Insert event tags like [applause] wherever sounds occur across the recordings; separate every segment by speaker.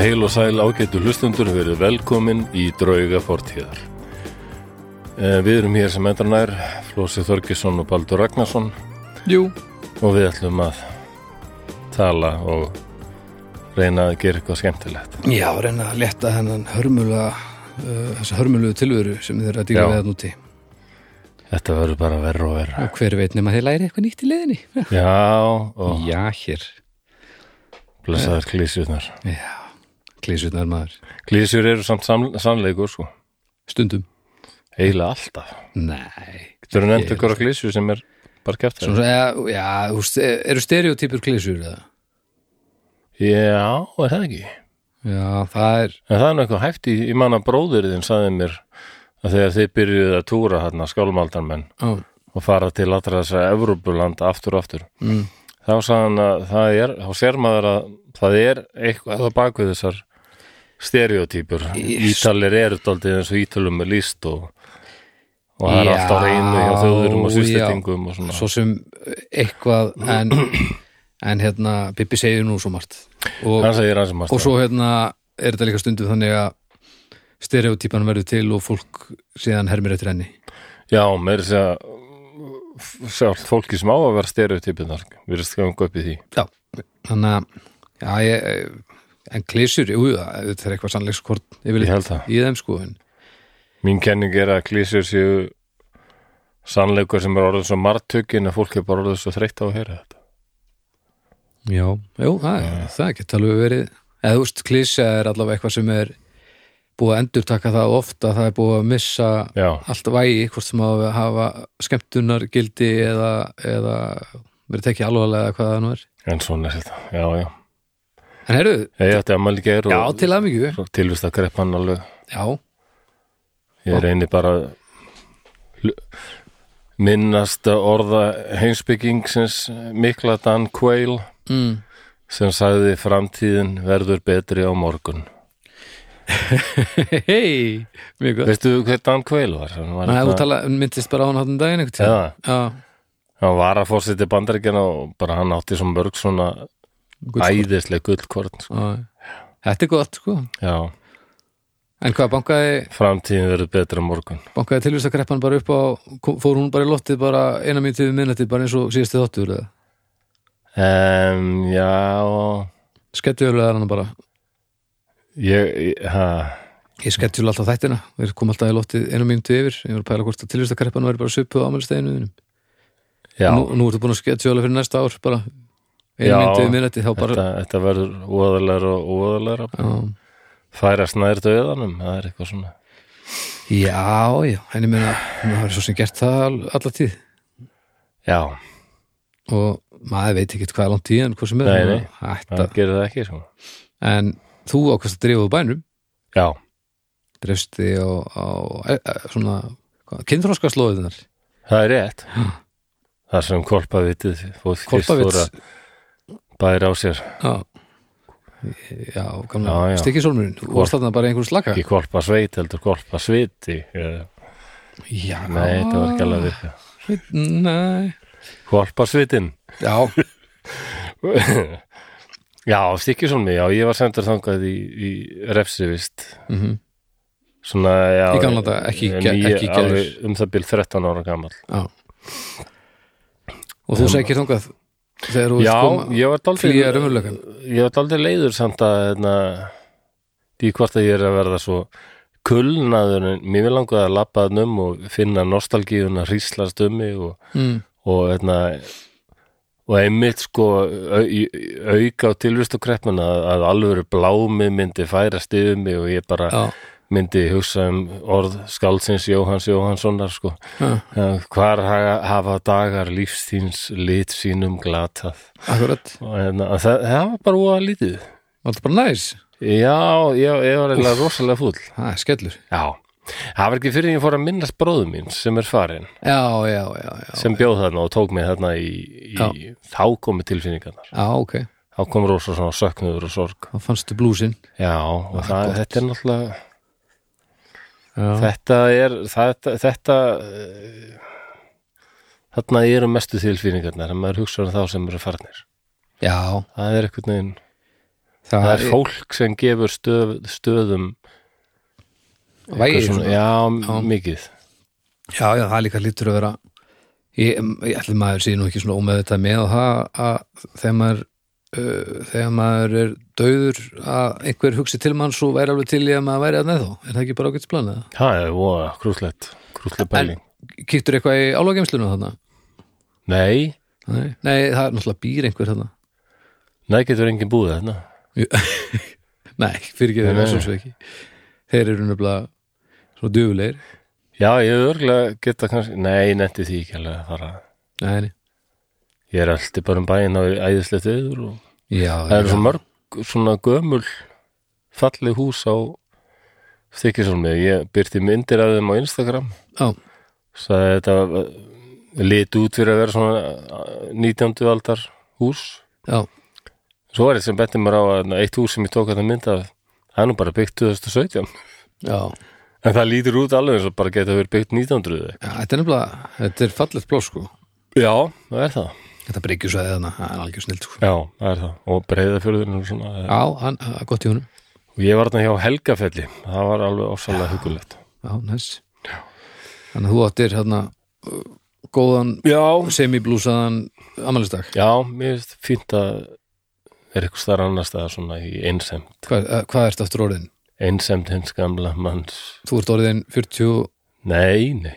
Speaker 1: Heil og sæl ágætu hlustundur verið velkomin í drauga fortíðar. Eh, Við erum hér sem endranær, Flósi Þorgesson og Baldur Ragnarsson
Speaker 2: Jú,
Speaker 1: og við ætlum að tala og reyna að gera eitthvað skemmtilegt.
Speaker 2: já, reyna að leta hennan hörmula uh, þessa hörmulu tilveru sem þið eru að
Speaker 1: Já.
Speaker 2: dýra við hann úti
Speaker 1: Þetta verður bara verra og verra.
Speaker 2: og hver veit nema þið læri eitthvað nýtt í leiðinni
Speaker 1: Já, [laughs] og
Speaker 2: Já, hér
Speaker 1: blessaðar klísjurnar.
Speaker 2: Já, klísutnar maður
Speaker 1: Klísjur eru samt sam- sannleikur, sko.
Speaker 2: Stundum
Speaker 1: Eiginlega alltaf.
Speaker 2: Nei
Speaker 1: Þú eru nefnt
Speaker 2: Ég-
Speaker 1: ykkur á klísju sem er bara kæft
Speaker 2: Svona, já, já, þú veist, e, eru stereotypur klísur eða?
Speaker 1: Já, er það ekki?
Speaker 2: Já, það er
Speaker 1: En það er nú eitthvað hægt í, ég man að bróðurðin saði mér að þegar þið byrjuðu að túra hérna skálmaldarmenn
Speaker 2: á,
Speaker 1: og fara til allra þessara Evrópuland aftur og aftur
Speaker 2: mm,
Speaker 1: þá sagði hann að það er, þá sér maður að það er eitthvað að baka þessar stereotypur
Speaker 2: Yes.
Speaker 1: Ítalir eru daldið eins og Ítalum er líst og, og það er
Speaker 2: Já,
Speaker 1: alltaf reynu hjá þjóðurum og
Speaker 2: já.
Speaker 1: sýstettingum og svona
Speaker 2: Svo sem eitthvað en, en hérna, Bibbi segir nú svo margt og,
Speaker 1: hann segir um hans sem
Speaker 2: og svo hérna er þetta líka stundum þannig að stereotypan verður til og fólk síðan hermir eftir henni
Speaker 1: já, mér er að sjálf fólki sem á að vera stereotypunar við erum skangað upp í því
Speaker 2: já, þannig að já, ég, en klísur, jú, það þetta er eitthvað sannleikskort
Speaker 1: ég
Speaker 2: yfirleitt
Speaker 1: held það
Speaker 2: í þeim sko en,
Speaker 1: Mín kenning er að klísur séu sannleikur sem er orðið svo margtökin að fólk er bara orðið svo þreytt á að heyra þetta.
Speaker 2: já, jú, það, það geta alveg verið eða þú veist, klísa er allavega eitthvað sem er búið að endurtaka það ofta það er búið að missa
Speaker 1: Já,
Speaker 2: allt vægi hvort sem að hafa skemmtunar gildi eða, eða verið tekið alvarlega eða hvað það nú er
Speaker 1: en svona er þetta. Já, já.
Speaker 2: en heyrðu,
Speaker 1: Ég ætti ammæli geir
Speaker 2: já,
Speaker 1: og
Speaker 2: til aðmyggju
Speaker 1: svo tilvist að grepp hann alveg.
Speaker 2: já, [laughs]
Speaker 1: Ég reyni bara að hlu- minnast að orða heimsbyggingsins mikla Dan Quayle
Speaker 2: mm.
Speaker 1: sem sagði framtíðin verður betri á morgun.
Speaker 2: hei, mjög gott
Speaker 1: Veistu hver Dan Quayle var? Hann var
Speaker 2: Nei, þú
Speaker 1: hérna-
Speaker 2: tala, myndist bara á hann hann daginn einhvern tíma
Speaker 1: Eða,
Speaker 2: Já,
Speaker 1: hann var að fórseti bandaríkjana og bara hann átti svo mörg svona
Speaker 2: gull-
Speaker 1: æðisleg gullkorn. Sko.
Speaker 2: Já. Þetta er gott sko
Speaker 1: Já.
Speaker 2: En hvað, bankaði,
Speaker 1: framtíðin verður betra á morgun
Speaker 2: bankaði tilvistakreppan bara upp á kom- fór hún bara í lottið bara eina mínútu við minnati bara eins og síðasti þáttur eða
Speaker 1: um, já
Speaker 2: skettjulega er hann bara
Speaker 1: ég, ég ha,
Speaker 2: Ég skettjula alltaf þættina, við komum alltaf í lottið eina mínútu yfir, ég var að pæla hvort að tilvistakreppan væri bara suppuð á amalisteginu nú,
Speaker 1: já,
Speaker 2: nú ertu búin að skettjula fyrir næsta ár bara
Speaker 1: Já.
Speaker 2: eina mínútu við minnati þá bara
Speaker 1: þetta, þetta verður óðalega og óðalega
Speaker 2: Já,
Speaker 1: færa snæður döðanum, það er eitthvað svona
Speaker 2: já, já, en ég meina það er svo sem gert það all- alla tíð
Speaker 1: já,
Speaker 2: og maður veit ekki hvað er langt í en hvað sem er
Speaker 1: Nei, nei.
Speaker 2: Ætta.
Speaker 1: það gerir það ekki sko.
Speaker 2: en þú ákvæmst að dreifu bænum
Speaker 1: já,
Speaker 2: dreifst þig á, á e, e, svona kynþróska slóðunar
Speaker 1: það er
Speaker 2: [gasps]
Speaker 1: rétt það sem kolpavitið fóð
Speaker 2: Kolpavits
Speaker 1: kistóra bæri á sér,
Speaker 2: já, já, gamla
Speaker 1: Já, já.
Speaker 2: stikkisólmurinn þú varst þarna bara í einhverjum slaka
Speaker 1: ekki kolpasveit heldur kolpasviti eða-
Speaker 2: já,
Speaker 1: nei, þetta var ekki alveg að virka
Speaker 2: nei. Ah.
Speaker 1: kolpasvitin
Speaker 2: já,
Speaker 1: Já, stikkisólmi, já, ég var sendur þangað í, í refsivist
Speaker 2: mhm,
Speaker 1: Svona, já
Speaker 2: Í gamla daga, ekki í
Speaker 1: um,
Speaker 2: gær-
Speaker 1: ég-
Speaker 2: ekki í gær.
Speaker 1: alveg Um það bil 13 ára gamall
Speaker 2: já og þú sækir þangað þegar þú
Speaker 1: Já,
Speaker 2: vilt
Speaker 1: ég var daldið
Speaker 2: flýja raunveruleikann.
Speaker 1: Ég var daldið leiður samt að hérna, Því hvort að ég er að verða svo kulnaður en Mér vil langaði að labba þarna um og finna nostalgíuna hríslast um mig og,
Speaker 2: mm,
Speaker 1: og hérna og einmitt sko au, í- auka á tilvist og kreppuna að alvöru blámi myndi færast yfir mig og ég bara
Speaker 2: já,
Speaker 1: myndi hugsa um orð skaldsins Jóhans Jóhanssonar sko
Speaker 2: já,
Speaker 1: Eh, hvar haga- hafa dagar lífstíns lit sínum glatað
Speaker 2: akkurat
Speaker 1: og hérna, að það, það var bara úa lítið
Speaker 2: var þetta bara næs,
Speaker 1: já, ég, ég var eiginlega rosalega fúll
Speaker 2: það er skellur
Speaker 1: já, það var ekki fyrir en ég fór að minnast bróðum mín sem er farin
Speaker 2: já, já, já, já,
Speaker 1: sem bjóð þarna og tók mig þarna í, í
Speaker 2: Já.
Speaker 1: þá komi tilfinningarnar
Speaker 2: já, ok
Speaker 1: þá kom rosa svona söknuður og sorg
Speaker 2: þá fannstu blúsin
Speaker 1: já, og það,
Speaker 2: gott.
Speaker 1: þetta er náttúrulega
Speaker 2: já,
Speaker 1: þetta er þetta, þetta eh, þarna eru mestu tilfinningarnar en maður hugsa um þá sem eru farnir
Speaker 2: já
Speaker 1: það er eitthvað neginn
Speaker 2: það,
Speaker 1: það er fólk sem gefur stöð, stöðum
Speaker 2: vægir
Speaker 1: eitthvað svona,
Speaker 2: svona.
Speaker 1: já,
Speaker 2: Já.
Speaker 1: mikið
Speaker 2: já, já, það líka lítur að vera ég, ég ætli maður sé nú ekki svona ómeðvitað með og það að þegar maður uh, þegar maður er döður að einhver hugsi til mann svo væri alveg til í að maður væri að neð þá er það ekki bara ágætt splanað?
Speaker 1: það er voða krúslegt, krúsleg pæling
Speaker 2: Kíktur eitthvað í álógemslunum þarna?
Speaker 1: nei,
Speaker 2: Nei. Nei, það er náttúrulega býr einhver þarna
Speaker 1: nei getur enginn búið þarna
Speaker 2: Nei, fyrir ekki þeir
Speaker 1: Nei,
Speaker 2: eru
Speaker 1: nei.
Speaker 2: svo ekki Þeir eru nefnilega svona dufulegir
Speaker 1: já, ég hef örgulega geta kannski nei, netti því ekki alveg að fara
Speaker 2: Nei, nei.
Speaker 1: ég er alltaf bara um bæinn á æðislegt viður og
Speaker 2: Já,
Speaker 1: það eru
Speaker 2: já.
Speaker 1: svo mörg svona gömul fallið hús á Stikisólmi, ég byrti myndir af þeim á Instagram
Speaker 2: Já,
Speaker 1: sagði þetta eh, lit út fyrir að vera svona eh, 19. aldar hús
Speaker 2: já,
Speaker 1: svo var eitt sem benti mér á að na, eitt hús sem ég tók að það mynda það er nú bara byggt 2017
Speaker 2: já
Speaker 1: [laughs] en það lítur út alveg eins og bara geta verið byggt 1900 eða eitthvað.
Speaker 2: Já, Þetta er nefnilega, þetta er fallegt blá sko
Speaker 1: já, það er það
Speaker 2: Þetta breykjur svo eða það er algjör snild sko
Speaker 1: já, það er það og breyðafjörðurinn og svona eh.
Speaker 2: Já, hann, hann- gott í honum
Speaker 1: og ég var þarna hjá Helgafelli það var alveg ofsalega hugulegt
Speaker 2: Já, næs Þannig að þú áttir hérna uh, góðan
Speaker 1: já,
Speaker 2: semiblúsaðan amalistak
Speaker 1: já, mér finnst fínt að er eitthvað starf annars staðar svona í einsemd,
Speaker 2: Hvað, uh, hvað ertu aftur orðin?
Speaker 1: einsemd hins gamla manns
Speaker 2: Þú ert orðin 40
Speaker 1: nei, nei,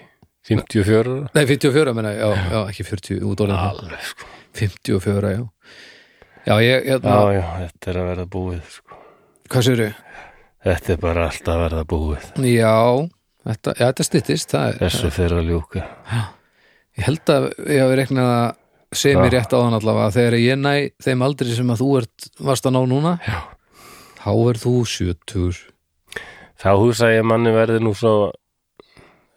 Speaker 1: 54
Speaker 2: Nei, 54 meina, ég, já, já, ekki 40 út orðin
Speaker 1: Alveg, sko.
Speaker 2: 54, já Já, ég, hérna,
Speaker 1: Já, já, þetta er að verða búið, sko.
Speaker 2: hvað sér ég?
Speaker 1: Þetta er bara alltaf að verða búið.
Speaker 2: Já, þetta, já, þetta styttist það, er-
Speaker 1: Þessu fyrir að ljúka.
Speaker 2: Ég held að ég hafi reiknað að segja mér
Speaker 1: Já.
Speaker 2: rétt á þann allavega að þegar ég næ þeim aldri sem að þú ert varst að ná núna
Speaker 1: Já.
Speaker 2: þá er þú 70
Speaker 1: Þá hugsa ég að manni verði nú svo,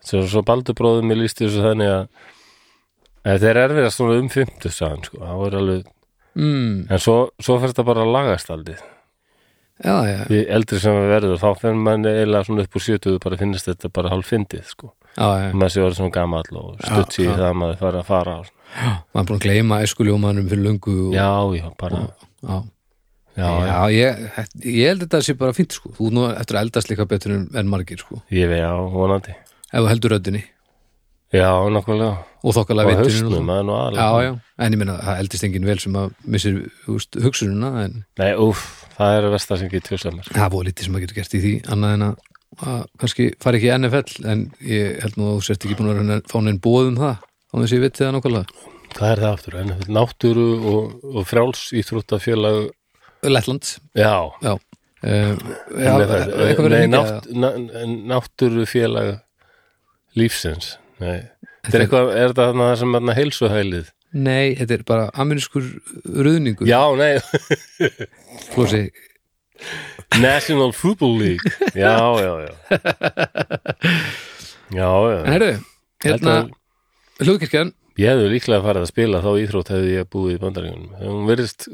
Speaker 1: sem svo baldubróðum mér líst þessu þannig að að þetta er erfið að svona um 50 sagðan, sko. Það voru alveg,
Speaker 2: mm,
Speaker 1: en svo, svo fyrir þetta bara að lagast aldrei.
Speaker 2: Já, já,
Speaker 1: Því eldri sem við verður, þá fyrir manni eiginlega svona upp úr 70 bara finnist þetta bara hálf fyndið, sko.
Speaker 2: já, já
Speaker 1: Maður sé orðið svona gamall og stutt
Speaker 2: Já,
Speaker 1: í
Speaker 2: já.
Speaker 1: það að maður fara að fara á.
Speaker 2: maður er búin að gleyma eskuljómanum fyrir löngu og,
Speaker 1: Já, já, bara,
Speaker 2: já.
Speaker 1: já, já.
Speaker 2: ég, ég held þetta sé bara fínt sko þú ert nú eftir að eldast líka betur en, en margir sko
Speaker 1: Ég vei á, vonandi.
Speaker 2: ef þú heldur röddinni
Speaker 1: Já, nokkulega.
Speaker 2: og þokkalega
Speaker 1: á
Speaker 2: vitinu
Speaker 1: hausnum, það er nú aðlega
Speaker 2: Já, já, en ég meina það eldist enginn vel sem að missir úst, hugsununa en
Speaker 1: Nei, úf, það er að versta sem getur sko. sem er
Speaker 2: það voru lítið sem að geta gert í því annað en að, að kannski fara ekki í NFL en ég held nú að þú sért ekki búin að reyna að fá neinn bóð um það á þess að ég viti það nákvæmlega
Speaker 1: Hvað er það aftur? En náttúru og, og frjáls íþróttafélag
Speaker 2: Lettland,
Speaker 1: Já,
Speaker 2: já uh, já,
Speaker 1: en er það-
Speaker 2: eitthvað verið
Speaker 1: eh, Nei,
Speaker 2: líka
Speaker 1: nátt, na, náttúrufélag lífsins Nei, þetta
Speaker 2: Þetta-
Speaker 1: er eitthvað, er það þarna það sem þarna heilsuhælið?
Speaker 2: Nei, þetta er bara aminskur ruðningur
Speaker 1: Já, nei,
Speaker 2: Flósi,
Speaker 1: National Football League Já, já, já Já, já
Speaker 2: en herðu
Speaker 1: Þetta-
Speaker 2: hérna, hlugkirkjan
Speaker 1: Ég hefði líklega farið að spila þá íþrótt hefði ég búið í bandaríunum Hún verðist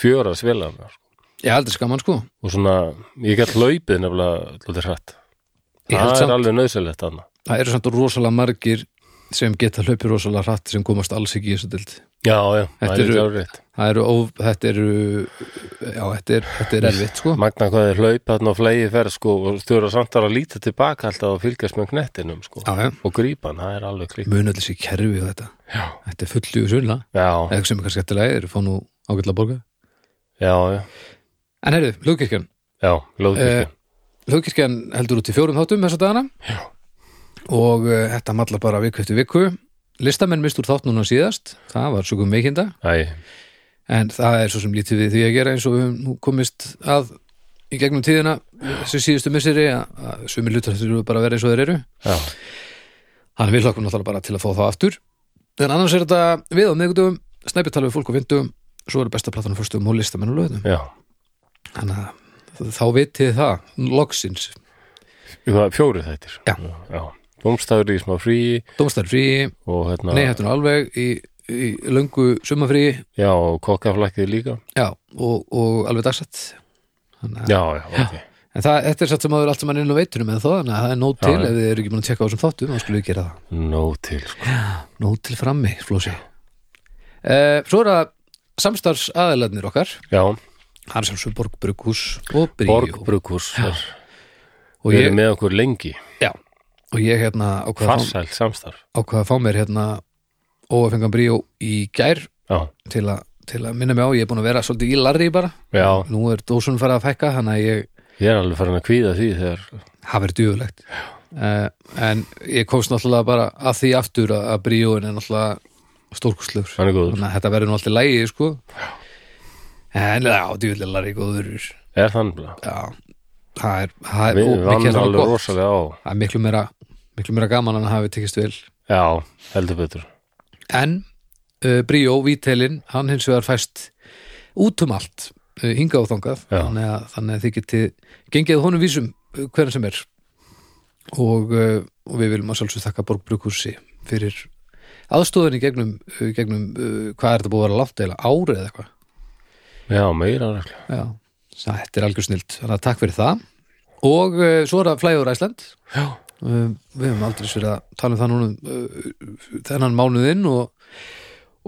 Speaker 1: fjöra svelaðna
Speaker 2: Já, þetta er skaman sko
Speaker 1: sko. og svona, ég gætt hlaupið nefnilega alltaf hrætt
Speaker 2: Ég held
Speaker 1: það
Speaker 2: samt-
Speaker 1: er alveg nöðsynlegt þarna
Speaker 2: Það eru samt rosalega margir sem geta hlaupið rosalega hratt sem komast alls ekki í þessu dild
Speaker 1: já, já,
Speaker 2: Þetta
Speaker 1: það er
Speaker 2: eru-
Speaker 1: ekki árið
Speaker 2: Það eru, óv, þetta eru já, þetta er, þetta er erfitt sko
Speaker 1: magna hvað er hlaup þarna og flegi ferð sko og stjóra samt að líta tilbaka alltaf og fylgjast með knettinum sko
Speaker 2: Já, já,
Speaker 1: og grípan, það er alveg klík
Speaker 2: munallis í kerfi og þetta
Speaker 1: já,
Speaker 2: Þetta er fullu sunna,
Speaker 1: já,
Speaker 2: eða sem er kannski eftirlega er fá nú ágætla borga
Speaker 1: já, já,
Speaker 2: En heyrðu, hlugkirkjan
Speaker 1: já lóðkirkja
Speaker 2: Hlugkirkjan heldur út í fjórum þáttum þessa dagana já. og uh, þetta mallar bara viku eftir viku Listamenn mist úr þátt núna síðast það var sögum meikinda
Speaker 1: Æ,
Speaker 2: en það er svo sem lítið við því að gera eins og við höfum nú komist að í gegnum tíðina sem síðustu misseri að, að sumir lutar þurfum bara að vera eins og þeir eru
Speaker 1: já,
Speaker 2: Þannig við hlokkum náttúrulega bara til að fá það aftur En annars er þetta við á miðgudum Snæpi tala við fólk á vindum Svo eru besta platan á fyrstum og listamenn og lögðum
Speaker 1: já
Speaker 2: Þannig að þá vitið það Loksins,
Speaker 1: Jú, það er fjóru þættir
Speaker 2: Já.
Speaker 1: já. Dómstafur í smá fríi
Speaker 2: Dómstar frí
Speaker 1: og hérna
Speaker 2: Nei, hættun alveg í, í löngu sumafrí
Speaker 1: já, og kokkaflækkið líka
Speaker 2: Já, og, og alveg dagsett Þannig að
Speaker 1: já, já, ok
Speaker 2: En það, þetta er satt sem að vera allt saman inn á veitunum en þó, þannig að það er nót
Speaker 1: Já,
Speaker 2: til
Speaker 1: já.
Speaker 2: ef þið eru ekki búin að tjekka á þessum þáttum, þá skulle við gera það
Speaker 1: nóg til sko
Speaker 2: Nót til Eh, frammi, flósi uh, Svo er það samstarfs aðalarnir okkar
Speaker 1: já,
Speaker 2: það er sjálfsög Borgbrukus og Bríó
Speaker 1: Borgbrukus
Speaker 2: Já. og
Speaker 1: og ég
Speaker 2: ég,
Speaker 1: er með okkur lengi,
Speaker 2: já, og ég hérna ákvað að fá-
Speaker 1: farsæl samstarf
Speaker 2: ákvað að fá mér hérna óafengan Bríó í gær
Speaker 1: já,
Speaker 2: til að, til að minna mig á, ég er búin að vera svolítið í larri bara,
Speaker 1: já,
Speaker 2: nú er dósun farið að fækka þannig að ég
Speaker 1: ég er alveg farin að kvíða því þegar,
Speaker 2: hafa verið djöfulegt uh, en ég komst náttúrulega bara að því aftur að, að Bríóin er náttúrulega stórkustlegur
Speaker 1: hann er góður
Speaker 2: þannig að þetta verður nú alltaf lægi sko. en já, djöfulega larri góður já,
Speaker 1: er þann bara,
Speaker 2: það er, það er,
Speaker 1: við
Speaker 2: ó, mikið er
Speaker 1: vann
Speaker 2: það
Speaker 1: alveg
Speaker 2: gott.
Speaker 1: rosalega á
Speaker 2: það er miklu meira, miklu meira gaman en að hafi tekist vel
Speaker 1: já, heldur betur
Speaker 2: en uh, Bríó, Vítelin, hann hins vegar fæst út um allt uh, hinga og þangað
Speaker 1: Já.
Speaker 2: þannig að, þannig að þið getið gengið honum vísum uh, hvernig sem er og, uh, og við viljum að sjálfsög þakka Borgbrukursi fyrir aðstóðinni gegnum, uh, gegnum uh, hvað er þetta búið að vera langt eða árið eða eitthvað
Speaker 1: já, meira regla,
Speaker 2: Já, þetta er algjör snilt þannig að takk fyrir það og uh, svo er það flæður Æsland
Speaker 1: já,
Speaker 2: uh, við höfum aldrei sér að tala um það núna uh, þennan mánuðinn og,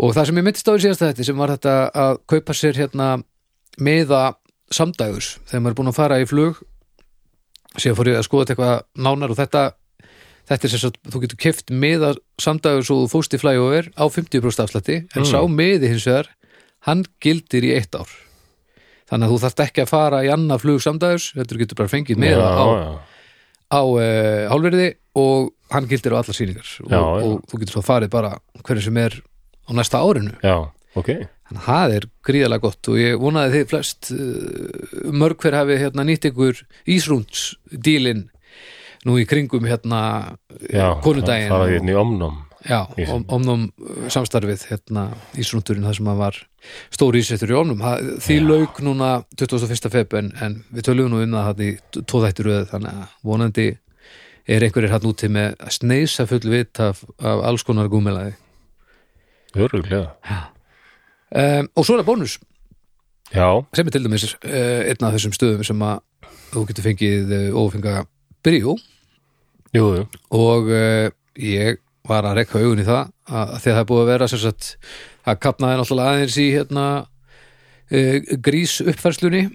Speaker 2: og það sem ég mittist á í síðasta þetta sem var þetta að kaupa sér hérna meða samdægurs þegar maður er búin að fara í flug síðan fór ég að skoða þetta eitthvað nánar og þetta Þetta er sem sagt, þú getur keft meða samdægur svo þú fóst í flyover á 50% afslætti, en
Speaker 1: Mm.
Speaker 2: sá meði hins vegar, hann gildir í eitt ár. Þannig að þú þarft ekki að fara í annað flug samdægurs, þetta getur bara fengið meða
Speaker 1: já,
Speaker 2: á,
Speaker 1: já.
Speaker 2: á uh, hálfverði og hann gildir á allar sýningar og,
Speaker 1: Já, já.
Speaker 2: og þú getur svo farið bara hverju sem er á næsta árinu
Speaker 1: já, ok
Speaker 2: þannig að það er gríðalega gott og ég vonaði þið flest uh, mörg hver hafi hérna nýtt ykkur Ísrúnds dílin nú í kringum hérna
Speaker 1: já,
Speaker 2: konudaginn
Speaker 1: fara þérna í omnum
Speaker 2: já,
Speaker 1: Ísrúnd.
Speaker 2: om, omnum uh, samstarfið hérna Ísrúndurinn það sem að var stóri ísettur í omnum Það- því lauk núna 21. feb en, en við töluðum nú um það hann í tóðætturöð þannig að vonandi er einhverjir hann úti með að sneisa full vit af, af alls konar gúmilaði
Speaker 1: öruglega,
Speaker 2: um, og svo er það bónus
Speaker 1: já,
Speaker 2: sem er til dæmis uh, einn af þessum stöðum sem að þú getur fengið uh, ófenga byrjú
Speaker 1: jú, jú
Speaker 2: og uh, ég var að rekka augun í það að, að því að það er búið að vera sem sagt að kapnaði náttúrulega aðeins í hérna uh, grís uppfærslunni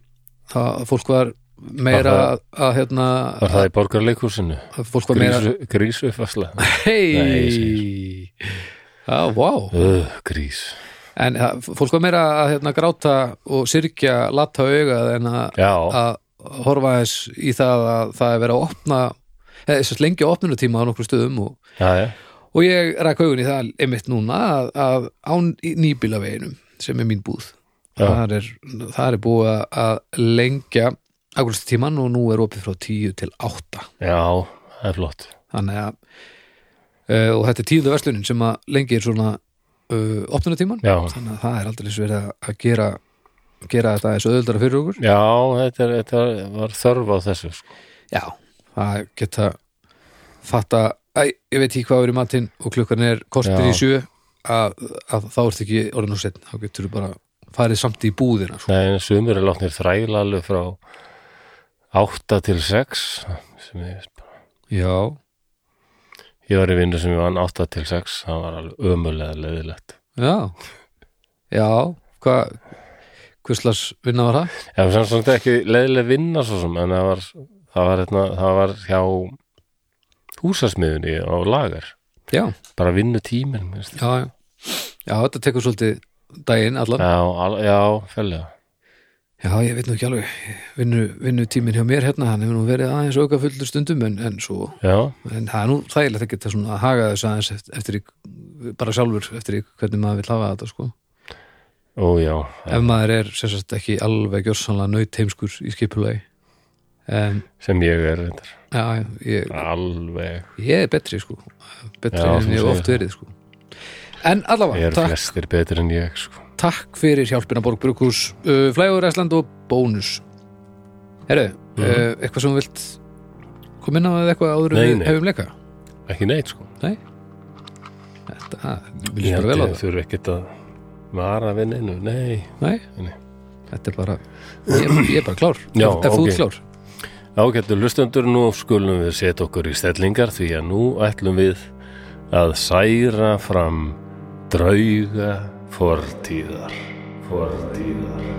Speaker 2: það fólk var meira
Speaker 1: Var
Speaker 2: að, að hérna
Speaker 1: var það í borgarleikursinu
Speaker 2: að fólk var Sko, meira
Speaker 1: grísu, grísu farsla Nei, ég sko.
Speaker 2: hei já, vá
Speaker 1: uh, grís,
Speaker 2: en það- fólk var meira að hérna gráta og syrkja latta augað en að
Speaker 1: já,
Speaker 2: að horfa eins í það að það er verið að opna eh, eða þess að lengja opnunutíma á nokkru stöðum og,
Speaker 1: já, já
Speaker 2: og ég ræk augun í það einmitt núna að, að á nýbílaveginum sem er mín búð
Speaker 1: Já.
Speaker 2: þar er, þar er búið að- að lengja akkurstu tíman og nú er opið frá 10 til 8
Speaker 1: Já, það er flott
Speaker 2: þannig að uh, og þetta er tíundu verslunin sem að lengir svona uh, opnunutíman
Speaker 1: Já,
Speaker 2: þannig að það er aldrei verið að- að gera gera þetta eins og auðvöldara fyrir okkur
Speaker 1: já þetta, er, þetta var þörf á þessu sko.
Speaker 2: Já, það geta fatta, æ, ég veit ekki hvað er í matinn og klukkan er kortir
Speaker 1: Já.
Speaker 2: í sjö að, að þá ertu ekki orðin og setn, þá getur þú bara farið samt í búðina sko.
Speaker 1: Nei, en sumir er látnir þræla alveg frá 8 til 6 sem ég veist bara
Speaker 2: Já,
Speaker 1: Ég var í vinnu sem ég vann 8 til 6 það var alveg ömulega leðilegt
Speaker 2: já Já, hvað hverslas vinna var það?
Speaker 1: Já, sem svona ekki leðileg vinna svo sem en það var, það var, hérna, það var hjá húsasmiðunni á lagar
Speaker 2: Já,
Speaker 1: bara vinnu tíminn minnst.
Speaker 2: já, já Já, þetta tekur svolítið daginn allan
Speaker 1: Já, al, já, fællega
Speaker 2: Já, ég veit nú ekki alveg vinnu, vinnu tíminn hjá mér hérna, hann hefur nú verið aðeins auka fullur stundum en, en svo
Speaker 1: Já,
Speaker 2: en það er nú þægilegt að geta svona að haga þess aðeins eftir, eftir í- bara sjálfur eftir í hvernig maður vil hafa þetta sko.
Speaker 1: ó já
Speaker 2: ef maður er sem sagt ekki alveg gjörsanlega nöyt heimskur í skipulagi um,
Speaker 1: sem ég er reyndar
Speaker 2: já, já, ég,
Speaker 1: alveg
Speaker 2: ég er betri sko betri
Speaker 1: Já,
Speaker 2: en ég hef
Speaker 1: þú segir
Speaker 2: oft verið sko en allavega,
Speaker 1: eru
Speaker 2: takk,
Speaker 1: flestir betur en ég sko.
Speaker 2: takk fyrir hjálpina Borg Brukhus, uh, Flægur Æsland og Bónus Herru,
Speaker 1: Mhm.
Speaker 2: uh, eitthvað sem þú vilt koma inn á eða eitthvað áður en
Speaker 1: Nei,
Speaker 2: við
Speaker 1: nei.
Speaker 2: hefum leika
Speaker 1: ekki neitt sko.
Speaker 2: nei þetta, við
Speaker 1: ég
Speaker 2: líst
Speaker 1: held
Speaker 2: bara vel á
Speaker 1: ég
Speaker 2: það
Speaker 1: þurfi ekkert að vara við neinu, nei
Speaker 2: Nei,
Speaker 1: Nei.
Speaker 2: þetta er bara ég, ég er bara klár,
Speaker 1: Já,
Speaker 2: ef, ef þú
Speaker 1: ok.
Speaker 2: ert klár
Speaker 1: ágættu lustendur, nú skulum við setja okkur í stellingar því að nú ætlum við að særa fram drauga fortíðar fortíðar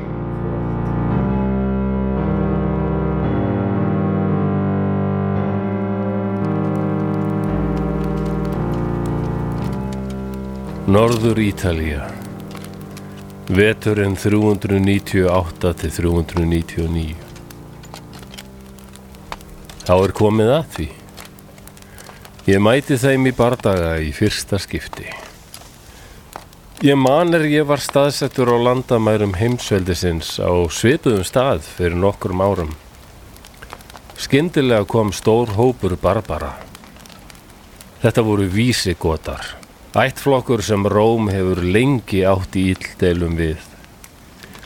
Speaker 1: Norður Ítalía Veturinn 398 til 399 Þá er komið að því Ég mæti þeim í bardaga í fyrsta skipti Ég man er ég var staðsettur á landamærum heimsveldisins á svipuðum stað fyrir nokkrum árum Skyndilega kom stór hópur barbara Þetta voru vísigotar Ættflokkur sem Róm hefur lengi átt í illdeilum við.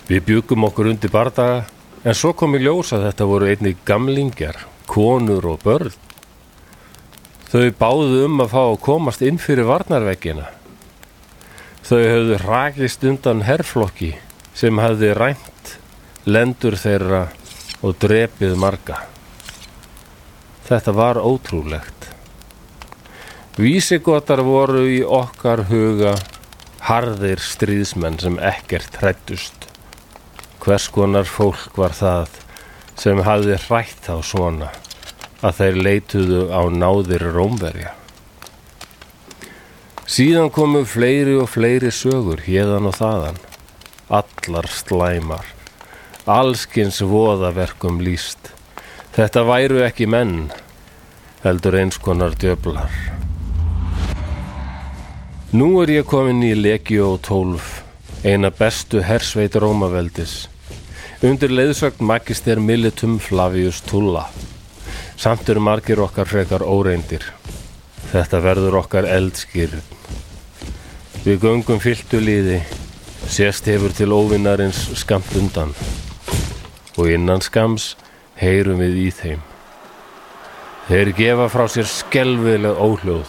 Speaker 1: Við bjugum okkur undir bardaga, en svo kom í ljós að þetta voru einnig gamlingjar, konur og börn. Þau báðu um að fá að komast inn fyrir varnarveggina. Þau höfðu rakist undan herrflokki sem hafði ræmt lendur þeirra og drepið marga. Þetta var ótrúlegt. Vísigotar voru í okkar huga harðir stríðsmenn sem ekkert hrættust. Hvers konar fólk var það sem hafði hrætt þá svona að þeir leituðu á náðir rómverja. Síðan komu fleiri og fleiri sögur hérðan og þaðan. Allar slæmar. Allskins voðaverkum líst. Þetta væru ekki menn, heldur eins konar djöflar. Nú er ég komin í Legio 12, eina bestu hersveit Rómaveldis, undir leiðsögn magister Militum Flavius Tulla. Samt eru margir okkar frekar óreindir. Þetta verður okkar eldskýrn. Við göngum fylltu líði, sérst hefur til óvinnarins skamt undan og innan skams heyrum við í þeim. Þeir gefa frá sér skelvileg óhljóð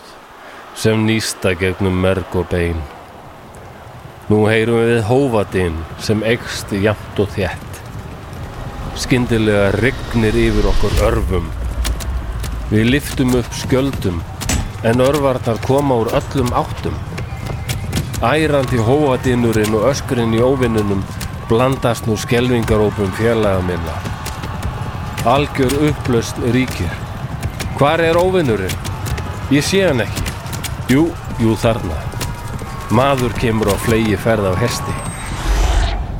Speaker 1: sem nýsta gegnum merg og bein. Nú heyrum við hófadinn sem eikst jafnt og þjætt. Skyndilega rignir yfir okkur örfum. Við liftum upp skjöldum en örvarnar koma úr öllum áttum. Ærandi hófadinnurinn og öskurinn í óvinnunum blandast nú skelvingarópum félaga minna. Algjör upplaust ríkir. Hvar er óvinnurinn? Ég sé hann ekki. Jú, jú þarna. Maður kemur á flegi ferð af hesti.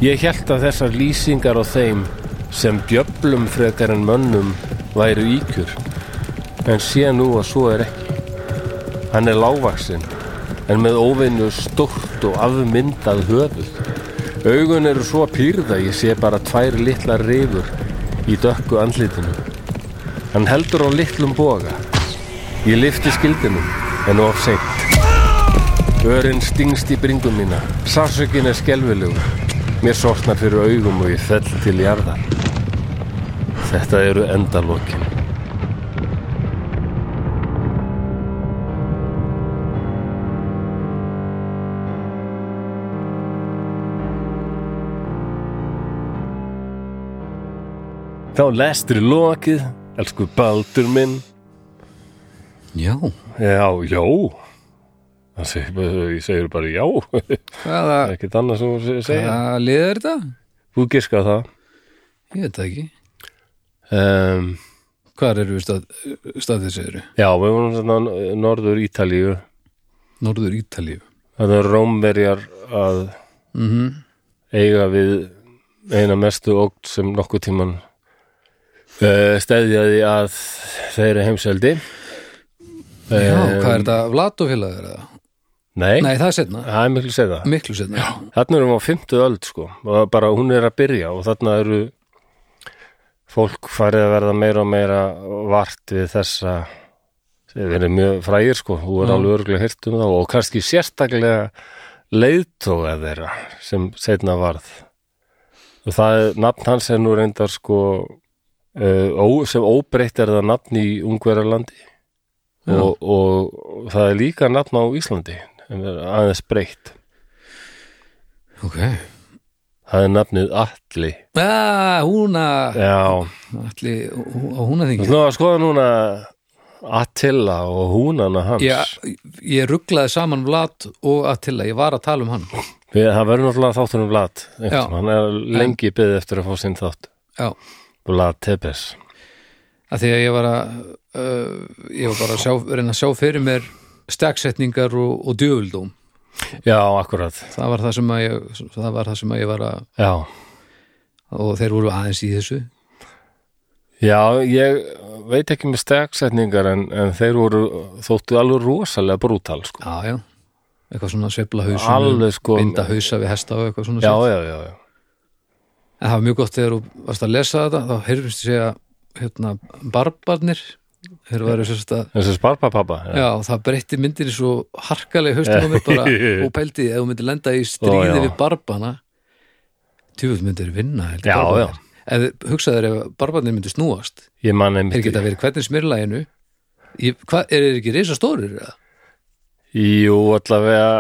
Speaker 1: Ég held að þessar lýsingar á þeim sem djöflum frekar en mönnum væru íkjur. En sé nú að svo er ekki. Hann er lágvaksinn, en með óvinnu stórt og afmyndað höfuð. Augun eru svo pýrða ég sé bara tvær litlar rifur í dökku andlitinu. Hann heldur á litlum boga. Ég lifti skildinum, en of seint. Örinn stingst í bringum mína. Sásökin er skelvilegur. Mér sortnar fyrir augum og ég fell til jarðar. Þetta eru endalokin. Þá lestur lokið, elsku baldur minn.
Speaker 2: Já,
Speaker 1: Já, já Það seg- [laughs] Ég segir bara já [laughs]
Speaker 2: hvaða,
Speaker 1: Ekkert annað sem þú segir
Speaker 2: hvaða lið er þetta?
Speaker 1: Þú giska það
Speaker 2: Ég veit það ekki.
Speaker 1: um,
Speaker 2: Hvar eru við stað, staðið segiru?
Speaker 1: Já, við vorum þarna norður Ítalíu
Speaker 2: Norður Ítalíu.
Speaker 1: Þetta er rómverjar að
Speaker 2: Mm
Speaker 1: eiga við eina mestu ógt sem nokkuð tíman uh, stæðjaði að þeirri heimseldi
Speaker 2: Já,
Speaker 1: Eh,
Speaker 2: hvað er þetta? Vlatofélag er það?
Speaker 1: Nei,
Speaker 2: Nei, það er setna.
Speaker 1: það er miklu að segja það
Speaker 2: Miklu setna. Já.
Speaker 1: Þarna erum við á fymtu öld sko og bara hún er að byrja og þarna eru fólk farið að verða meira og meira vart við þessa þeir eru mjög frægir sko þú er
Speaker 2: Já.
Speaker 1: alveg örgulega hirt um þá og kannski sérstaklega leiðtóga þeirra sem setna varð og það er nafn hans er nú reyndar sko uh, ó, sem óbreytt er það nafn í Ungverjalandi
Speaker 2: Já.
Speaker 1: og, og það er líka nafn á Íslandi en er aðeins breytt
Speaker 2: Ok.
Speaker 1: Það er nafnið Atli
Speaker 2: Ah, húna,
Speaker 1: Já,
Speaker 2: allir, á húna þingi.
Speaker 1: nú að skoða núna Attila og húnana hans
Speaker 2: Já, ég rugglaði saman Vlat og Attila, ég var að tala um hann.
Speaker 1: Við, Það verður náttúrulega þáttunum Vlad
Speaker 2: Já.
Speaker 1: Hann er lengi byggði eftir að fá sinn þátt
Speaker 2: Já,
Speaker 1: Vlad Tepes
Speaker 2: að því að ég var að, uh, ég var bara að sjá, reyna að sjá fyrir mér stegsetningar og, og djöfuldóm.
Speaker 1: já, akkurat
Speaker 2: það var það sem að ég, það var, það sem að ég var að
Speaker 1: já,
Speaker 2: og þeir voru aðeins í þessu
Speaker 1: já ég veit ekki með stegsetningar en, en þeir voru þóttu alveg rosalega brútal sko.
Speaker 2: já, já, eitthvað svona sveifla hausum
Speaker 1: Alveg, sko.
Speaker 2: binda hausa við hesta og eitthvað svona
Speaker 1: já,
Speaker 2: shit.
Speaker 1: já, já, já
Speaker 2: en það var mjög gott þegar þú varst að lesa þetta þá heyrfist því að hérna, barbarnir þeir varu sérst að
Speaker 1: þessi sparpapappa
Speaker 2: Já, það breytti myndinni svo harkaleg haustum á mér
Speaker 1: [laughs]
Speaker 2: bara og pældi ef þú myndir lenda í stríði
Speaker 1: Ó, já.
Speaker 2: við barbana tjúfum myndir vinna heldur
Speaker 1: Já,
Speaker 2: barbarnir. ef hugsaður ef barbarnir myndir snúast
Speaker 1: ég man einmitt
Speaker 2: þeir geta verið hvernig smyrlæginu ég, hva, er þeir ekki reysa stórir eða?
Speaker 1: jú,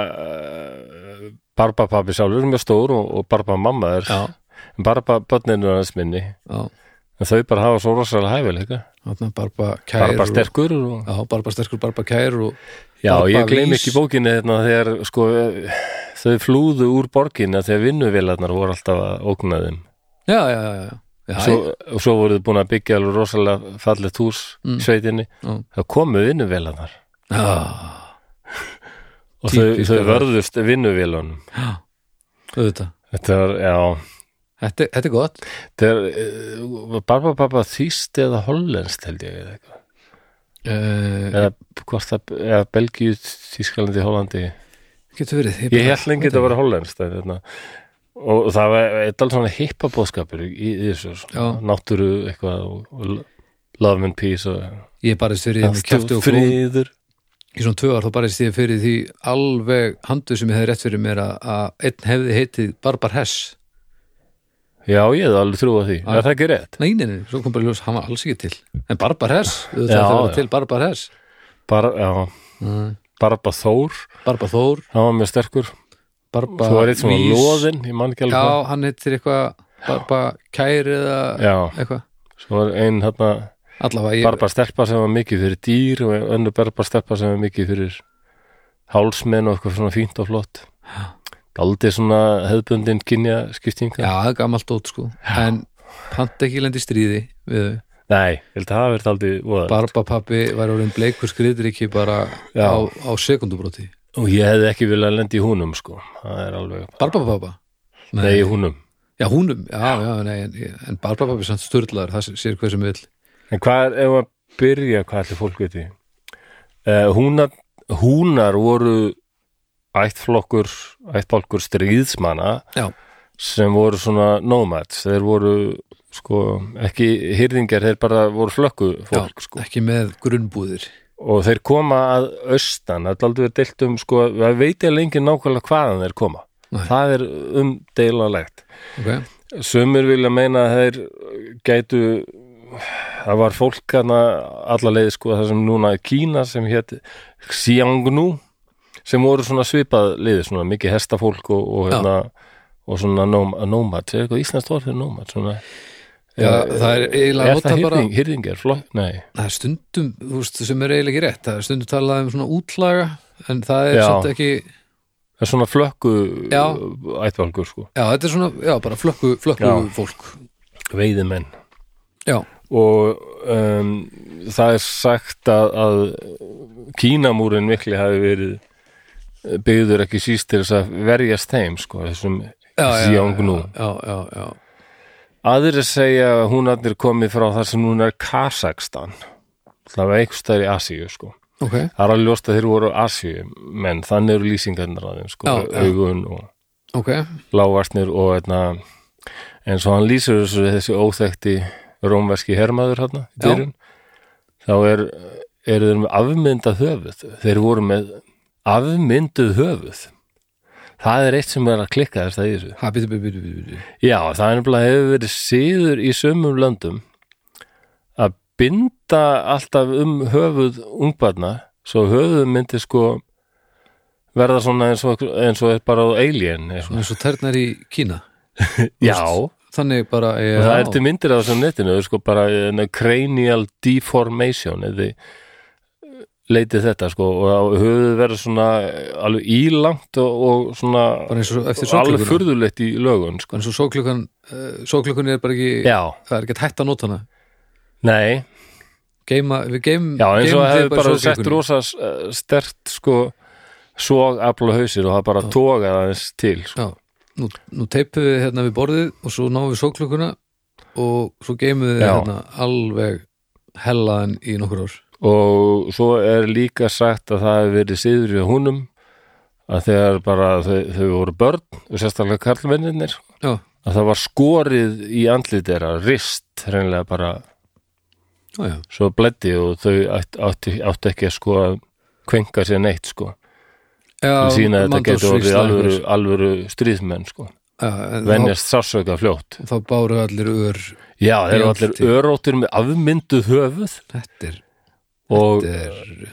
Speaker 1: allavega uh, barpapappi sjálfur er mjög stór og, og barbamamma er
Speaker 2: já,
Speaker 1: barbabönninu hans minni
Speaker 2: já,
Speaker 1: en þau bara hafa svo rosalega hæfileika
Speaker 2: þarna barbakær
Speaker 1: barba sterkur og,
Speaker 2: já, barbasterkur barbakær og
Speaker 1: já, ég
Speaker 2: Barba
Speaker 1: gleym
Speaker 2: vís.
Speaker 1: ekki bókinni þarna þegar sko þau flúðu úr borginna þegar vinnuvélarnar voru alltaf að ógna þeim
Speaker 2: já, já, já, já, já,
Speaker 1: svo, og svo voru þau búin að byggja alveg rosalega fallet hús í sveitinni
Speaker 2: Mm.
Speaker 1: það komu vinnuvélarnar
Speaker 2: já,
Speaker 1: og þau,
Speaker 2: Típiskt
Speaker 1: þau
Speaker 2: að-
Speaker 1: vörðust vinnuvélunum
Speaker 2: já auðvitað,
Speaker 1: þetta var, já
Speaker 2: þetta, þetta er gott
Speaker 1: þetta er, uh, Barbapapa þýst eða hollenskt held ég eða eitthvað
Speaker 2: uh,
Speaker 1: eða hvort það, eða Belgíu, Þískalandi, Hollandi
Speaker 2: getur verið
Speaker 1: ég held lengi þetta að vera hollenskt en, þarna, og það var eitthvað svona hippa bóðskapur í, í þessu
Speaker 2: Já.
Speaker 1: svona, náttúru eitthvað og, og love and peace og,
Speaker 2: ég barist fyrir því með kjafti og klóm
Speaker 1: friður
Speaker 2: í svona tvö ár þá barist ég fyrir því alveg handu sem ég hefði rétt fyrir mér að, að einn hefði heitið Barbar Hess
Speaker 1: já ég hefði alveg trú á því, er það ekki rétt
Speaker 2: nei, nei, nei, svo kom bara í ljós, hann var alls ekki til en Barbar Hess, það
Speaker 1: Já,
Speaker 2: þarf að vera
Speaker 1: já. Mm.
Speaker 2: til Barbar Hess
Speaker 1: Bar, já, Barba Þór
Speaker 2: Barbar Þór,
Speaker 1: hann var mjög sterkur,
Speaker 2: Barbar
Speaker 1: svo var eitt svona
Speaker 2: Vís.
Speaker 1: loðin, ég man ekki alveg
Speaker 2: já,
Speaker 1: hvað.
Speaker 2: hann heitir eitthvað Barbar Kær eða
Speaker 1: Já.
Speaker 2: eitthvað,
Speaker 1: svo var einn hérna
Speaker 2: allavega ég,
Speaker 1: barba stelpa sem var mikið fyrir dýr og önnu barba stelpa sem var mikið fyrir hálsmenn og eitthvað svona fínt og flott aldrei svona hefðbundin kynja skiptinga
Speaker 2: já, það er gammalt dót sko en hann ekki lendi í stríði við þau
Speaker 1: nei, ég held að það hafi verið aldrei voða
Speaker 2: Barbapappi var orðin bleikur skriður ekki bara
Speaker 1: Já.
Speaker 2: á, á sekundubróti
Speaker 1: og ég hefði ekki viljað lendi í húnum sko það er alveg,
Speaker 2: Barbapappa
Speaker 1: nei, í húnum
Speaker 2: Já, húnum, já, já, nei, en, en Barbapappi samt sturlaður, það sér hver sem vill
Speaker 1: en hvað er, ef að byrja hvað allir fólk viti uh, húnar, húnar voru ættflokkur ættflokkur stríðsmanna
Speaker 2: Já,
Speaker 1: sem voru svona nomads þeir voru sko ekki hýrðingar, þeir bara voru flökku fólk sko
Speaker 2: ekki með grunnbúðir
Speaker 1: og þeir koma að austan, það er aldrei verið deilt um sko, það veit ég lengi nákvæmlega hvaðan þeir koma,
Speaker 2: Nei.
Speaker 1: það er umdeilalegt
Speaker 2: okay.
Speaker 1: sumur vilja meina að þeir gætu það var fólk hana allarleið sko það sem núna er Kína sem hétt Xiangnu sem voru svona svipað liði svona mikið hestafólk og, og,
Speaker 2: Já.
Speaker 1: hérna, og svona nóm, nómat er eitthvað íslenskt orð fyrir nómat svona, Eh,
Speaker 2: Já, það Eh, er eiginlega
Speaker 1: er það
Speaker 2: notað bara
Speaker 1: hýrðing, hýrðingar flokk? Nei,
Speaker 2: Það er stundum, þú veist, sem er eiginlega ekki rétt Það er stundum talað um svona útlaga En það er
Speaker 1: Já.
Speaker 2: samt ekki Já,
Speaker 1: það er svona flökku
Speaker 2: Já.
Speaker 1: ættvalgur sko,
Speaker 2: þetta er svona, já, bara flökku, flökku
Speaker 1: Já.
Speaker 2: fólk
Speaker 1: veiðimenn
Speaker 2: Já,
Speaker 1: og um, það er sagt að, að Kínamúrin mikli hafi verið eh, byggður ekki síst til þess að verjast þeim sko, þessum
Speaker 2: já, já, já,
Speaker 1: Xiongnu
Speaker 2: já, já, já.
Speaker 1: aðrir segja að húnarnir komið frá þar sem núna er Kazakstan það var einhvers staðar í Asíu sko.
Speaker 2: Ok,
Speaker 1: það er alveg ljóst að þeir voru Asíu menn, þannig eru lýsingarnar að þeim sko,
Speaker 2: Já, já.
Speaker 1: augun og
Speaker 2: ok,
Speaker 1: lágarsnir og einna, eins og hann lýsir þessu þessi óþekti rómverski hermaður hérna í
Speaker 2: Já.
Speaker 1: dyrun þá er, eru þeir með afmyndað höfuð þeir voru með afmynduð höfuð það er eitt sem er að klikka þess að í þessu
Speaker 2: ha, bítu, bítu, bítu, bítu, bítu.
Speaker 1: já, það er nefnilega hefur verið síður í sömum löndum að binda alltaf um höfuð ungbarna svo höfuð myndi sko verða svona eins og, eins og er bara á alien eða svona.
Speaker 2: Svona eins og ternar í Kína
Speaker 1: já,
Speaker 2: Þannig bara, já,
Speaker 1: og það er til myndir af þessu á netinu sko, bara eh, cranial deformation eða eh, leitið þetta sko og höfuð verður svona eh, alveg ílangt og, og svona
Speaker 2: bara eins og eftir
Speaker 1: alveg
Speaker 2: sóklukuna
Speaker 1: furðulegt í lögun sko.
Speaker 2: Bara eins og sóklukan, uh, sóklukun er bara ekki
Speaker 1: já,
Speaker 2: Það er ekki hægt að nota hana
Speaker 1: nei
Speaker 2: Geima, við geim,
Speaker 1: já eins og
Speaker 2: geymum
Speaker 1: það
Speaker 2: þig
Speaker 1: hefur bara
Speaker 2: í
Speaker 1: sett
Speaker 2: sólgluggunum.
Speaker 1: rosa eh, stert sko sog afla hausir og það bara tókaði aðeins til sko.
Speaker 2: Já, nú, nú teipum við hérna við borðið og svo náum við sóklökkuna og svo geymum við
Speaker 1: Já.
Speaker 2: hérna alveg hellaðan í nokkur ár.
Speaker 1: og svo er líka sagt að það hefur verið síður við húnum að þegar bara þau, þau voru börn og sérstaklega karlmenninir
Speaker 2: Já,
Speaker 1: að það var skorið í andlit þeirra rist hreinlega bara
Speaker 2: já, já.
Speaker 1: svo bleddi og þau átti, átti, átti ekki að sko að kvenka sér neitt sko
Speaker 2: já
Speaker 1: til sína að þetta getur orðið
Speaker 2: manndómsvígsla
Speaker 1: alvöru,
Speaker 2: einhvers.
Speaker 1: alvöru stríðmenn sko
Speaker 2: Já, en þá,
Speaker 1: venjast sásauka fljótt
Speaker 2: þá báru allir ör
Speaker 1: já þeir eru
Speaker 2: Já,
Speaker 1: allir
Speaker 2: til-
Speaker 1: öróttir með afmynduð höfuð
Speaker 2: Þetta er,
Speaker 1: og
Speaker 2: þetta er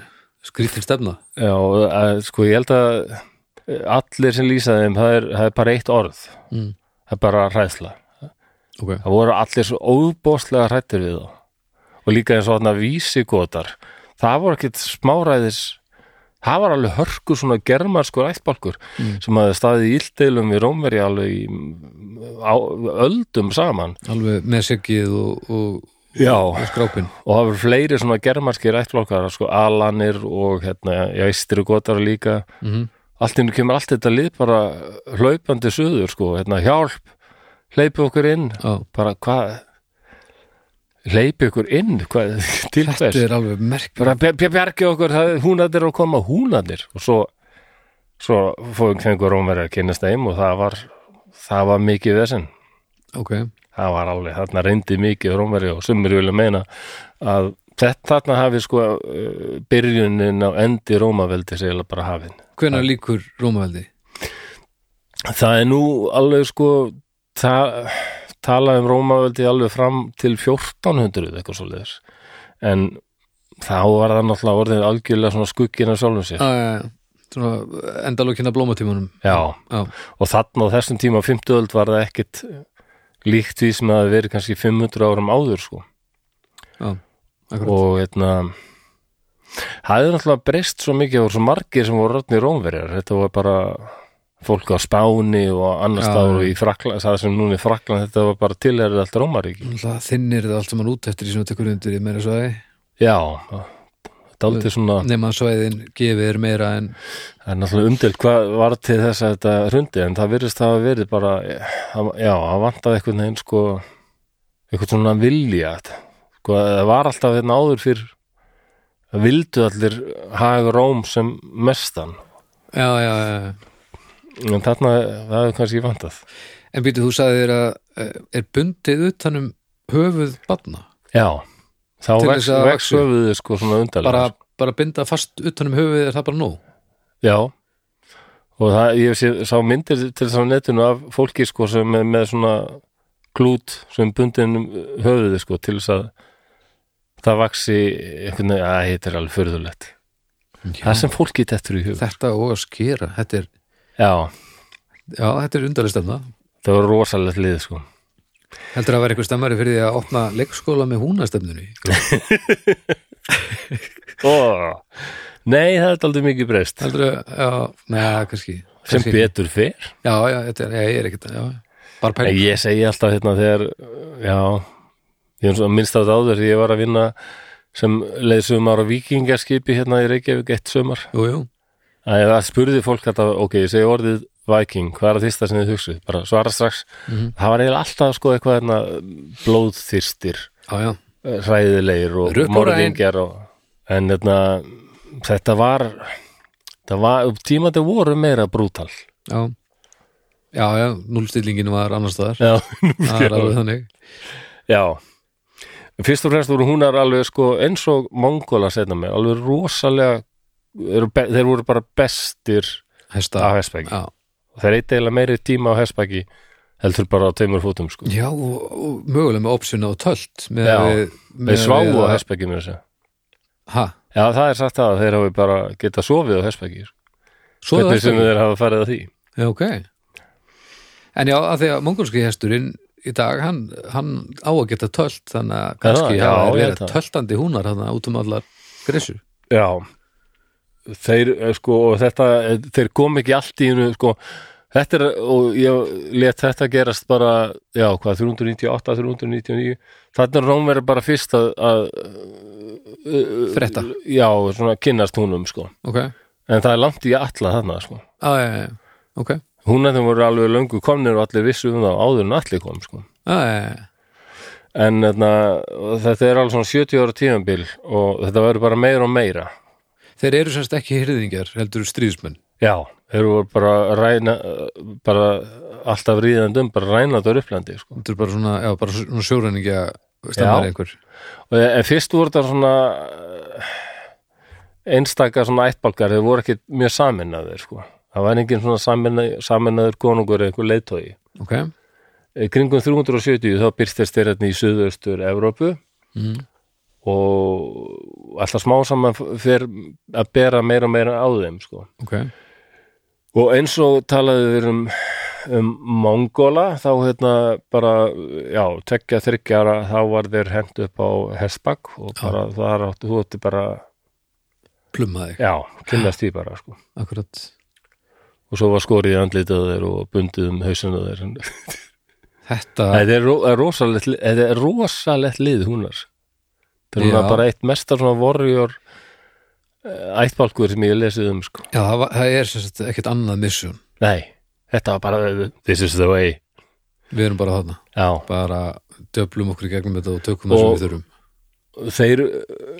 Speaker 2: skrítin stefna.
Speaker 1: já, að, sko ég held að eh, allir sem lýsa þeim það er, það er bara eitt orð
Speaker 2: Mm.
Speaker 1: það er bara hræðsla
Speaker 2: Ok.
Speaker 1: það voru allir svo óbóðslega hrættir við þá og líka eins og þarna vísigotar það voru ekkit smáræðis það var alveg hörkur svona germarskur ættbálkur sem hafði staðið í illdeilum í Rómveri alveg í, á, öldum saman
Speaker 2: Alveg með seggið og, og
Speaker 1: já,
Speaker 2: skrápin.
Speaker 1: og það voru fleiri svona germarskir ættblokkar sko Alanir og hérna, já, Ístri Gotar líka
Speaker 2: Mhm.
Speaker 1: allt innu kemur allt þetta lið bara hlaupandi suður sko, hérna, hjálp hleypi okkur inn,
Speaker 2: Já,
Speaker 1: bara hvað hleypi okkur inn hvað, til
Speaker 2: þetta
Speaker 1: þess
Speaker 2: er alveg merkjum.
Speaker 1: bara bj- bj- bjargi okkur, það- húnarnir eru að koma húnarnir og svo svo fóðum kengur Rómverið að kynast þeim og það var, það var mikið vesinn
Speaker 2: Ok,
Speaker 1: það var alveg, þarna reyndi mikið Rómveri og sumir vilja meina að þetta þarna hafi sko eh, byrjunin á endi Rómaveldi segjulega bara hafin.
Speaker 2: hvenær líkur Rómaveldi?
Speaker 1: Það er nú alveg sko ta talað um Rómaveldi alveg fram til 1400 eitthvað svo leiðis en þá var það náttúrulega orðin algjörlega svona skuggin af sjálfum sér.
Speaker 2: Já, já, já. Svona endalókina blómatímanum.
Speaker 1: Já,
Speaker 2: Já,
Speaker 1: og þarna á þessum tíma á 50 öld var það ekkit líkt því sem það verið kannski 500 árum áður sko.
Speaker 2: já. Akkurat.
Speaker 1: og hérna það er náttúrulega breyst svo mikið það voru svo margir sem voru rötni rómverjar þetta var bara fólk á Spáni og annars
Speaker 2: Já,
Speaker 1: staðar og
Speaker 2: já.
Speaker 1: í Frakland það sem núna í Frakland, þetta var bara tilherið allt Rómaríki
Speaker 2: Náttúrulega þinnir það allt saman út eftir því sem þú tekur undir í meira svæði
Speaker 1: já, þetta er aldrei svona
Speaker 2: nema að svæðin gefið er meira en
Speaker 1: það er náttúrulega umdilt hvað var til þess að þetta hrundi en það virðist hafa verið bara eh, já, það vantaði einhvern veginn sko eitthvað svona vilja sko, það var alltaf hérna áður fyrr það vildu allir haga Róm sem mestan
Speaker 2: já, já, já, já.
Speaker 1: En þarna, það hefur kannski vantað.
Speaker 2: en býtu þú sagði þér að eh, er bundið utanum höfuð barna,
Speaker 1: Já. Þá
Speaker 2: Til
Speaker 1: vex,
Speaker 2: þess að
Speaker 1: vex
Speaker 2: vaxi.
Speaker 1: höfuðið sko svona undarlega.
Speaker 2: bara,
Speaker 1: sko.
Speaker 2: bara binda fast utanum höfuð er það bara nóg
Speaker 1: Já. Og það, ég sé, sá myndir til þess að netinu af fólki sko sem er með svona klút sem bundin um höfuðið sko til þess að það vaxi einhvern veginn, að þetta er alveg furðulegt. Það sem fólki tettur í höfuð.
Speaker 2: þetta og að skera þetta er,
Speaker 1: Já,
Speaker 2: já, þetta er undarlega stemna
Speaker 1: það var rosalegt lið sko.
Speaker 2: heldur að vera eitthvað stemmari fyrir því að opna leikskóla með húnastemnunni
Speaker 1: Ó, nei, það er aldrei mikið breyst.
Speaker 2: heldur að, já, neða, kannski
Speaker 1: Sem
Speaker 2: kannski ekki.
Speaker 1: betur fyrr.
Speaker 2: já, já, þetta er, ég er ekkert já, bara
Speaker 1: Nei,
Speaker 2: pæl,
Speaker 1: Ég segi alltaf hérna þegar uh, já, ég er svo minnst að áður þegar ég var að vinna sem leið sumar á vikingarskipi hérna í Reykjavík eitt sumar
Speaker 2: jú, jú,
Speaker 1: að það spurði fólk þetta, ok, ég segi orðið viking, hvað er það þýsta sem þið hugsið bara svara strax, það var eiginlega alltaf sko eitthvað hérna blóðþyrstir
Speaker 2: já, já
Speaker 1: hræðilegir og
Speaker 2: Rökkur
Speaker 1: morðingjar og, en hérna þetta var þetta var, tímandi voru meira brútal
Speaker 2: Já, já, já núlstillingin var annars staðar
Speaker 1: [laughs] Já,
Speaker 2: Það er Ah, alveg þannig
Speaker 1: Já Fyrst og fremst voru húnar alveg sko eins og mongóla setna með, alveg rosalega eru be- þeir voru bara bestir
Speaker 2: Hesta
Speaker 1: af hespæki
Speaker 2: Já,
Speaker 1: þeir eitt eiginlega meiri tíma á hespæki heldur bara á tveimur fótum sko
Speaker 2: já og, og mögulega með opsuna og tölt með
Speaker 1: Já,
Speaker 2: við, með
Speaker 1: þeir sváu
Speaker 2: við
Speaker 1: á
Speaker 2: að-
Speaker 1: hespæki með þessu
Speaker 2: Ha,
Speaker 1: Já, það er sagt það að þeir hafi bara geta sofið á hespæki sko.
Speaker 2: svo er
Speaker 1: hvernig sem
Speaker 2: það
Speaker 1: þeir hafa farið að því
Speaker 2: Já, ok En já, að því að mongolski hesturinn í dag, hann, hann á að geta tölt þannig að kannski
Speaker 1: já,
Speaker 2: já, hafa
Speaker 1: ég
Speaker 2: verið
Speaker 1: held það.
Speaker 2: töltandi húnar þannig út um allar grissur
Speaker 1: Já þeir eh, sko og þetta eh, þeir kom ekki allt í hennu sko þetta er og ég let þetta gerast bara já hvað 398, 399 þarna er Rómverið bara fyrst að, að
Speaker 2: Fretta,
Speaker 1: já svona kynnast húnum sko
Speaker 2: ok
Speaker 1: en það er langt í alla þarna sko.
Speaker 2: á, já, já, já, ok á,
Speaker 1: hún að þeim voru alveg löngu komnir og allir vissu um það áður en allir kom sko.
Speaker 2: já, já, já.
Speaker 1: en þarna, þetta er alveg svona 70 ára tíðanbíl og þetta verður bara meira og meira
Speaker 2: þeir eru semst ekki hyrðingjar heldur stríðsmenn
Speaker 1: já, þeir voru bara að ræna bara alltaf ríðandum bara ræna þetta upplandi sko.
Speaker 2: þetta er bara svona, já, bara svona sjóræningja stammar einhver
Speaker 1: og eh, en fyrst voru þetta svona einstaka svona ættbálkar þeir voru ekki mjög saminnaðir sko. það var engin svona saminna- saminnaður konungur eða einhver leiðtói
Speaker 2: ok,
Speaker 1: Í kringum 370 þá byrstist þeir hérna í suðaustur Evrópu
Speaker 2: mm.
Speaker 1: og alltaf smá saman fer að bera meira og meira á þeim sko.
Speaker 2: ok
Speaker 1: og eins og talaðu við um, um Mongóla þá hérna bara já, tekja þryggjara þá var þeir hent upp á Hesbak og bara þar áttu þú átti bara
Speaker 2: plummaði,
Speaker 1: já, kynnast því bara sko.
Speaker 2: akkurat
Speaker 1: og svo var skorið í andlitað þeir og bundið um hausinu þeir
Speaker 2: þetta,
Speaker 1: þetta er, ro er rosalegt lið- þetta er rosalegt lið húnar þetta er
Speaker 2: Já.
Speaker 1: svona bara eitt mestar svona warrior eh, ættbálkur sem ég hef lesið um sko
Speaker 2: já, það, var, það er semst ekkert annað misjón,
Speaker 1: Nei, þetta var bara This is the way
Speaker 2: við erum bara þarna
Speaker 1: Já,
Speaker 2: bara döplum okkur í gegnum þetta og tökum það
Speaker 1: Og-
Speaker 2: sem við þurfum
Speaker 1: þeir uh,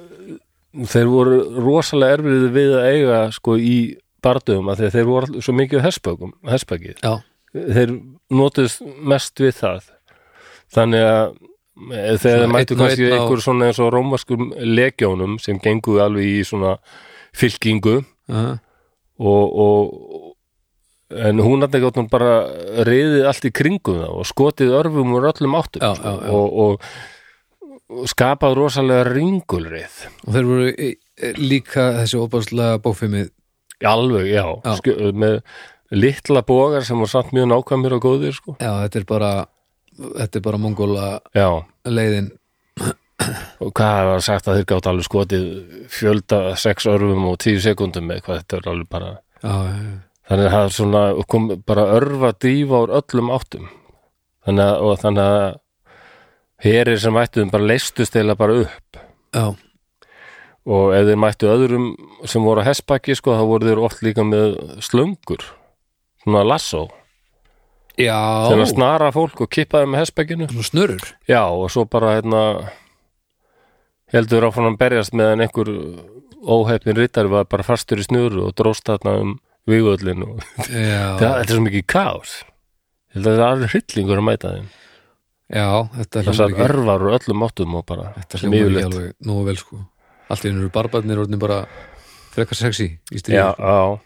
Speaker 1: þeir voru rosalega erfið við að eiga sko í bardugum að þeir voru all- svo mikið á hespökum, hespakið
Speaker 2: já,
Speaker 1: þeir notuðust mest við það þannig að eh, þegar
Speaker 2: Svona
Speaker 1: þeir mættu
Speaker 2: einn og
Speaker 1: kannski
Speaker 2: einn á-
Speaker 1: einhver svona eins og rómaskum legjónum sem genguðu alveg í svona fylkingu
Speaker 2: uh,
Speaker 1: og, og en hún hann ekki átt hún bara reyðið allt í kringum það og skotið örfum úr öllum áttum
Speaker 2: Já,
Speaker 1: sko,
Speaker 2: já, já.
Speaker 1: Og, og, og skapað rosalega ringulrið
Speaker 2: og þeir voru í- í- líka þessi óbáslega bófimið
Speaker 1: alveg, já,
Speaker 2: Já.
Speaker 1: Skjö, með litla bógar sem var samt mjög nákvæmur og góðir sko.
Speaker 2: já, þetta er bara þetta er bara mongóla
Speaker 1: já,
Speaker 2: leiðin
Speaker 1: og hvað var sagt að þeir gátt alveg skotið fjölda sex örfum og tíu sekundum með hvað þetta er alveg bara
Speaker 2: já, já, já.
Speaker 1: þannig að það er svona kom bara örfa dýfa úr öllum áttum þannig að, og þannig að herir sem mættuðum bara leistust eða bara upp
Speaker 2: já,
Speaker 1: og ef þeir mættu öðrum sem voru að hessbakki sko þá voru þeir oft líka með slöngur svona lasso
Speaker 2: já
Speaker 1: til að snara fólk og kippa þeim með hessbakkinu
Speaker 2: svona snurur
Speaker 1: [laughs] já og svo bara hérna heldur áfram að berjast meðan einhver óhefnin rittari var bara fastur í snuru og dróst þarna um vígöllin og
Speaker 2: já,
Speaker 1: Það, þetta er svo mikið kaos Ég held að það er alveg hryllingur að mæta þeim
Speaker 2: já, þetta
Speaker 1: Þessar
Speaker 2: hljómar ekki-
Speaker 1: örvar og öllum áttum og bara
Speaker 2: þetta
Speaker 1: sem
Speaker 2: hljómar ekki
Speaker 1: yfirleitt.
Speaker 2: alveg nógu vel sko allt í einu eru barbarnir orðin bara frekar sexy í stíð
Speaker 1: Já, já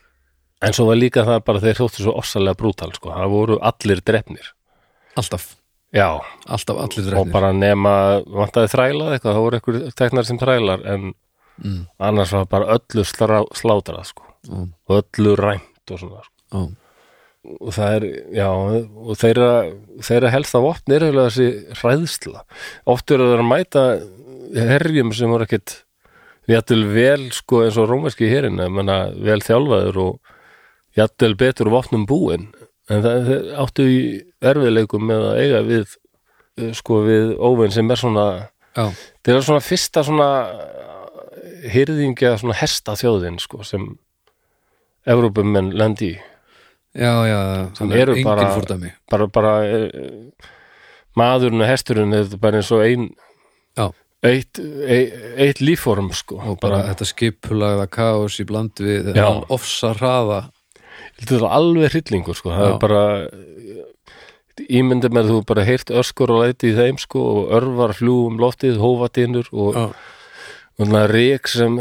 Speaker 1: En svo var líka það bara þeir þóttu svo ossalega brútal sko. Það voru allir drefnir
Speaker 2: alltaf,
Speaker 1: Já,
Speaker 2: alltaf allir
Speaker 1: og
Speaker 2: drefnir
Speaker 1: bara nema vantaði þrælað eitthvað, það voru einhver teknar sem þrælar en
Speaker 2: Mm.
Speaker 1: annars var bara öllu slá, slátrað sko.
Speaker 2: Ó,
Speaker 1: og öllu ræmt og svona sko.
Speaker 2: ó,
Speaker 1: og það er, já, og þeirra þeirra helsta vopn er eiginlega þessi hræðsla. Oft eru þeir að mæta herjum sem voru ekkit jættul vel, sko, eins og rómerski herin, ég menna, vel þjálfaður og jættul betur vopnum búin en það þeir áttu í erfiðleikum með að eiga við eh, sko, við óvinn sem er svona
Speaker 2: já,
Speaker 1: þeir eru svona fyrsta svona hirðingja, svona hesta þjóðin, sko, sem Evrópumenn lendi í
Speaker 2: já, já
Speaker 1: Sem
Speaker 2: þannig er
Speaker 1: eru
Speaker 2: engin
Speaker 1: bara-
Speaker 2: fórdæmi
Speaker 1: bara, bara eh, maðurinn og hesturinn þetta er bara eins og ein
Speaker 2: já,
Speaker 1: eitt, eitt, eitt lífform sko.
Speaker 2: og bara þetta skipulagða kaos í bland við
Speaker 1: Já.
Speaker 2: þennan ofsa hraða
Speaker 1: þetta er alveg hryllingur sko. það
Speaker 2: Já.
Speaker 1: er bara eh, ímyndum er þú bara heyrt öskur og læti í þeim sko, og örvar fljú um loftið hófatinnur og,
Speaker 2: já,
Speaker 1: og rík sem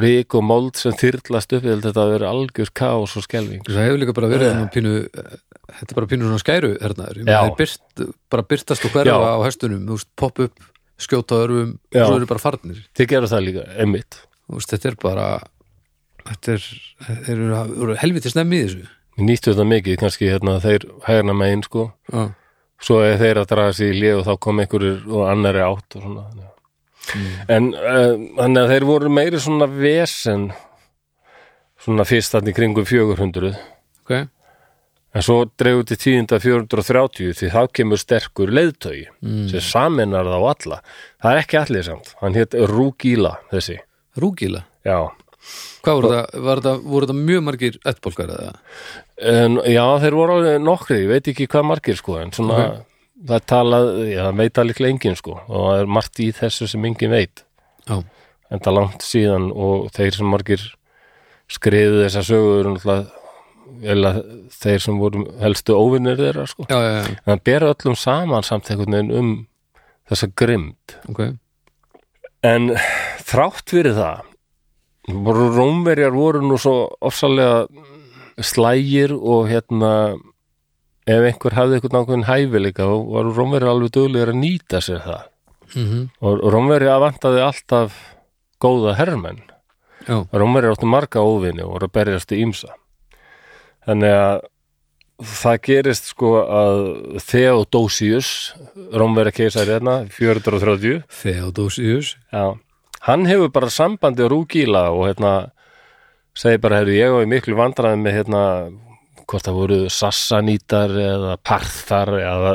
Speaker 1: rík og mold sem þyrlast upp ég held þetta að vera algjör kaos og skelving
Speaker 2: það hefur líka bara verið svona pínu þetta er bara pínu svona skæru hernaður Ég meina,
Speaker 1: Eh. Já.
Speaker 2: þeir byrt, bara byrtast og hverfa
Speaker 1: Já.
Speaker 2: á hestunum þú veist, popp upp, skjóta örfum
Speaker 1: Já.
Speaker 2: svo eru bara farnir
Speaker 1: þið gerðu það líka, emitt
Speaker 2: Þú veist, þetta er bara þetta er, þeir eru- eru helviti snemmi í þessu
Speaker 1: við nýttu þetta mikið, kannski hérna þeir hægna megin sko
Speaker 2: já,
Speaker 1: svo er þeir að draga sér í lið og þá kom einhverjur og annari átt og svona mm. en uh, þannig að þeir voru meiri svona vesen svona fyrst þannig kringum 400
Speaker 2: ok,
Speaker 1: en svo dreigur til tíðinda 430 því þá kemur sterkur leiðtögi sem saminar þá alla það er ekki allir samt, hann hétt Rúgíla þessi,
Speaker 2: rúgila
Speaker 1: já
Speaker 2: Hvað voru það? Var það voru það mjög margir ettbólkar eða?
Speaker 1: En, já, þeir voru alveg nokkri, ég veit ekki hvað margir sko, en svona það er talað, já, það veit að líklega enginn sko og það er margt í þessu sem enginn veit
Speaker 2: Já,
Speaker 1: en það langt síðan og þeir sem margir skriðu þessa sögur eru náttúrulega eða þeir sem voru helstu óvinnir þeirra sko.
Speaker 2: já, já, já,
Speaker 1: en það ber öllum saman samt einhvern veginn um þessa grimd
Speaker 2: ok
Speaker 1: en þrátt fyrir það voru rómverjar voru nú svo ofsalega slægir og hérna ef einhver hafði einhvern ákveðin hæfileika þá voru rómverjar alveg duglegir að nýta sér það
Speaker 2: mm
Speaker 1: og rómverjar vantaði alltaf góða herrmenn
Speaker 2: Já,
Speaker 1: Rómverjar áttu marga óvinni og voru að berjast í ímsa. Þannig að það gerist sko að Theodosius, Rómverja keisari hérna, 430,
Speaker 2: Theodosius
Speaker 1: já, hann hefur bara sambandi á Rúgíla og hérna, segi bara, herru, ég og ég miklu vandræði með hérna, hvort það voru sassanítar eða parþar eða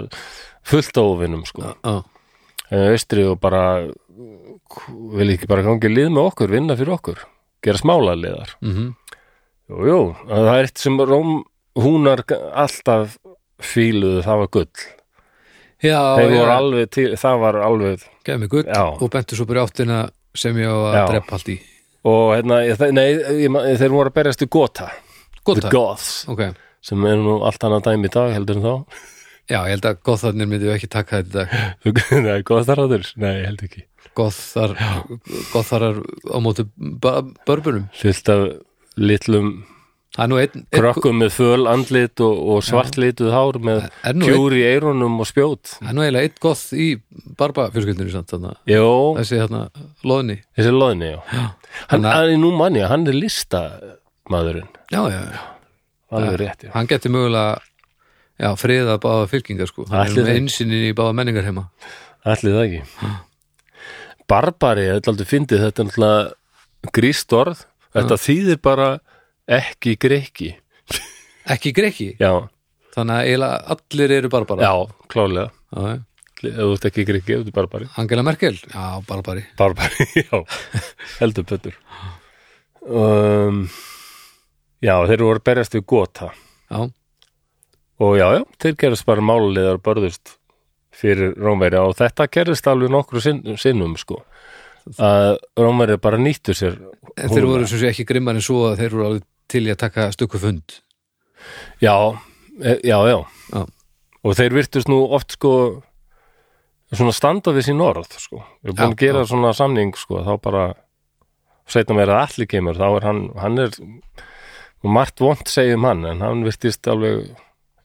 Speaker 1: fullt á óvinnum sko.
Speaker 2: Já,
Speaker 1: En austri og bara vil ekki bara gangi í lið með okkur, vinna fyrir okkur, gera smála liðar.
Speaker 2: mhm,
Speaker 1: Jú, jú, það er eitt sem Róm húnar g- alltaf fíluðu, það var gull
Speaker 2: já,
Speaker 1: Þeir voru
Speaker 2: já
Speaker 1: alveg til, það var alveg
Speaker 2: Gæði mig gull
Speaker 1: Já.
Speaker 2: og bentu svo bara í áttina sem ég á að
Speaker 1: Já.
Speaker 2: drepa allt í
Speaker 1: og hérna, ég- þe- nei, ég, ma- þeir voru að berjast í gota, the
Speaker 2: Gota,
Speaker 1: goths
Speaker 2: ok
Speaker 1: sem er nú allt annað dæmi í dag heldur en þá [laughs]
Speaker 2: Já, ég held að gotharnir myndi ekki taka þetta í dag.
Speaker 1: Nei, gotharáður, nei, ég held ekki
Speaker 2: Gothar, gotharar á móti ba- börburum
Speaker 1: Fyllt af litlum
Speaker 2: Það er nú einn, einn,
Speaker 1: krökkum með föl andlit og, og svartlituð hár með
Speaker 2: Er nú einn-
Speaker 1: kjúr í eyrunum og spjót
Speaker 2: það er nú eiginlega einn goth í barba fjörskildinu samt þannig
Speaker 1: Jó,
Speaker 2: þessi hérna loðni
Speaker 1: þessi loðni, já Hann,
Speaker 2: Þannig að-
Speaker 1: hann er nú manni, hann er listamaðurinn
Speaker 2: Já, já, já,
Speaker 1: Alveg rétt, já
Speaker 2: hann geti mögulega já, friða báða fylkingar sko hann er
Speaker 1: Ætli
Speaker 2: með
Speaker 1: það.
Speaker 2: einsinn í báða menningar heima
Speaker 1: Ætli það ekki Barbari, þetta er aldrei fyndið þetta er náttúrulega gríst orð
Speaker 2: Mm.
Speaker 1: þetta þýðir bara ekki greiki
Speaker 2: Ekki greki,
Speaker 1: Já,
Speaker 2: þannig að eiginlega allir eru barbara
Speaker 1: já, klálega
Speaker 2: Já, já.
Speaker 1: ef þú ert ekki greiki, ef þú ert barbari
Speaker 2: Angela Merkel, já, barbari
Speaker 1: Barbari, [laughs] já, heldur pötur um, Já, þeir voru að berjast við gota
Speaker 2: Já,
Speaker 1: og já, já, þeir gerast bara málulegar börðust fyrir Rómverja og þetta gerist alveg nokkru sinn, sinnum sko að Rómverja bara nýttu sér
Speaker 2: en þeir voru sem sé ekki grimmar en svo að þeir voru alveg til í að taka stöku fund
Speaker 1: Já, e- já, já
Speaker 2: Já,
Speaker 1: og þeir virtust nú oft sko svona standa við sín orð sko. við erum búin
Speaker 2: Já,
Speaker 1: að gera svona samning sko, þá bara setna meira að allir kemur þá er hann, hann er og margt vont segjum hann en hann virtist alveg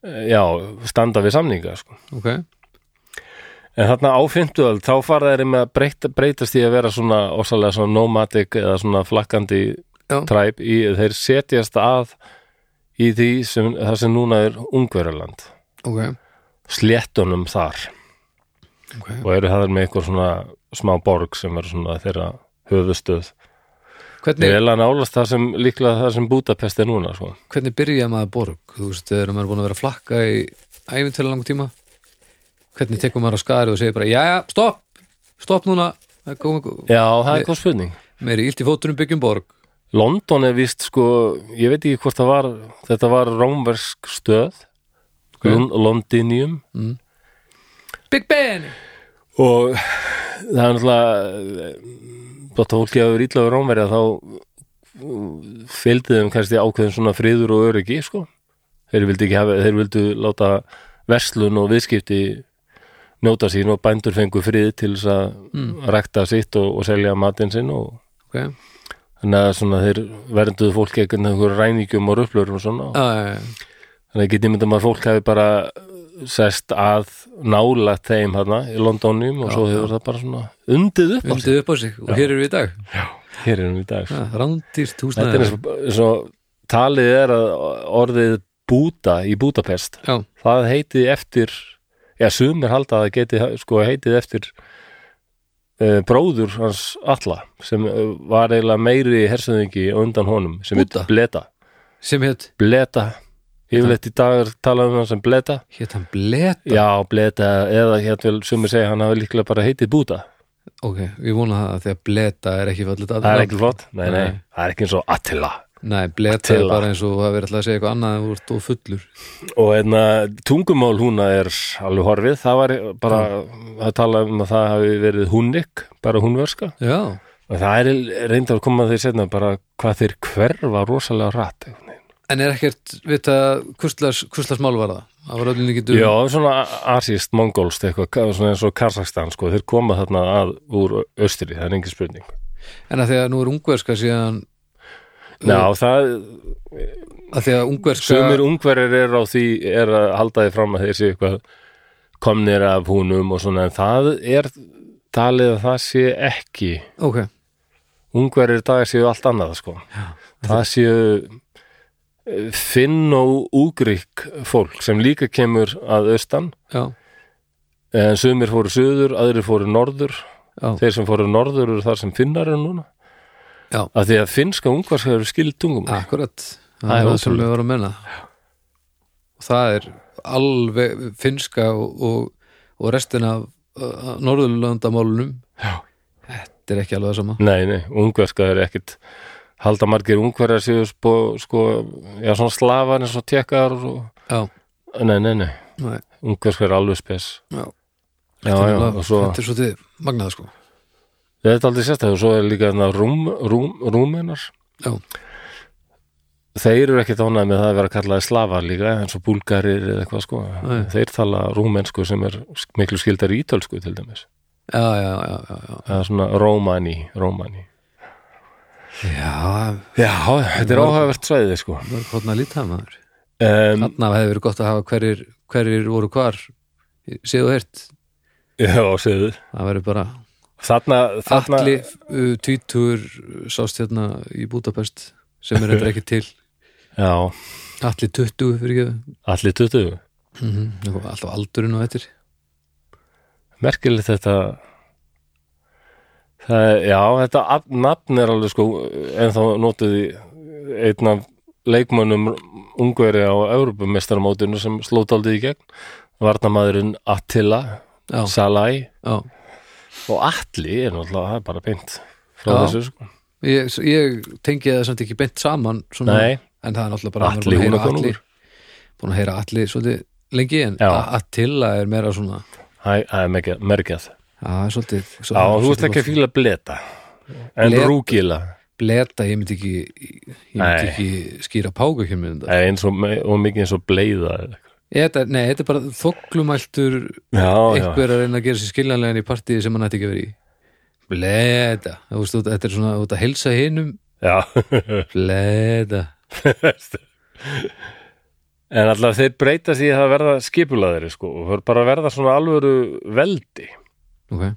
Speaker 1: e, já, standa við samninga sko.
Speaker 2: ok,
Speaker 1: en þarna á fimmtuöld þá fara þeir með að breyta, breytast í að vera svona ósalega svona nomadic eða svona flakkandi
Speaker 2: Já.
Speaker 1: træp í, þeir setjast að í því sem, það sem núna er Ungverjaland
Speaker 2: ok,
Speaker 1: sléttunum þar
Speaker 2: ok
Speaker 1: og eru það með einhver svona smá borg sem er svona þeirra höfustöð
Speaker 2: Hvernig,
Speaker 1: Þeir er alveg nálast það sem líklega það sem Budapest er núna sko.
Speaker 2: hvernig byrja maður borg þú veist, þegar maður er búin að vera að flakka í æfintölu langu tíma hvernig tekur maður á skari og segir bara jæja, stopp, stopp núna það er komið
Speaker 1: Já, það er góð spurning
Speaker 2: meiri ílt í fótunum byggjum borg
Speaker 1: London er vist sko, ég veit ekki hvort það var þetta var rómversk stöð Lon- Londinium
Speaker 2: Big Ben
Speaker 1: og það er náttúrulega bara tólkið að vera illa við rómverja þá mm, fylgdi þeim kannski ákveðin svona friður og öryggi sko. þeir vildi ekki hafa þeir vildu láta verslun og viðskipti njóta sín og bændur fengu frið til þess að rækta sitt og, og selja matinn sinn og
Speaker 2: okay.
Speaker 1: þannig að svona þeir vernduðu fólk ekki einhver ræningjum og röflurum og svona
Speaker 2: uh,
Speaker 1: þannig að getið myndum að fólk hefði bara uh, sest að nála þeim hana í Londonum og svo hefur það bara svona undið upp á sig.
Speaker 2: undið upp á sig og hér eru við í dag
Speaker 1: hér erum við í dag
Speaker 2: rándýrt
Speaker 1: þetta er
Speaker 2: húsnaði
Speaker 1: eins og, eins og talið er að orðið búta í Budapest
Speaker 2: já,
Speaker 1: það heitið eftir já, sumir halda að það geti sko heitið eftir uh, bróður hans alla sem eh, var eiginlega meiri hersöðingi undan honum sem
Speaker 2: Búdda?
Speaker 1: heit Bleta
Speaker 2: sem hétt
Speaker 1: Bleta, yfirleitt í dag er talað um hann sem Bleta
Speaker 2: hétt hann Bleta
Speaker 1: Já, bleta eða hérna vil sumir segja hann hafi líklega bara heitið búta
Speaker 2: ok, ég vona það að því að bleta er ekki fallit
Speaker 1: það er ekki flott, nei, nei,
Speaker 2: Nei.
Speaker 1: það er ekki eins og Attila
Speaker 2: Nei, bleta er
Speaker 1: Attila.
Speaker 2: bara eins og það verið alltaf að segja eitthvað annað en þú ert og fullur
Speaker 1: og einna, tungumál húna er alveg horfið, það var bara að tala um að það hafi verið húnik bara húnverska
Speaker 2: Já,
Speaker 1: og það er reyndar að koma að því setna bara hvað þeir hverfa rosalega rætt
Speaker 2: en er ekkert vita hvurslags hvurslags mál var það? Það var öllin ekki dug
Speaker 1: Já, svona asist, mongolst eitthvað, svona eins og Kazakstan sko, þeir koma þarna að úr austri, það er engin spurning
Speaker 2: En að því að nú er ungverska síðan
Speaker 1: Já, það,
Speaker 2: að því að ungverska
Speaker 1: sumir ungverjar er á því er að halda því fram að þeir séu eitthvað komnir af húnum og svona en það er talið að það sé ekki
Speaker 2: Ok,
Speaker 1: ungverjar í dag séu allt annað sko Já. það séu eh, finn og úgrík fólk sem líka kemur að austan
Speaker 2: já,
Speaker 1: en sumir fóru suður, aðrir fóru norður
Speaker 2: já,
Speaker 1: þeir sem fóru norður eru þar sem finnar eru núna
Speaker 2: já
Speaker 1: af því að finnska ungvarska eru skild tungum
Speaker 2: Akkurat, það
Speaker 1: Það
Speaker 2: er
Speaker 1: er
Speaker 2: ótrúlega að vera að menna og það er alveg finnska og, og, og restin af uh, norðurlandamálunum
Speaker 1: Já.
Speaker 2: Þetta er ekki alveg það sama
Speaker 1: Nei, nei, ungverska er ekkit halda margir ungverjar séu sko, sko já, svona slafar eins og tekkar og,
Speaker 2: Já,
Speaker 1: nei, nei, nei,
Speaker 2: nei,
Speaker 1: ungverska er alveg spes
Speaker 2: já,
Speaker 1: Já, já, og svo
Speaker 2: Þetta er svo þið magnað sko
Speaker 1: þetta er aldrei sérstæð og svo er líka þarna rúm, rúm, rúmenar
Speaker 2: Já,
Speaker 1: þeir eru ekkit ánægð með það að vera kallaði slafar líka eins og búlgarir eða eitthvað sko
Speaker 2: Nei.
Speaker 1: þeir tala rúmensku sem er sk- miklu skildar í ítölsku til dæmis
Speaker 2: já, já, já, já, já.
Speaker 1: það er svona rómani, rómani
Speaker 2: já
Speaker 1: Já, þetta er áhugavert svæðið sko
Speaker 2: mörg hóðna lítið maður
Speaker 1: um,
Speaker 2: Þarna hefði verið gott að hafa hverjir, hverjir voru hvar séðu heyrt,
Speaker 1: Já, segðu
Speaker 2: það verið bara
Speaker 1: Þarna, þarna
Speaker 2: Atli uh, tvítur uh, sást hérna í Budapest sem er eitthvað ekki til
Speaker 1: Já,
Speaker 2: Atli 20 fyrir ekki
Speaker 1: allir 20 Mhm.
Speaker 2: alltaf aldurinn og eftir
Speaker 1: merkilegt þetta það er, já, þetta af- nafn er alveg sko ennþá notið í einn af leikmönnum ungveri á Evropamestarmótinu sem slót aldrei í gegn varnamaðurinn Attila
Speaker 2: Já.
Speaker 1: Salai
Speaker 2: Já.
Speaker 1: og Atli er náttúrulega, það er bara beint frá
Speaker 2: Já.
Speaker 1: þessu sko
Speaker 2: Ég, ég tengi það samt ekki beint saman svona,
Speaker 1: Nei.
Speaker 2: en það er náttúrulega bara
Speaker 1: Atli
Speaker 2: maður er búinn að heyra
Speaker 1: Húnakonungur.
Speaker 2: Atli- búinn að heyra Atli svolítið lengi en
Speaker 1: Já.
Speaker 2: A- Attila er meira svona
Speaker 1: Hæ, það er merkjað- merkjað
Speaker 2: Já, svolítið, svolítið
Speaker 1: Já, þú ert
Speaker 2: svolítið
Speaker 1: ekki að fíla bleta en
Speaker 2: Bleta.
Speaker 1: rúkila
Speaker 2: bleta, ég myndi ekki ég myndi
Speaker 1: Nei.
Speaker 2: ekki skýra páka ekki með þetta
Speaker 1: eins og, me- og mikið eins og bleiða eða eitthvað.
Speaker 2: Þetta- Nei, þetta er bara þoklumæltur
Speaker 1: Já, já, [laughs]
Speaker 2: einhver að reyna að gera sér skiljanlegan í partíi sem hann ætti ekki að vera í bleda, þú veist, þú- þetta er svona þú ert að heilsa hinum,
Speaker 1: já.
Speaker 2: bleda
Speaker 1: [laughs] En allavega þeir breyta sig í það að verða skipulaðir sko, og þeir bara verða svona alvöru veldi
Speaker 2: ok,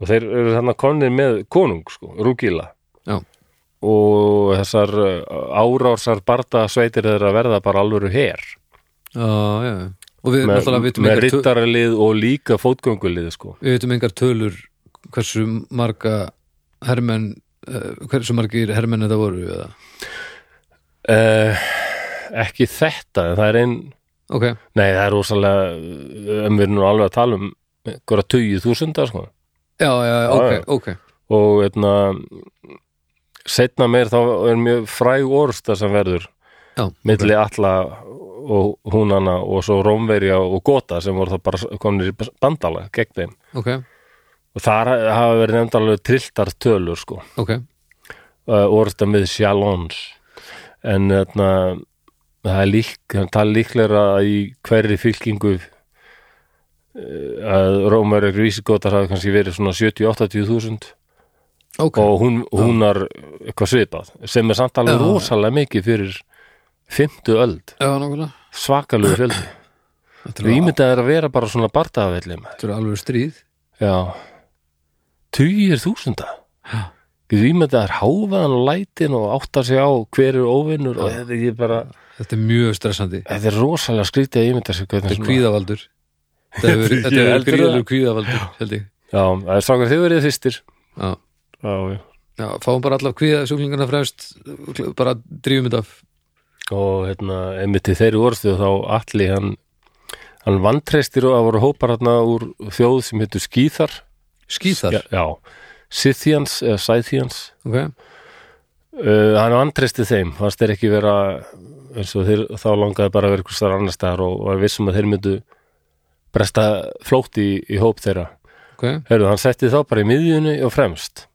Speaker 1: og þeir eru þannig komnir með konung sko, rúkila
Speaker 2: já,
Speaker 1: og þessar uh, árársar barda sveitir þeirra verða bara alvöru her
Speaker 2: já, já já. og við
Speaker 1: með,
Speaker 2: náttúrulega vitum
Speaker 1: með
Speaker 2: engar, töl,
Speaker 1: rittaralið og líka fótgöngulið sko.
Speaker 2: við vitum engar tölur hversu marga hermenn, uh, hversu margir hermenn þetta voru eða,
Speaker 1: uh, ekki þetta en það er ein,
Speaker 2: ok,
Speaker 1: nei það er rosalega um við erum nú alveg að tala um einhverja tugið þúsunda sko.
Speaker 2: já, já, já, ok,
Speaker 1: já.
Speaker 2: ok
Speaker 1: og einna, setna meir þá er mjög fræg orsta sem verður
Speaker 2: já,
Speaker 1: milli alla og húnana og svo Rómverja og Gota sem voru það bara komnir í bandala gegn þeim
Speaker 2: ok,
Speaker 1: og þar hafa verið nefnd alveg trilltar tölur sko,
Speaker 2: ok
Speaker 1: uh, orðsta með sjalons en þarna það er lík, það er líklega að í hverri fylkingu eh, að Rómverja Grísigótar hafi kannski verið svona 70-80 þúsund
Speaker 2: ok,
Speaker 1: og hún, húnar eitthvað svipað sem er samt alveg
Speaker 2: Já.
Speaker 1: rosalega mikið fyrir 50 öld
Speaker 2: já, nákvæmlega
Speaker 1: svakalegu fjöldi
Speaker 2: þetta er
Speaker 1: Þú
Speaker 2: alveg-
Speaker 1: ímyndaðir að vera bara svona bardaðavelli maður.
Speaker 2: þetta er alveg stríð
Speaker 1: Já. Tugir þúsunda.
Speaker 2: Já.
Speaker 1: Þú ímyndaðir háfaðan og lætin og átta sig á hver er óvinnur og þetta er bara,
Speaker 2: þetta er mjög stressandi
Speaker 1: þetta er rosalega skrítið að ímynda sig hvernig
Speaker 2: Þetta er kvíðavaldur Þetta hefur
Speaker 1: Ég
Speaker 2: þetta hefur
Speaker 1: heldur
Speaker 2: verið gríðalur kvíðavaldur held ég
Speaker 1: Já, það er svakar þau verið fyrstir.
Speaker 2: Já,
Speaker 1: Já, já.
Speaker 2: já fáum bara allar kvíðasjúklingarna fremst bara drífum þetta af
Speaker 1: Og hérna, einmitt í þeirri orðstu þá allir hann, hann vantreistir og það voru hópar hérna úr þjóð sem heitur Skýþar
Speaker 2: skýþar
Speaker 1: já, já. Scythians eða Scythians
Speaker 2: ok,
Speaker 1: uh, hann andristi þeim fannst þeir ekki vera eins og þeir, þá langaði bara að vera einhvers þar annar staðar og var vissum að þeir myndu bresta flótt í, í hóp þeirra
Speaker 2: ok,
Speaker 1: Herðu, hann setti þá bara í miðjunni og fremst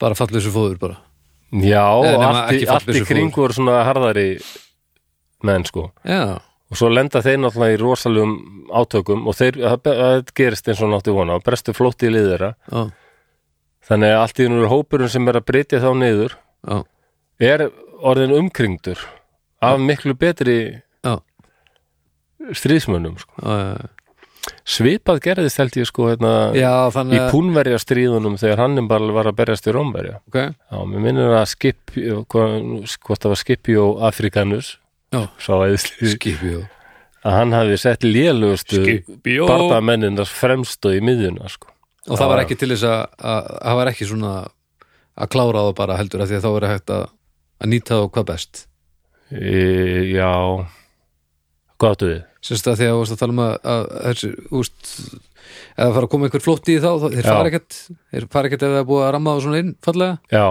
Speaker 2: bara fallu þessu fóður bara
Speaker 1: Já,
Speaker 2: Eða nema
Speaker 1: allt í,
Speaker 2: ekki
Speaker 1: allt í
Speaker 2: fallbyssufúður.
Speaker 1: kring voru svona harðari menn sko
Speaker 2: já,
Speaker 1: og svo lenda þeir náttúrulega í rosalegum átökum og þeir, það, það gerist eins og nátti vona og brestu flótti í liðera
Speaker 2: já,
Speaker 1: þannig að allt í nú er hópurinn sem er að breytja þá niður
Speaker 2: já,
Speaker 1: er orðin umkringdur af miklu betri
Speaker 2: já,
Speaker 1: stríðsmönnum sko.
Speaker 2: já, já.
Speaker 1: svipað gerðist held ég sko hérna,
Speaker 2: já
Speaker 1: í
Speaker 2: þannig að
Speaker 1: púnverja stríðunum þegar Hannibal var að berjast í Rómverja
Speaker 2: ok,
Speaker 1: Já, mér minnir að skip hvort hvort það var skipi og Afrikanus
Speaker 2: já,
Speaker 1: sá æðisli
Speaker 2: skipjó
Speaker 1: að hann hafi sett lélugustu
Speaker 2: skipjó og
Speaker 1: barndamenninars fremstu í miðjuna sko.
Speaker 2: það var ekki til þess að að- það var ekki svona að klára það bara heldur af því að þá verið hægt að að nýta þá hvað best
Speaker 1: e, Já Hvað áttu við?
Speaker 2: semst að því að þú varst að tala um að, að þessi, úst, eða fara að koma einhver flótt í þá, þá þeir
Speaker 1: Já.
Speaker 2: fara ekkert þeir fara ekkert ef það er búið að ramma þá svona inn fallega
Speaker 1: Já,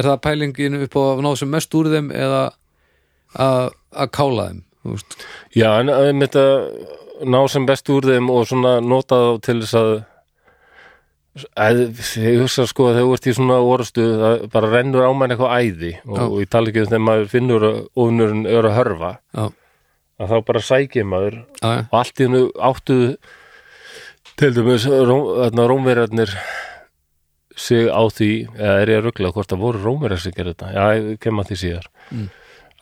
Speaker 2: er það pælingin upp á að ná sem mest úr þeim eða að að kála þeim þú veist?
Speaker 1: já en um þetta ná sem best úr þeim og svona nota þá til þess að að, ég hugsa sko að þegar þú ert í svona orustu það bara rennur á mann eitthvað æði og,
Speaker 2: Já.
Speaker 1: og ég tala ekki um þegar maður finnur að ofnurinn er að hörfa
Speaker 2: já,
Speaker 1: að þá bara sækir maður
Speaker 2: já, já,
Speaker 1: og allt í hennu áttu til dæmis róm, þarna rómverjarnir sig á því eða er ég að ruggla hvort það voru rómverjar sem gerði þetta, já, ég kem að því síðar
Speaker 2: Mm.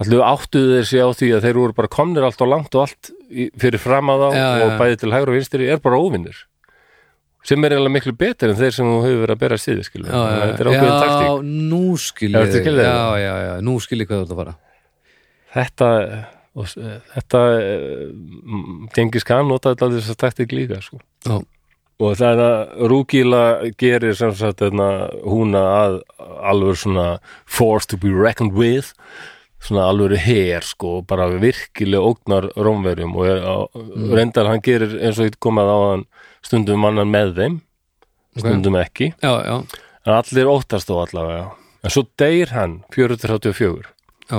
Speaker 1: allir áttu þeir sig á því að þeir voru bara komnir allt og langt og allt í- fyrir fram að þá
Speaker 2: Já, já,
Speaker 1: og
Speaker 2: já.
Speaker 1: bæði til hægur og vinstri er bara óvinnir sem er eiginlega miklu betur en þeir sem þú hefur verið að bera síði skilur,
Speaker 2: já, já,
Speaker 1: þetta er ákveðin
Speaker 2: já,
Speaker 1: taktík
Speaker 2: nú skil ég
Speaker 1: Ertu
Speaker 2: þig.
Speaker 1: skil þig?
Speaker 2: já, já, já, nú skil ég hvað þú ert að fara
Speaker 1: þetta og, s- þetta eh, gengis kann notaði allir þess að taktík líka sko.
Speaker 2: já,
Speaker 1: og það er að Rúkíla gerir sem sagt hérna, húna að alveg svona force to be reckoned with svona alveg her sko bara virkilega ógnar rómverjum og er, mm. reyndar hann gerir eins og ég komað á hann stundum annan með þeim stundum ekki,
Speaker 2: já, já,
Speaker 1: en allir óttast þó allavega en svo deyr hann 434
Speaker 2: já,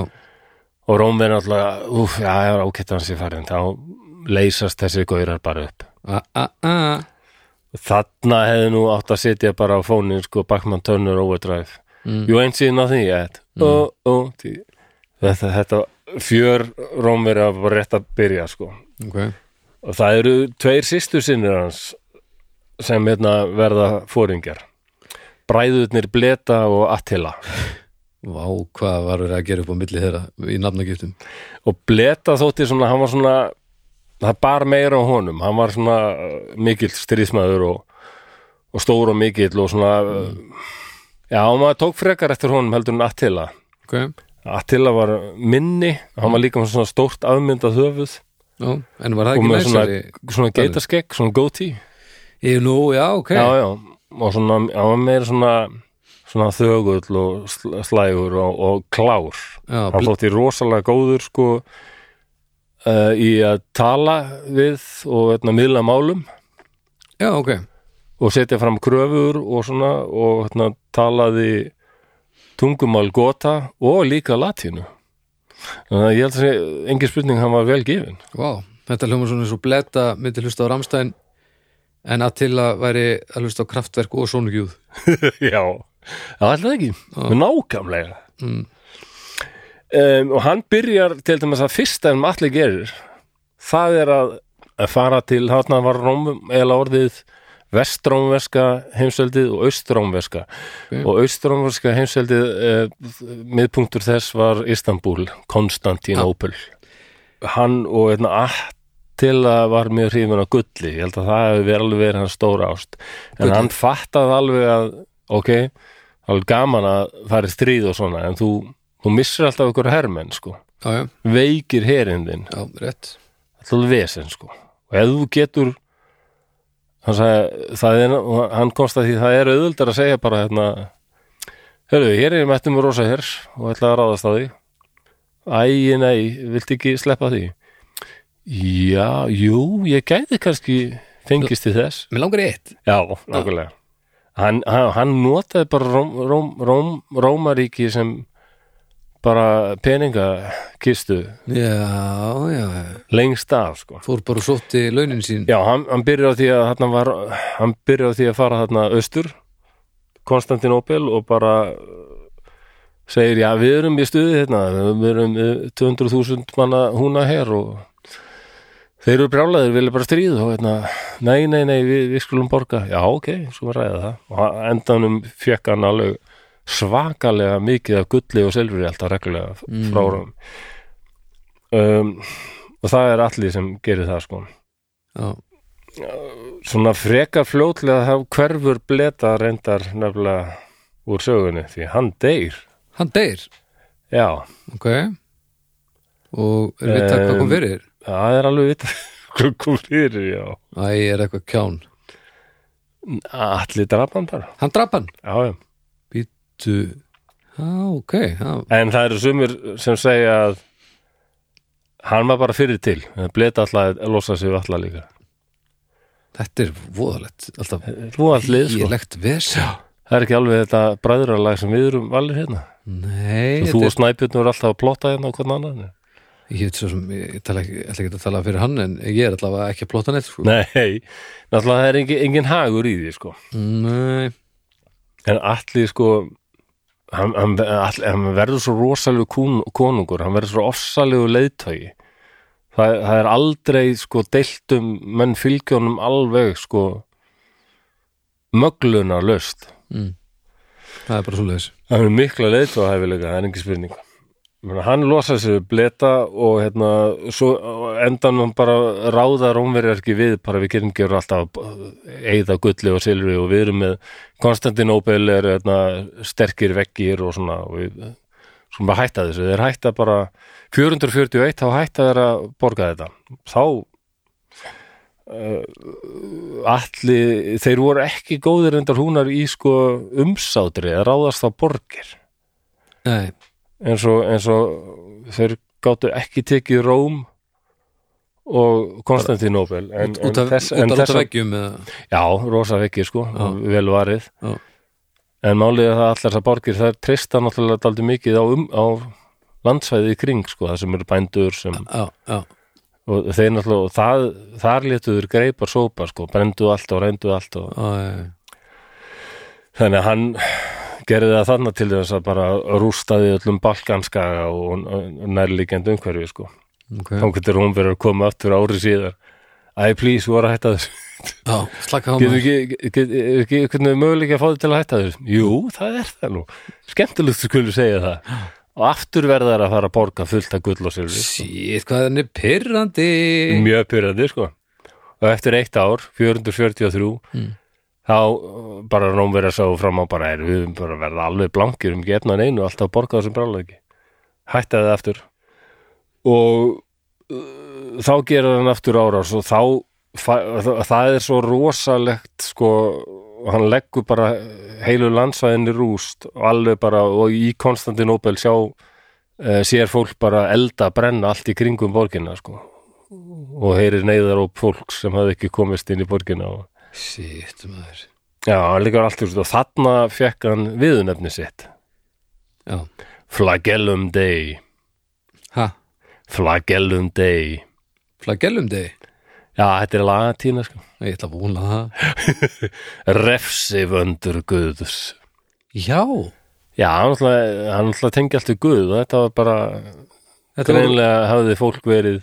Speaker 1: og rómverjum allavega, úf, já, já, ákett hann sér farin þá leysast þessi gaurar bara upp
Speaker 2: a, a, a
Speaker 1: Þarna hefði nú átt að setja bara á fónin sko Bachmann Turner Overdrive
Speaker 2: Mm.
Speaker 1: You ain't seen nothing yet oh, oh, tí- þetta, þetta fjör rómveri að bara rétt að byrja sko
Speaker 2: ok,
Speaker 1: og það eru tveir sýstu sinnir hans sem hérna verða fóringjar Bræðurnir Bleta og Attila
Speaker 2: vá, hvað var verið að gera upp á milli þeirra í nafnagiftum
Speaker 1: og Bleta þótti svona, hann var svona það bar meira á honum hann var svona uh, mikill stríðsmaður og, og stór og mikill og svona mm. já, og maður tók frekar eftir honum heldur en Attila
Speaker 2: ok,
Speaker 1: Attila var minni, hann var líka með svona stórt afmyndað höfuð
Speaker 2: já, en var það
Speaker 1: og
Speaker 2: ekki
Speaker 1: með svona,
Speaker 2: næsari
Speaker 1: svona geitarskegg, svona goatee
Speaker 2: Ég, nú, já, ok
Speaker 1: já, já, og svona, hann var meira svona svona þögull og sl- slægur og, og klár
Speaker 2: Já,
Speaker 1: hann
Speaker 2: bl-
Speaker 1: þótti rosalega góður sko uh, í að tala við og hérna, miðla málum
Speaker 2: já, ok
Speaker 1: og setja fram kröfur og svona og hérna, talaði tungumál gota og líka latínu þannig að ég held að sé, engin spurning hann var vel gefin
Speaker 2: Vá, þetta hljóma svona eins og bletta myndi hlusta á Ramstein en að til að væri að hlusta á kraftverk og sonugjúð [laughs]
Speaker 1: já, það ætlaði ekki nákvæmlega
Speaker 2: Mm.
Speaker 1: um, og hann byrjar til dæmis að fyrsta en allir gerir það er að, að fara til þarna var rómum eða orðið vestrómverska heimsveldið og austrómverska
Speaker 2: Ok.
Speaker 1: og austrómverska heimsveldið eh, miðpunktur þess var Istanbul, Konstantinopel hann og einna Attila var mjög hrifin á gulli, ég held að það hefur verið alveg verið hans stóra ást, en
Speaker 2: Gulli.
Speaker 1: hann fattaði alveg að, ok það er alveg gaman að fara í stríð og svona en þú, þú missir alltaf ykkur hermenn sko,
Speaker 2: Já, já,
Speaker 1: veikir herinn þinn
Speaker 2: já, rétt
Speaker 1: alltaf vesen sko og ef þú getur hann, sagði, það er, og hann komst að því það er auðvöldar að segja bara hérna, hörðu, hér er ég mættum með rosa hers og ætla að ráðast á því æ, nei, viltu ekki sleppa því já, jú, ég gæti kannski fengist í þess
Speaker 2: Mér langar í eitt
Speaker 1: já, nákvæmlega hann, hann, hann notaði bara róm, róm, róm, Rómaríki sem bara peningakistu
Speaker 2: Já, já, já.
Speaker 1: lengst af sko.
Speaker 2: fór bara og sótti launin sín
Speaker 1: Já, hann, hann byrjar á því að þarna var, hann byrjar á því að fara þarna austur Konstantinopel og bara uh, segir, já, við erum í stuði hérna, við erum uh, 200.000 manna húna her og þeir eru brjálaðir, vilja bara stríð og hérna, nei, nei, nei, við, við skulum borga, já, ok, skulum ræða það og hann- endanum fekk hann alveg svakalega mikið af gulli og silfri alltaf reglulega
Speaker 2: Mm.
Speaker 1: frá mm. um, og það er allir sem gerir það sko
Speaker 2: Já,
Speaker 1: svona frekar fljótlega þá hverfur bleta reyndar nefnilega úr sögunni því hann deyr
Speaker 2: hann deyr
Speaker 1: já,
Speaker 2: Ok Og er við takk hvað kom
Speaker 1: Em,
Speaker 2: fyrir?
Speaker 1: það er alveg vita [laughs] hvað kom fyrir, já
Speaker 2: Æ, er eitthvað kján
Speaker 1: allir drapan bara,
Speaker 2: Hann drap hann
Speaker 1: já, já
Speaker 2: Býttu Já, ok Já,
Speaker 1: en það eru sumir sem segja að hann var bara fyrir til bleta alltaf, losa sig við alltaf líka
Speaker 2: Þetta er voðalegt Alltaf
Speaker 1: þú allir, sko,
Speaker 2: ílegt vesa
Speaker 1: það er ekki alveg þetta bræðralag sem við erum valir hérna
Speaker 2: Nei,
Speaker 1: þú
Speaker 2: þetta
Speaker 1: og snæpjörn eru alltaf að plotta hérna og hvern annan
Speaker 2: er Ég veit svo sem, ég, ég tala ekki, ætla ekki að tala fyrir hann En ég er allavega ekki að plóta neitt sko.
Speaker 1: nei, náttúrulega það er engin, engin hagur í því, sko
Speaker 2: Nei
Speaker 1: En Atli sko hann, hann, Atli, hann verður svo rosalegu kún, konungur, hann verður svo ofsalegu leiðtögi Þa, það er aldrei sko deiltum menn fylgjónum alveg sko mögluna löst
Speaker 2: mm. Það er bara svo leiðis
Speaker 1: það er mikla leiðtóðhæfilega, það er engin spurning Menna, hann losa sér bleta og hérna, svo á endanum bara ráða rómverjar ekki við bara við gerum gerur alltaf eigða gulli og silfri og við erum með Konstantinopel er hérna, sterkir veggir og svona og við svona bara hætta þessu, þeir hætta bara 441 þá hætta þeir að borga þetta þá uh, allir þeir voru ekki góðir endar húnar í sko umsátri að ráðast á borgir
Speaker 2: Nei,
Speaker 1: eins og, eins og þeir gáttu ekki tekið Róm og Konstantinopel en,
Speaker 2: út af,
Speaker 1: en þess,
Speaker 2: út
Speaker 1: en
Speaker 2: af, út af
Speaker 1: þess
Speaker 2: veggjum eða
Speaker 1: já, rosa vekkir sko, vel varið
Speaker 2: Já.
Speaker 1: en málið er það að allar þessar borgir það treysta náttúrulega daldi mikið á, um, á landsvæði í kring sko, það sem eru bændur sem,
Speaker 2: Já, já,
Speaker 1: og þeir náttúrulega og það, þar létuður greipar sópa sko, brendu allt og reyndu allt og,
Speaker 2: já, já, já.
Speaker 1: þannig að hann gerði það þarna til þess að bara rústaði öllum balkanskaga og og nærliggjandi umhverfi sko.
Speaker 2: ok
Speaker 1: þá getur hún verið að koma aftur ári síðar Æ, please, þú voru að hætta þessu
Speaker 2: Já, slaka á
Speaker 1: Getur
Speaker 2: maður
Speaker 1: ekki, get, er ekki hvernig möguleika að fá þið til að hætta þessu? Jú, það er það nú Skemmtilegt þú skulle segja það og aftur verðar að fara að borga fullt af gull og silfi
Speaker 2: Sýtt, hvað hann er pyrrandi
Speaker 1: mjög pyrrandi sko og eftir eitt ár, 443
Speaker 2: Mm.
Speaker 1: þá uh, bara Rómverja sá fram á bara er við erum bara að verða alveg blankir um ekki efna neinu alltaf að borga þessum bráleiki hætta það aftur og uh, þá gera hann aftur árás og þá fa- það er svo rosalegt sko hann leggur bara heilu landsvæðinni rúst og alveg bara og í Konstantinopel sjá eh, sér fólk bara elda brenna allt í kringum borginna sko og heyrir neyðar og fólk sem hafði ekki komist inn í borgina og
Speaker 2: Sýtt maður
Speaker 1: já, hann líka allt úr og þarna fekk hann viðunefni sitt
Speaker 2: Já,
Speaker 1: Flagellum Day
Speaker 2: ha,
Speaker 1: Flagellum Day
Speaker 2: flagellum þig
Speaker 1: Já, þetta er latína sko
Speaker 2: Ég ætla að vona það
Speaker 1: Refsivöndur Guðs
Speaker 2: Já,
Speaker 1: Já, hann náttúrulega hann náttúrulega tengi allt við Guð og þetta var bara
Speaker 2: þetta var
Speaker 1: greinlega hafði fólk verið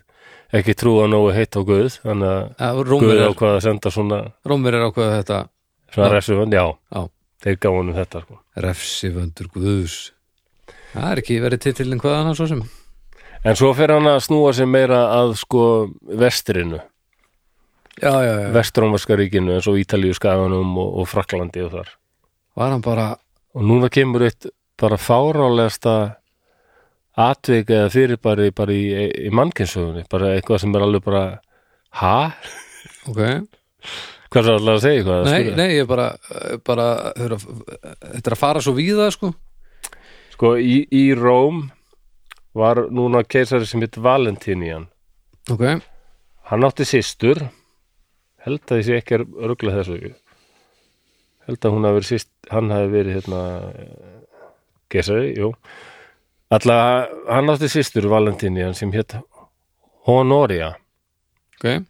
Speaker 1: ekki trúa nógu heitt á Guð þannig að
Speaker 2: Ja,
Speaker 1: Guð
Speaker 2: Rómverjar
Speaker 1: ákvað að senda svona,
Speaker 2: Rómverjar ákveða þetta
Speaker 1: svona
Speaker 2: Já.
Speaker 1: refsivönd Já,
Speaker 2: Já,
Speaker 1: þeir gáðu honum þetta sko
Speaker 2: refsivöndur guðs Það er ekki verið titilin hvað annars svo sem
Speaker 1: En svo fer hann að snúa sér meira að sko vestrinu,
Speaker 2: Já, já, já
Speaker 1: vestrómverska ríkinu eins og Ítalíu skaganum og, og Fraklandi og þar.
Speaker 2: Var hann bara
Speaker 1: Og núna kemur eitt bara fárálegasta atvik eða fyrirbæri bara í, í mannkynsögunni, bara eitthvað sem er alveg bara, ha?
Speaker 2: Ok,
Speaker 1: Hvað er það alltaf að segja eitthvað? að
Speaker 2: nei,
Speaker 1: skilja?
Speaker 2: nei, ég er bara, eh, bara hörra, þetta er að fara svo víða sko
Speaker 1: Sko í, í Róm var núna keisari sem hitt Valentinian.
Speaker 2: Ok,
Speaker 1: Hann átti systur, held að þessi ekki er örglega þessu. held að hún hafi verið síst, hann hafi verið hérna Gesari, jú Alla, hann átti sýstur Valentínian sem hétt Honoria
Speaker 2: ok,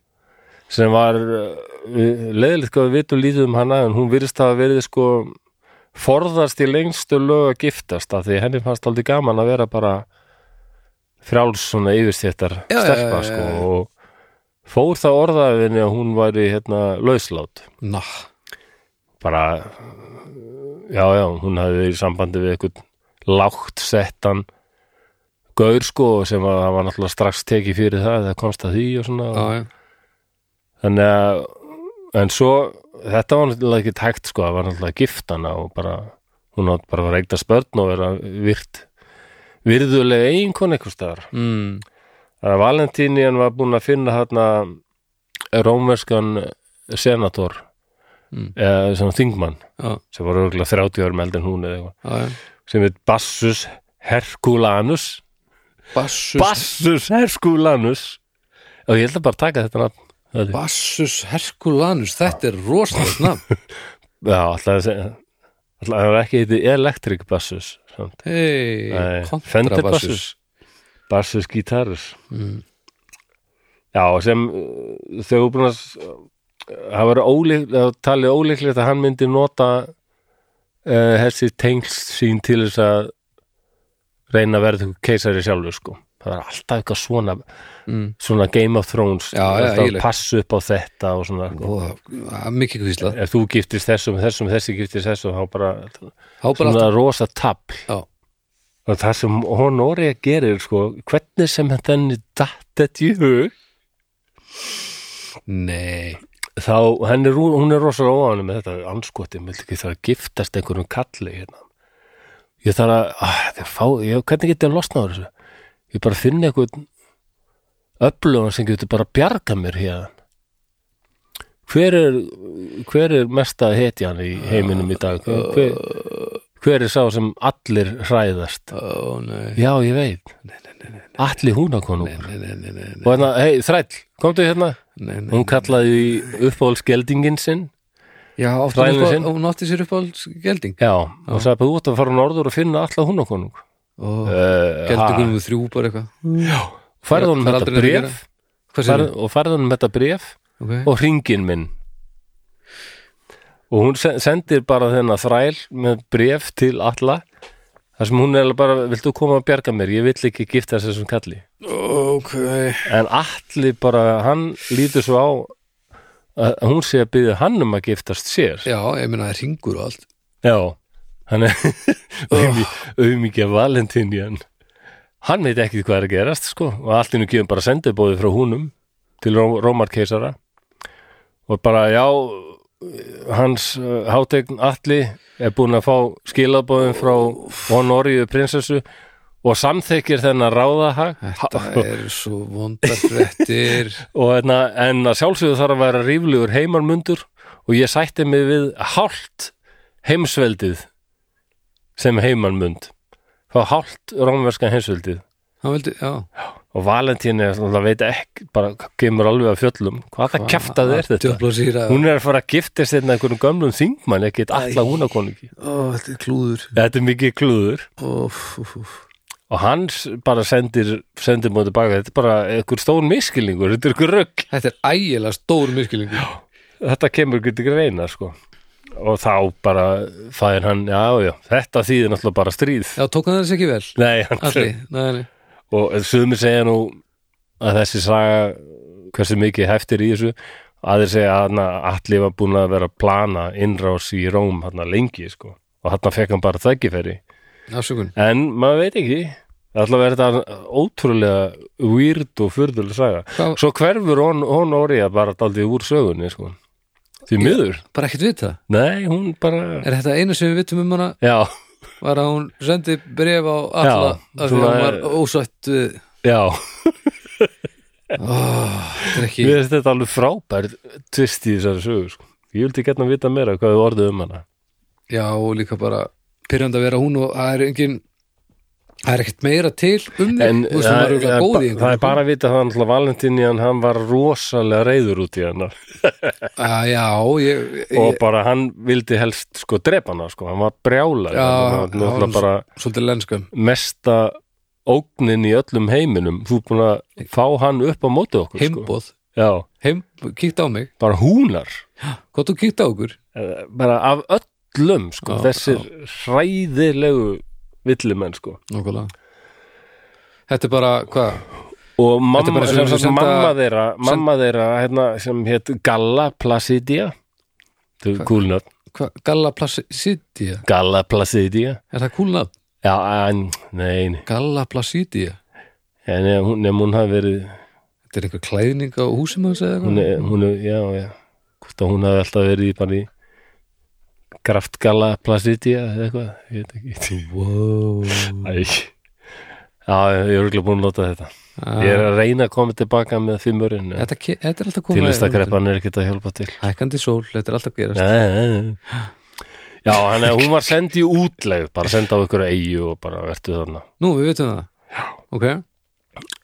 Speaker 1: sem var uh, leðilegt hvað við vitum lítið um hana en hún virðist hafa verið sko forðast í lengstu lög að giftast af því henni fannst aldrei gaman að vera bara frjáls svona yfirstjættar
Speaker 2: Já, já, já,
Speaker 1: stelpa
Speaker 2: já,
Speaker 1: sko
Speaker 2: já.
Speaker 1: og fór það orðaðinni að hún væri hérna lauslát
Speaker 2: na
Speaker 1: bara já já, hún hafði verið í sambandi við eitthvað lágt settan gaur sko sem að hann var náttúrulega strax tekið fyrir það eða komst að því og svona og,
Speaker 2: já, já,
Speaker 1: þannig að en svo, þetta var náttúrulega ekki tækt sko, það var náttúrulega gift hana og bara, hún átt bara að fara að eigna spörn og vera virt virðulega eiginkon einhvers staðar
Speaker 2: mm,
Speaker 1: þannig að Valentínian var búin að finna hérna rómverskan senator
Speaker 2: Mm.
Speaker 1: eða svona þingmann
Speaker 2: já,
Speaker 1: sem var örgulega 30 árum eldin hún eða eitthvað
Speaker 2: já, já.
Speaker 1: sem heit Bassus Herculanus
Speaker 2: Bassus,
Speaker 1: Bassus Herculanus og ég ætla bara að taka þetta nafn Þetta er-
Speaker 2: Bassus Herkulanus þetta er rosalegt [laughs] nafn
Speaker 1: Já, alltaf að segja alltaf að það var ekki heiti Electric Bassus samt.
Speaker 2: hei,
Speaker 1: Nei, Fender
Speaker 2: kontrabassus
Speaker 1: Bassus Bassus Gitarus
Speaker 2: Mm.
Speaker 1: Já, sem uh, þau eru búin að s- það var ólíklegt það talið ólíklegt að hann myndi nota uh, þessi tengsl sín til þess að reyna að verða keisari sjálfur sko það var alltaf eitthvað svona
Speaker 2: Mm.
Speaker 1: svona Game of Thrones
Speaker 2: Já, já,
Speaker 1: alltaf að
Speaker 2: eiginlega.
Speaker 1: passa upp á þetta og svona sko.
Speaker 2: og það er mikið kvísla
Speaker 1: ef þú giftist þessum, þessum, þessi giftist þessum þá bara
Speaker 2: þá bara
Speaker 1: svona
Speaker 2: alltaf,
Speaker 1: rosa tapl
Speaker 2: já,
Speaker 1: og það sem Honoria gerir sko, hvernig sem henni datt þetta í hug
Speaker 2: nei
Speaker 1: þá henni, hún er rosa óanum með þetta anskoti, ég vildi ekki það að giftast einhverjum kalli hérna ég þarf að, að það fá, ég, hvernig geti ég losnað úr þessu ég bara finna einhvern öflugan sem getur bara bjarga mér hérna hver er hver er mesta hetjan í heiminum í dag hver, hver, hver er sá sem allir hræðast
Speaker 2: ó, nei,
Speaker 1: Já, ég veit Alli hún að konu
Speaker 2: nei, nei, nei, nei, nei,
Speaker 1: Og hérna, hei, þræll, komdu hérna
Speaker 2: nei, nei.
Speaker 1: Hún kallaði í uppáhaldsgeldingin sinn
Speaker 2: já, átti
Speaker 1: Þrælinn
Speaker 2: hún upp
Speaker 1: sinn.
Speaker 2: á- hún átti sér upp á gelding
Speaker 1: Já, og sagði bara út að fara norður og finna alla hún að konu
Speaker 2: og
Speaker 1: Geldingunum
Speaker 2: geldingunum við þrjú bara eitthvað
Speaker 1: Færði hún
Speaker 2: Það er
Speaker 1: þetta
Speaker 2: aldrei neitt að
Speaker 1: bref
Speaker 2: hvað sér
Speaker 1: farð- og færði hún þetta bref
Speaker 2: okay.
Speaker 1: og ringin minn og hún sen- sendir bara þennan þræl með bref til alla þar sem hún er bara, viltu koma að bjarga mér ég vill ekki gifta þessum kalli
Speaker 2: ok
Speaker 1: En allir bara, hann lítur svo á að að hún sé að byggja hann um að giftast sér.
Speaker 2: já, ég meina það ringur og allt
Speaker 1: Já,
Speaker 2: [laughs]
Speaker 1: hann er auðmikið Valentinian. Hann veit ekki hvað er að gerast, sko, og allt innum gefum bara sendibóði frá húnum til Ró Rómarkeisara og bara, já, hans uh, hátegn Alli er búin að fá skilabóðin frá Honoríu prinsessu og samþekir þennan ráðahag
Speaker 2: þetta er svo [laughs] vondar fréttir
Speaker 1: og hérna, en að sjálfsögðu þarf að vera ríflegur heimarmundur og ég sætti mig við hálft heimsveldið sem heimarmund þá hálft rómverska heimsveldið
Speaker 2: hann vildi, já,
Speaker 1: og Valentín er svona, veit ekki bara kemur alveg að fjöllum hvað það kjaftaði er þetta
Speaker 2: djöfla sýra
Speaker 1: hún er að fara að giftast þetta einhverjum gömlum þingmann ekkert alla hún að konungi
Speaker 2: ó, þetta er klúður
Speaker 1: þetta er mikið klúður
Speaker 2: óf, óf, óf
Speaker 1: og hans bara sendir sendir móti baka, þetta er bara einhver stón miskilningur, þetta er einhver rögg
Speaker 2: Þetta er ægilega stór miskilingur
Speaker 1: þetta kemur ekki til greina sko og þá bara fæðir hann, já, já, þetta þýðir náttúrulega bara stríð
Speaker 2: Já, tók hann þess ekki vel
Speaker 1: Nei, hann,
Speaker 2: Alli, nei, nei
Speaker 1: og sumir segja nú að þessi saga hversu mikið heftir í þessu aðeir segja að hann allir var búin að vera að plana innrás í Róm hann lengi sko og hann fekk hann bara þækifæri
Speaker 2: Afsökun
Speaker 1: en maður veit ekki allavega er þetta ótrúlega weird og furðulega saga
Speaker 2: Hvað-
Speaker 1: svo hverfur hon, hon orðið bara daldið úr sögunni sko því miður,
Speaker 2: Bara ekkert vita
Speaker 1: nei, hún bara
Speaker 2: Er þetta eina sem við vitum um hana
Speaker 1: Já,
Speaker 2: Var að hún sendi bref á alla
Speaker 1: Já,
Speaker 2: Af því að
Speaker 1: svona-
Speaker 2: hún var ósætt eh, við
Speaker 1: já,
Speaker 2: Þetta er ekki
Speaker 1: mér finnst þetta alveg frábær tvist í þessari sögu sko. Ég vildi getna vita meira hvað þau orðið um hana
Speaker 2: Já, og líka bara Pyrrandi að vera hún og það er engin það er ekkert meira til um þig
Speaker 1: en
Speaker 2: þú veist, það, það,
Speaker 1: það,
Speaker 2: eh, það,
Speaker 1: það er bara að vita að hann alltaf Valentinian hann var rosalega reyður út í hennar
Speaker 2: að, Ah, já, ég,
Speaker 1: og
Speaker 2: ég,
Speaker 1: bara hann vildi helst sko drepa hana sko, hann var brjálar
Speaker 2: já,
Speaker 1: hann var
Speaker 2: hann-
Speaker 1: náttúrulega bara
Speaker 2: svolítið lenskum
Speaker 1: mesta ógnin í öllum heiminum þú er búin að fá hann upp á móti okkur sko.
Speaker 2: heimbóð,
Speaker 1: já,
Speaker 2: heim, kíkt á mig
Speaker 1: bara húnar
Speaker 2: hvað þú kíkt á okkur
Speaker 1: Eh, bara af öllum sko,
Speaker 2: Já,
Speaker 1: þessir hræðilegu villumenn sko.
Speaker 2: Nókulega. þetta er bara, hvað
Speaker 1: og
Speaker 2: Þetta er
Speaker 1: mamma,
Speaker 2: bara sem sem
Speaker 1: sem, sem
Speaker 2: senda-
Speaker 1: mamma þeirra, mamma þeirra hérna, sem hétt Galla Placidia þú kúlnöfn
Speaker 2: hva, Galla Placidia
Speaker 1: Galla Placidia
Speaker 2: er það kúlnað?
Speaker 1: já, en, nei, nei.
Speaker 2: Galla Placidia
Speaker 1: En ef hún, nefn hún hafi verið
Speaker 2: þetta er einhver klæðning á húsum hans eða
Speaker 1: hún
Speaker 2: eitthvað
Speaker 1: er, hún er, já, já hvort að hún hafi alltaf verið í bara í kraftgalla plastidia eða eitthvað, ég veit ekki
Speaker 2: wow.
Speaker 1: Æ, já, ég er örugglega búin að nota þetta ég er að reyna að koma tilbaka með fimmurinn
Speaker 2: þetta, ke- þetta er alltaf
Speaker 1: til
Speaker 2: komið
Speaker 1: þess að kreppan er ekkert að hjálpa til
Speaker 2: hækandi sól, þetta er alltaf að gerast
Speaker 1: Nei, nei, nei. já, hann er, hún var send í útleið bara send á ykkur eigu og bara vertu þarna
Speaker 2: nú, við veitum það ok,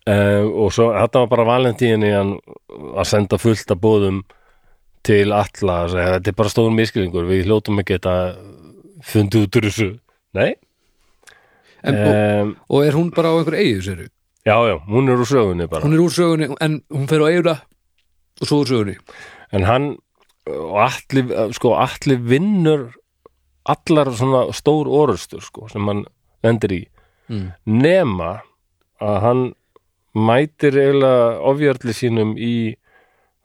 Speaker 1: Uh, og svo þetta var bara valentíðinni hann að senda fullt af bóðum til alla að segja, þetta er bara stóðum miskilingur, við hljótum ekki þetta fundið út úr þessu nei,
Speaker 2: en,
Speaker 1: um,
Speaker 2: og, og er hún bara á einhver eigu sér
Speaker 1: já já, hún er úr sögunni bara
Speaker 2: hún er úr sögunni, en hún fer á eiguna og svo úr sögunni
Speaker 1: en hann og allir, sko, allir vinnur allar svona stór orustur sko, sem hann lendir í
Speaker 2: Mm.
Speaker 1: nema að hann mætir eiginlega ofjörli sínum í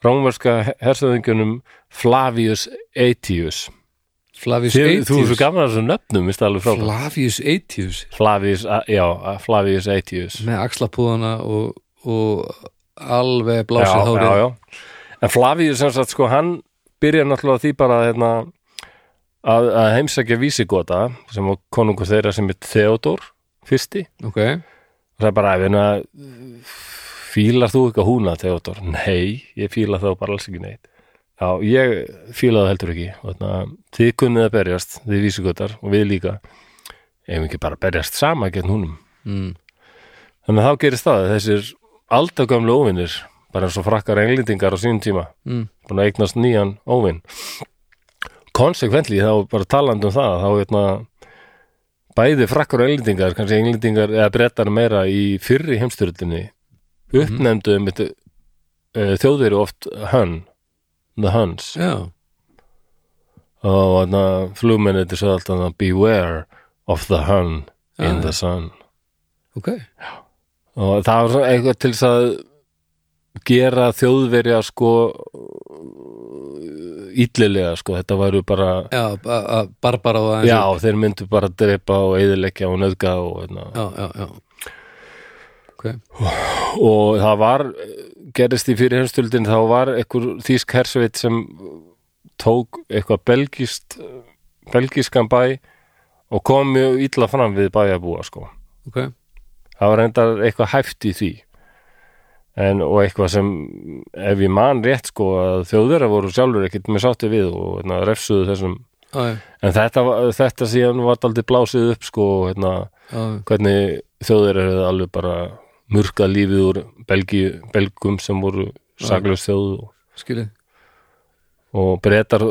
Speaker 1: rámverska hersöðingunum Flavius Aetius
Speaker 2: Flavius
Speaker 1: Þið, þú er svo
Speaker 2: Aetius
Speaker 1: gaman að þessu nöfnum, minnst það alveg frábært
Speaker 2: Flavius Aetius
Speaker 1: Flavius, a- já, a- Flavius Aetius
Speaker 2: með axlapúðana og, og alveg
Speaker 1: já,
Speaker 2: blásið
Speaker 1: já,
Speaker 2: hárið
Speaker 1: já. En Flavius sem sagt, sko, hann byrjar náttúrulega á því bara hérna, að, að heimsækja vísigota sem var konungur þeirra sem er Theodor fyrsti,
Speaker 2: ok,
Speaker 1: og það er bara að vinna fílar þú eitthvað húna Theodor? Nei, ég fíla þá bara alls ekki neitt Já, ég fíla það heldur ekki og þannig að þið kunnið að berjast þið vísigotar og við líka ef ekki bara berjast sama gegn húnum
Speaker 2: mm.
Speaker 1: Þannig að þá gerist það að þessir aldagamlu óvinnir, bara eins og frakkar englendingar á sínum tíma,
Speaker 2: Mm.
Speaker 1: búin að eignast nýjan óvinn. Konsekventli þá bara talandi um það, þá veitna bæði frakkar og englendingar, kannski englendingar eða brettar meira í fyrri heimstyrlutinni,
Speaker 2: Mhm.
Speaker 1: uppnefndu um þetta uh, þjóðveri oft Hun, the Huns
Speaker 2: já,
Speaker 1: og þarna flugmennið svo alltaf þarna, beware of the Hun
Speaker 2: Já,
Speaker 1: in the sun.
Speaker 2: ok
Speaker 1: og það var svona eitthvað til þess að gera þjóðverja sko illilega sko, þetta væru bara
Speaker 2: já, a- a- Barbara og aðeins
Speaker 1: já, þeir myndu bara drepa og eðileggja og nöðga og, hérna.
Speaker 2: já, já, já. ok,
Speaker 1: og það var gerist í fyrir heimstöldin þá var einhver þýsk hersveit sem tók eitthvað belgist belgiskan bæ og kom mjög illa fram við bæjarbúa sko
Speaker 2: ok
Speaker 1: það var reyndar eitthvað hæft í því en, og eitthvað sem ef ég man rétt sko að þjóðverða voru sjálfur ekkert með sátti við og hérna, refsuðu þessum
Speaker 2: já, já,
Speaker 1: en þetta, var- þetta síðan var aldrei blásið upp sko hérna,
Speaker 2: já, já.
Speaker 1: hvernig þjóðverðar hefði alveg bara murkað lífið úr Belgi, belgum sem voru saklaus þjóð og,
Speaker 2: skilið
Speaker 1: og breytar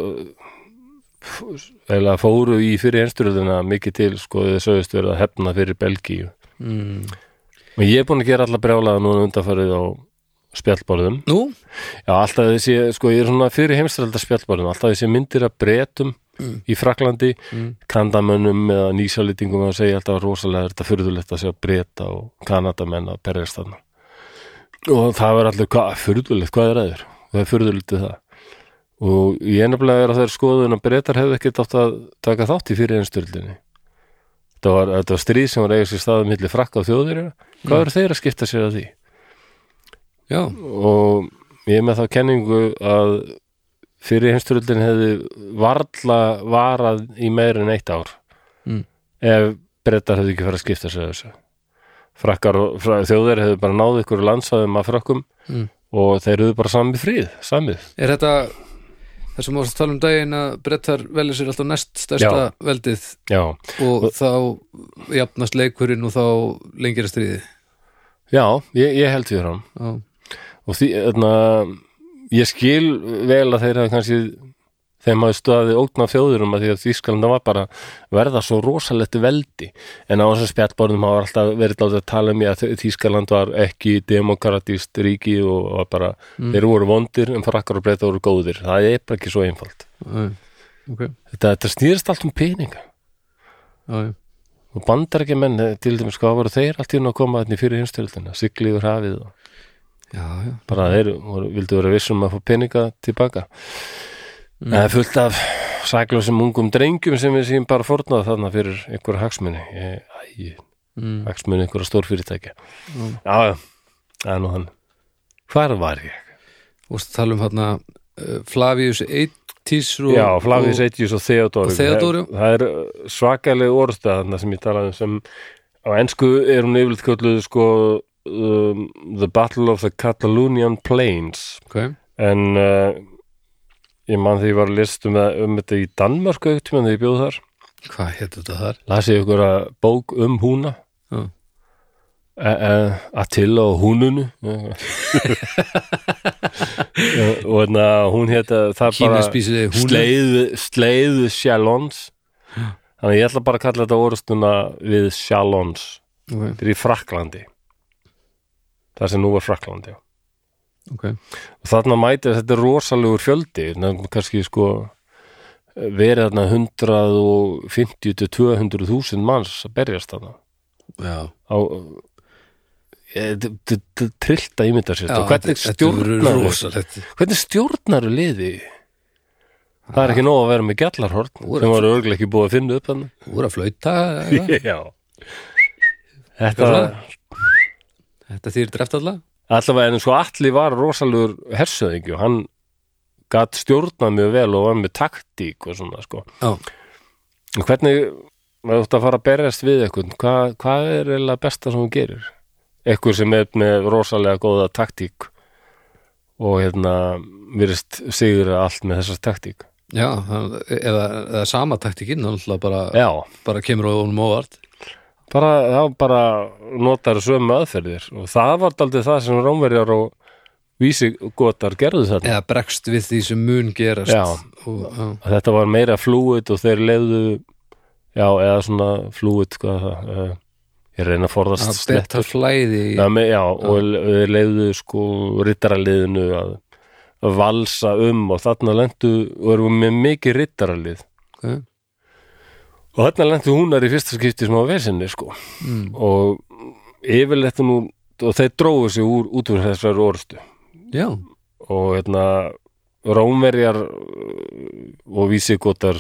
Speaker 1: eða fóru í fyrir einsturðina mikið til sko þau sögust verið að hefna fyrir Belgíu
Speaker 2: mm.
Speaker 1: Og ég er búin að gera alla brjálaða núna undanfarið á spjallborðum.
Speaker 2: nú,
Speaker 1: Já, alltaf þessi, sko, ég er svona fyrir heimstrælda spjallborðum, alltaf þessi myndir að bretum í Fraklandi,
Speaker 2: Mm.
Speaker 1: kandamönnum eða nýsjálýtingum að segja alltaf rosalega er þetta furðulegt að sjá breta og kanadamenn að berjast þarna. Og það var allir, hvað, furðulegt, hvað er aður? Það er furðulegt við það. Og ég nefnilega er að það er skoðun að bretar hefði ekkert átt að taka þátt í fyrir einstöldinni. Þetta var, þetta var stríð sem var eigið sér staðum milli frakka og þjóðirina. Hvað eru þeir að skipta sér að því?
Speaker 2: já,
Speaker 1: og ég er með þá kenningu að fyrir heimsturöldin hefði varla varað í meira en eitt ár
Speaker 2: Mm.
Speaker 1: ef brettar hefði ekki farið að skipta sér af þessu frakkar og fra, þjóðir hefðu bara náð ykkur landsaðum af frakkum
Speaker 2: Mm.
Speaker 1: og þeir hefðu bara samið fríð, samið
Speaker 2: er þetta þessum varst að tala um daginn að brettar velja sér alltaf næst stærsta
Speaker 1: Já.
Speaker 2: veldið
Speaker 1: já,
Speaker 2: og þá jafnast leikurinn og þá lengjara stríði
Speaker 1: já ég, ég held því fram
Speaker 2: Já,
Speaker 1: og því, öðna, ég skil vel að þeir hafi kannski þeim hafi stöðið ógna þjóðurum að því að Þýskalanda var bara að verða svo rosalegt veldi en á þessum spjallborðum hafa alltaf verið látið að tala um ég að Þýskaland var ekki demokratíst ríki og var bara, þeir voru vondir en frakkar og breyta voru góðir, það er bara ekki svo einfalt
Speaker 2: já, ok Já,
Speaker 1: þetta, þetta snýrist allt um peninga
Speaker 2: já,
Speaker 1: og bandar ekki menn til dæmis hvað voru þeir allt í hún að koma þannig fyrir hinstöldina, sigli yfir hafið og
Speaker 2: já, já.
Speaker 1: bara þeir voru, vildu vera vissum að fá peninga tilbaka mm. það er fullt af saklausum ungum drengjum sem við síðan bara fornað þarna fyrir einhverja hagsmunni ég, æ,
Speaker 2: Mm.
Speaker 1: hagsmunni einhverja stór fyrirtækja já, já, það er nú hann hvar var ég?
Speaker 2: Og það tala um hérna uh, Flavius Eitís og,
Speaker 1: já, Flavius
Speaker 2: og,
Speaker 1: Eitjus og Theodóru
Speaker 2: og Theodóru.
Speaker 1: það, það er svakaleg orðstæð þarna sem ég talaði um sem á ensku er hún yfirleitt kölluð sko um, The Battle of the Catalonian Plains
Speaker 2: okay.
Speaker 1: en uh, ég man því ég var að list um, það- um þetta í Danmörku auktum en þegar ég bjóð þar
Speaker 2: Hvað hétt þetta þar?
Speaker 1: las ég ykkur að bók um húna
Speaker 2: Já.
Speaker 1: e e Attila og húnunu Eh, eh, og hérna hún hétta það bara
Speaker 2: Kínaspísið er hún
Speaker 1: sleiðu, sleiðu sjalons þannig að ég ætla bara að kalla þetta orðstuna við sjalons
Speaker 2: Ok,
Speaker 1: þetta er í Fraklandi þar sem nú var Fraklandi já
Speaker 2: ok
Speaker 1: og þarna mætir þetta er rosalegur fjöldi nefnum kannski sko verið þarna 150 til 200.000 manns að berjast þarna
Speaker 2: Já,
Speaker 1: á eh, trillt að ímynda sér
Speaker 2: já
Speaker 1: þetta og hvernig
Speaker 2: þetta- þetta verður
Speaker 1: stjórnar
Speaker 2: rosalegt
Speaker 1: hvernig stjórnar liði það er ekki nóg að vera með gjallarhorn
Speaker 2: Þú er
Speaker 1: sem var örglega ekki búið að finna upp hann
Speaker 2: Þú voru að flauta eða?
Speaker 1: [laughs] já þetta
Speaker 2: Galla? Þetta þýr dreft alla
Speaker 1: allavega en sko Atli var rosalegur hersöðingi og hann gatt stjórnað mjög vel og var með taktík og svona sko
Speaker 2: Já,
Speaker 1: En hvernig, maður þú ert að fara að berjast við eitthvað, hvað, hvað er eiginlega besta sem hún gerir? Eitthvað sem er með rosalega góða taktík og hérna virðist sigur allt með þessar taktík.
Speaker 2: já hann- eða, eða sama taktikinn hann alltaf bara,
Speaker 1: Já,
Speaker 2: bara kemur á honum óvart
Speaker 1: bara, þá bara notar sömu aðferðir og það var daldið það sem Rómverjar og vísigotar gerðu þetta.
Speaker 2: eða bregst við því sem mun gerast
Speaker 1: Já.
Speaker 2: og, já.
Speaker 1: Þetta var meira flúið og þeir leiðu, já, eða svona flúið, hvað er það, eh, ég reyna að forðast
Speaker 2: að betra flæði í-
Speaker 1: Já, með, já og þeir leiðu sko rittaraliðinu að, að valsa um og þarna lendu og erum með mikið rittaralið
Speaker 2: ok.
Speaker 1: og þarna lendu húnar í fyrsta skipti sem á vesinni sko
Speaker 2: Mm.
Speaker 1: og yfirleitt nú og þeir dróðu sig úr út úr þessar orðstu
Speaker 2: já,
Speaker 1: og hérna Rómverjar uh, og vísigotar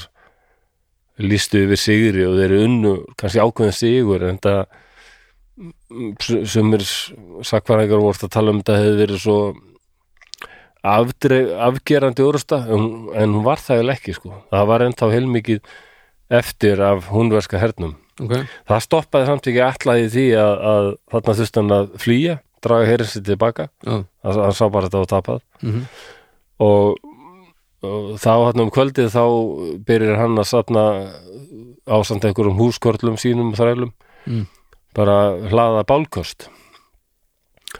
Speaker 1: lístu yfir sigri og þeir eru unnu kannski ákveðin sigur en þetta mm, sumir sakvarhækjar voru að tala um þetta hefði verið svo afdreif, afgerandi orðusta en, en hún var það eiginlega ekki sko það var ennþá heilmikið eftir af húnverska hernum
Speaker 2: ok
Speaker 1: það stoppaði samt ekki allaði því að, að þarna þurfti hann að flýja draga herinsi tilbaka
Speaker 2: já,
Speaker 1: hann hann sá bara þetta og tapað
Speaker 2: mhm,
Speaker 1: og, og þá hann um kvöldið þá byrjar hann að safna ásamt einhverjum húskorlum sínum og þrælum
Speaker 2: Mm.
Speaker 1: bara hlaða bálkost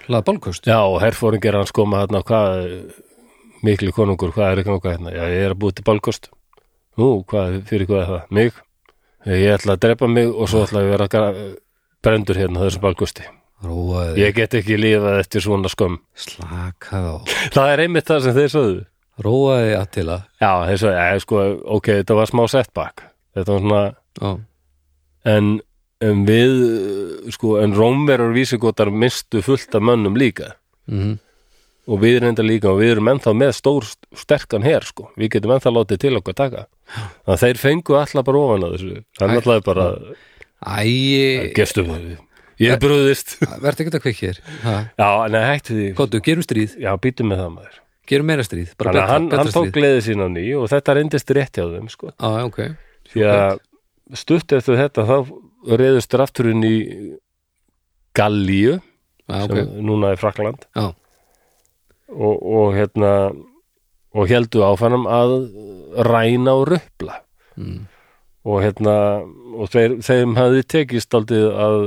Speaker 2: hlaða bálkost
Speaker 1: já og herfóringar hans koma hann á hvað mikli konungur, hvað er ekki nokkað hérna já ég er að búið til bálkost nú, hvað, fyrir hvað er það, mig ég ætla að drepa mig og svo ætla ég að vera gra- brendur hérna á þessu bálkosti
Speaker 2: róaði,
Speaker 1: ég get ekki lífað eftir svona skömm
Speaker 2: slakað á
Speaker 1: það er einmitt það sem þeir sögðu
Speaker 2: róaði Attila
Speaker 1: Já, þess að, ja, sko, ok, þetta var smá setback Þetta var svona,
Speaker 2: já,
Speaker 1: en, en við, uh, sko, en Rómverur vísigotar mistu fullt af mönnum líka
Speaker 2: mhm,
Speaker 1: og við reynda líka og við erum ennþá með stór sterkan her, sko, við getum ennþá látið til okkar taka þannig að þeir fengu alltaf bara ofan að þessu það er
Speaker 2: Æ.
Speaker 1: alltaf bara,
Speaker 2: æi
Speaker 1: gestum við ég brúðist
Speaker 2: verði ekkert að kveikja þér Ha,
Speaker 1: Já, en það hætti því,
Speaker 2: Kottu, gerum stríð,
Speaker 1: já, býtum með það maður
Speaker 2: gerum meira stríð bara
Speaker 1: Þannig að
Speaker 2: betra,
Speaker 1: hann,
Speaker 2: betra
Speaker 1: hann tók
Speaker 2: stríð
Speaker 1: gleðið sína á ný og þetta reyndist rétt hjá þeim, sko
Speaker 2: á, ok,
Speaker 1: því að stutt eftir þetta þá reyðust rafturinn í Gallíu
Speaker 2: á, ok
Speaker 1: sem núna er Frakland
Speaker 2: já,
Speaker 1: og, og hérna og heldu áfannum að ræna og röpla
Speaker 2: Mm.
Speaker 1: og hérna og þeir, þeim hafði tekist daldið að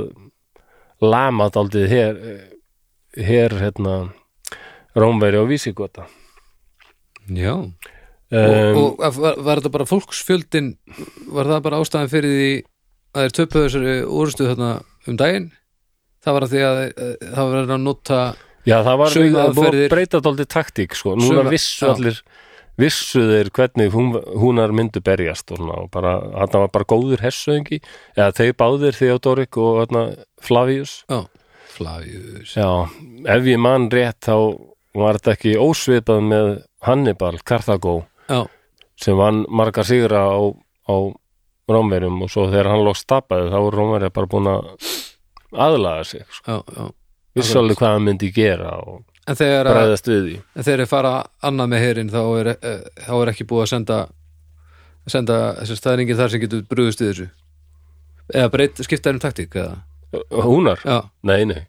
Speaker 1: lama daldið hér, hér hérna Rómveri og Vísigota
Speaker 2: Já.
Speaker 1: um,
Speaker 2: og, og var, var þetta bara fólksfjöldin, var það bara ástæðan fyrir því að þeir töpuðu þessari úrstu þarna um daginn? Það var að því að eh, það var verið að nota,
Speaker 1: Já, það var
Speaker 2: Sömu
Speaker 1: það búið að
Speaker 2: aðferðir-
Speaker 1: breyta daldið taktík sko, núna
Speaker 2: Sömu-
Speaker 1: vissu
Speaker 2: já.
Speaker 1: allir vissu þeir hvernig hún, húnar myndu berjast og, svona, og bara, hann var bara góður hersöðingi eða þeir báðir Theodorik og hérna, Flavius
Speaker 2: já, Flavius.
Speaker 1: Já, ef ég man rétt þá var þetta ekki ósvipað með Hannibal, Karthagó
Speaker 2: Já,
Speaker 1: sem vann margar sigra á, á Rómverjum og svo þegar hann loks tapaði þá voru Rómverja bara búin að aðlaga sig sko.
Speaker 2: já, já.
Speaker 1: vissu alveg hvað hann myndi gera og
Speaker 2: En þegar, að,
Speaker 1: bræðast við því
Speaker 2: en þegar þeir fara annað með herin þá er, eh, þá er ekki búið að senda, senda þessi staðningi þar sem getur brugðust í þessu. Eða breyt, skipta þeir um taktík, eða?
Speaker 1: Húnar?
Speaker 2: Já,
Speaker 1: Nei, nei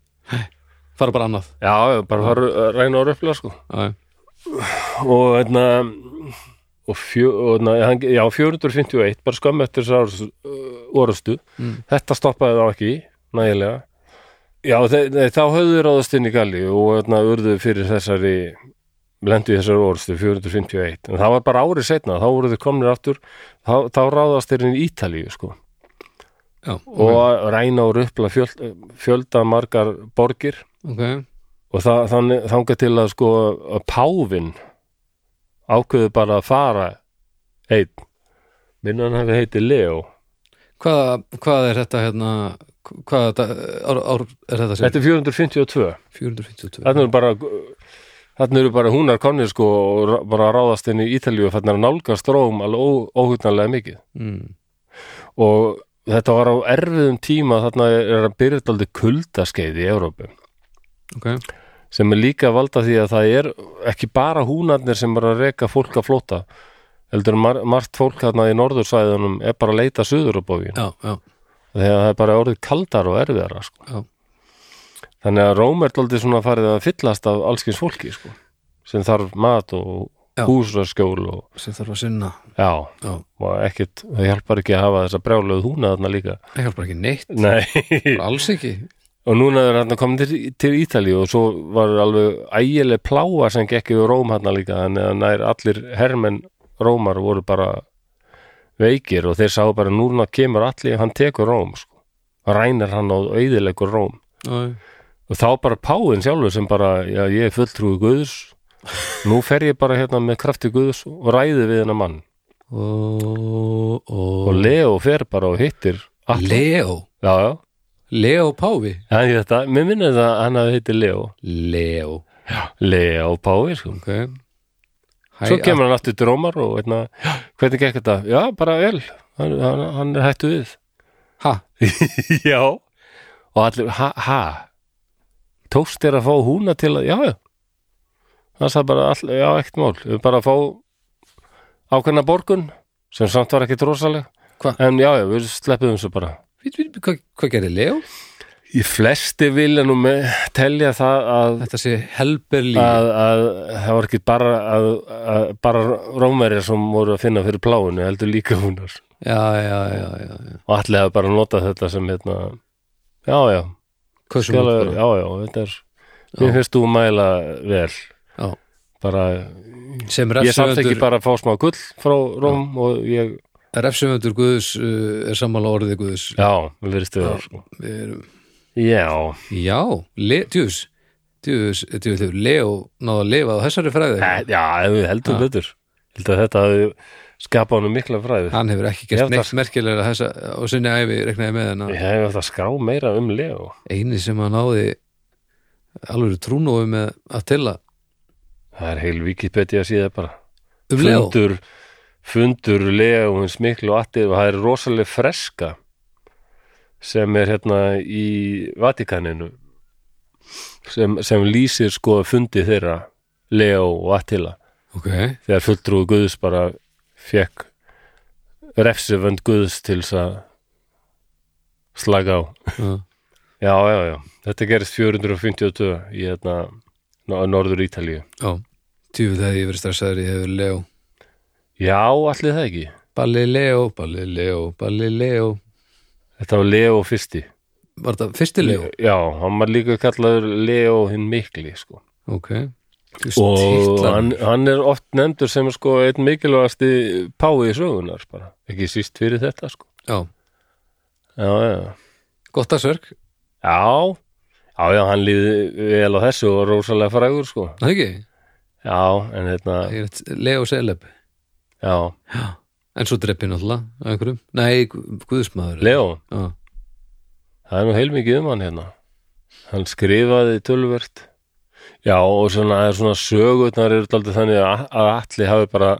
Speaker 2: fara bara annað.
Speaker 1: Já, já, bara fara að ræna á röfla sko
Speaker 2: Já, já.
Speaker 1: og hérna og, fjö, og hérna, hann- já, 451 bara skömmu eftir þessar orustu,
Speaker 2: Mm.
Speaker 1: þetta stoppaði þá ekki nægilega já, þe nei, þá höfðu þeir ráðast inn í galli og hérna urðu fyrir þessari lendu í þessari orustu 451 en það var bara árið setna, þá voru þeir komnir aftur þá, þá ráðast þeir inn í Ítalíu sko,
Speaker 2: Já,
Speaker 1: og ræna og röpla fjölda, fjölda margar borgir
Speaker 2: ok.
Speaker 1: og það, þannig, þangað til að sko að páfin ákveðu bara að fara einn minna hann hafi heiti Leo
Speaker 2: Hvað, hvað er þetta hérna hvað þetta, ár, ár er þetta sér?
Speaker 1: þetta er 452
Speaker 2: 452
Speaker 1: þannig eru bara þannig eru bara húnar konni sko og ra- bara að ráðast inn í Ítalíu og þannig að nálgast róm alveg óhugnarlega mikið
Speaker 2: mm.
Speaker 1: og þetta var á erfiðum tíma þarna er að byrja þetta aldrei kuldaskeið í Európu
Speaker 2: Ok,
Speaker 1: sem er líka að valda því að það er ekki bara húnarnir sem er að reka fólk að flóta heldur mar margt fólk hérna í norðursæðunum er bara að leita suður á bógin
Speaker 2: já, já,
Speaker 1: þegar það er bara orðið kaldar og erfiðara sko.
Speaker 2: já
Speaker 1: þannig að Róm er aldrei svona farið að fyllast af allskins fólki sko. sem þarf mat og
Speaker 2: Já.
Speaker 1: húsraskjól og
Speaker 2: sem þarf að sinna
Speaker 1: já,
Speaker 2: Já,
Speaker 1: og ekkit, það hjálpar ekki að hafa þessa brjálöð húna þarna
Speaker 2: [laughs]
Speaker 1: líka
Speaker 2: það hjálpar ekki neitt
Speaker 1: Nei.
Speaker 2: alls ekki
Speaker 1: og núna er hann komin til, til Ítalíu og svo var alveg ægileg pláa sem gekk yfir Róm hann líka þannig að nær allir hermenn Rómar voru bara veikir og þeir sáu bara núna kemur allir hann tekur Róm sko. rænar hann og auðilegur Róm
Speaker 2: Já,
Speaker 1: og þá bara páin sjálfur sem bara já, ég er fulltrúi Guðs nú fer ég bara hérna með krafti Guðs og ræði við hennar mann
Speaker 2: og,
Speaker 1: og Leo fer bara og hittir all...
Speaker 2: Leo
Speaker 1: já, já,
Speaker 2: Leo Páfi
Speaker 1: hann ég þetta, mér minnir það að hann hafi hittir Leo
Speaker 2: Leo,
Speaker 1: Leo Pái sko
Speaker 2: ok Hæ, ah,
Speaker 1: Svo kemur hann aftur til Rómar og veitna, hvernig gekk þetta? Já, bara vel, hann, hann, hann er hættu við.
Speaker 2: að- Ha,
Speaker 1: [laughs] já. Og allir, ha, ha, tókst þér að fá húna til að, já, já. Það sagði bara, all, já, ekkert mál, við bara að fá ákveðna borgun sem samt var ekkit rosaleg.
Speaker 2: Hva?
Speaker 1: En já, já, við sleppum þessu bara.
Speaker 2: við, við, hvað, hvað gerir Leo?
Speaker 1: Í flesti vilja nú með telja það að
Speaker 2: Þetta sé helberlí
Speaker 1: að, að það var ekki bara að, að bara rómverjar sem voru að finna fyrir pláinu heldur líka húnar
Speaker 2: Já, já, já, já, já.
Speaker 1: og allir hafa bara notað þetta sem hérna já, já,
Speaker 2: Hversu
Speaker 1: skjála,
Speaker 2: mörg bara?
Speaker 1: já, já, þetta er mér finnst þú mæla vel
Speaker 2: Já.
Speaker 1: bara,
Speaker 2: Sem
Speaker 1: ég samt ekki
Speaker 2: refsöfundur
Speaker 1: bara að fá smá gull frá Róm og ég,
Speaker 2: refsöfundur Guðs uh, er sammála orðið Guðs
Speaker 1: já, við verðist við það sko.
Speaker 2: Við erum
Speaker 1: já,
Speaker 2: Já, le, djús, djús, djús, djús, Leo náðu að lifa á þessari fræði.
Speaker 1: e- já, ef við heldum
Speaker 2: Já.
Speaker 1: betur heldur að þetta hafi skapað hann mikla fræði
Speaker 2: Hann hefur ekki
Speaker 1: Já,
Speaker 2: gert neitt
Speaker 1: það-
Speaker 2: merkilega þessa og sinni æfi reknaði með hennar.
Speaker 1: ég hef þetta skrá meira um Leo
Speaker 2: Eini sem hann náði alveg trúnói með að tilla
Speaker 1: það er heil Wikipedia síða bara
Speaker 2: um Leo.
Speaker 1: fundur, fundur Leo hins miklu attir og það er rosaleg freska sem er hérna í Vatikaninu sem, sem lýsir sko fundi þeirra Leo og Attila
Speaker 2: Ok,
Speaker 1: þegar fulltrúi Guðs bara fekk refsivönd Guðs til þess að slaga á
Speaker 2: já,
Speaker 1: já, já, já, þetta gerist 452 í hérna Norður Ítalíu
Speaker 2: já. Tjúfið þegar ég verið stressaður ég hefur Leo
Speaker 1: Já, allir það ekki
Speaker 2: Balileo, Balileo, Balileo
Speaker 1: Þetta var Leo fyrsti
Speaker 2: Var þetta fyrsti Leo?
Speaker 1: Já, hann var líka kallaður Leo hinn mikli sko.
Speaker 2: Ok
Speaker 1: og hann, hann er oft nefndur sem sko einn mikilvægasti pái í sögunar bara. ekki síst fyrir þetta sko.
Speaker 2: Já,
Speaker 1: já, já,
Speaker 2: gott að sörg
Speaker 1: já já, já, hann líði vel á þessu og rosalega frægur sko
Speaker 2: Það ekki?
Speaker 1: já, en hérna,
Speaker 2: Ég veit, Leo Seleb
Speaker 1: já,
Speaker 2: En svo dreppi náttúrulega af einhverjum Nei, gu- guðsmaður
Speaker 1: Leo
Speaker 2: Já,
Speaker 1: það er nú heilmikið um hann hérna hann skrifaði tölvert já, og svona, það er svona sögurnar eru daldið þannig að, að allir hafi bara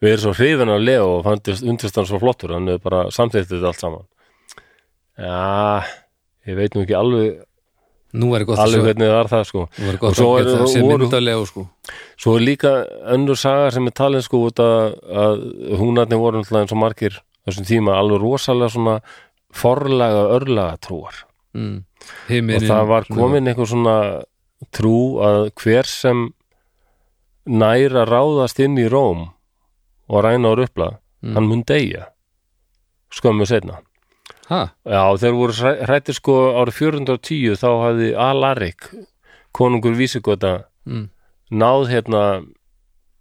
Speaker 1: verið svo hrifin af Leo og fandist undist hann svo flottur hann hefur bara samþýttið þetta allt saman já, ég veit nú ekki alveg
Speaker 2: nú er gott að
Speaker 1: alveg
Speaker 2: sjá
Speaker 1: hvernig það er það sko
Speaker 2: Nú er
Speaker 1: Og
Speaker 2: gott
Speaker 1: svo
Speaker 2: að
Speaker 1: eru
Speaker 2: geta
Speaker 1: það
Speaker 2: sem
Speaker 1: voru-
Speaker 2: mynd af Leo sko
Speaker 1: svo er líka önnur saga sem er talin sko út að, að húnarnir voru náttúrulega eins og margir þessum tíma alveg rosalega svona forlaga örlaga trúar
Speaker 2: mm.
Speaker 1: og
Speaker 2: Himinin
Speaker 1: það var komin einhver svona trú að hver sem nær að ráðast inn í Róm og ræna á rupla hann mun deyja skömmu setna
Speaker 2: Ha,
Speaker 1: Já, þeir voru hrættir sko árið 410 þá hafði Alarik konungur vísigota
Speaker 2: mm.
Speaker 1: náð hérna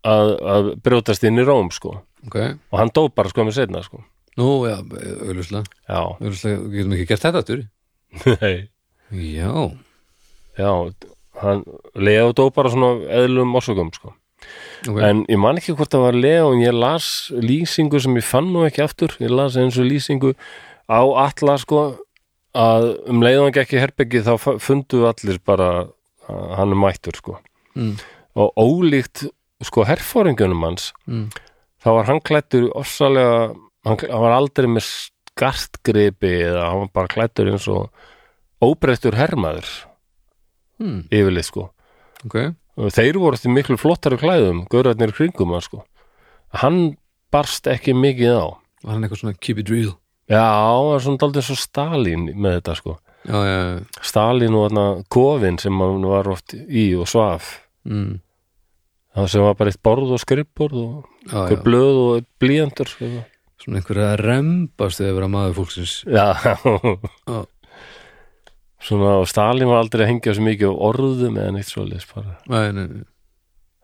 Speaker 1: að, að brjótast inn í Róm sko
Speaker 2: ok
Speaker 1: og hann dó bara sko með setna sko
Speaker 2: Nú, já, auðvitað
Speaker 1: já, [laughs]
Speaker 2: Auðvitað, getum ekki gert þetta aftur
Speaker 1: nei
Speaker 2: Já,
Speaker 1: já, hann Leo dó bara svona eðlum orsökum sko
Speaker 2: ok
Speaker 1: en ég man ekki hvort það var Leo en ég las lýsingu sem ég fann nú ekki aftur ég las eins og lýsingu á alla sko að um leiðan ekki herbyggi þá fa- fundu allir bara að hann er mættur sko
Speaker 2: mm.
Speaker 1: og ólíkt sko herfóringunum hans
Speaker 2: Mm.
Speaker 1: þá var hann klættur ofsalega hann, hann var aldrei með skartgripi eða hann var bara klættur eins og óbreyttur hermaður
Speaker 2: Mm.
Speaker 1: yfirleitt sko
Speaker 2: Ok,
Speaker 1: og þeir voru því miklu flottari klæðum gaurarnir í kringum hann sko hann barst ekki mikið á
Speaker 2: var hann eitthvað svona keep it real
Speaker 1: já, hann var svona daldið svo Stalin með þetta sko
Speaker 2: Já, já, já
Speaker 1: Stalin og þarna kofin sem hann var oft í og svaf
Speaker 2: mm.
Speaker 1: það sem var bara eitt borð og skrippborð og
Speaker 2: já, já.
Speaker 1: hver blöð og blíjandur sko.
Speaker 2: Svona einhverja rembast þegar vera maður fólksins
Speaker 1: já
Speaker 2: Já,
Speaker 1: svona og Stalin var aldrei að hengja svo mikið á orðum eða neitt svoleiðis bara
Speaker 2: nei, nei, nei.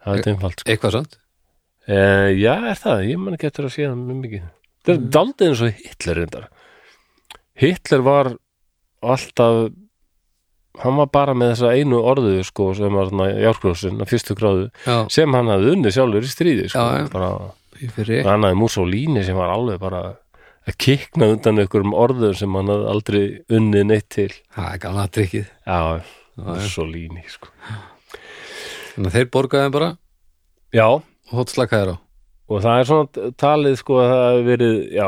Speaker 1: það er einfalt sko.
Speaker 2: Eitthvað sant?
Speaker 1: e, já er það, ég man ekki eftir að sé það mjög mikið það
Speaker 2: Mm.
Speaker 1: er daldið eins og Hitler reyndar Hitler var alltaf hann var bara með þessa einu orðu sko sem var þarna járkrósin að fyrstu gráðu
Speaker 2: Já,
Speaker 1: sem hann hafði unnið sjálfur í stríði sko,
Speaker 2: Já, já.
Speaker 1: bara,
Speaker 2: ég fyrir
Speaker 1: hann hafði Mussolini sem var alveg bara að kikna undan einhverjum orðum sem hann hafði aldrei unnið neitt til
Speaker 2: Það er gamla trikkið
Speaker 1: já,
Speaker 2: Já, já.
Speaker 1: Mussolini sko
Speaker 2: Þannig að þeir borgaði bara
Speaker 1: já,
Speaker 2: og hótt slakaði á
Speaker 1: og það er svona talið sko að það hafi verið já,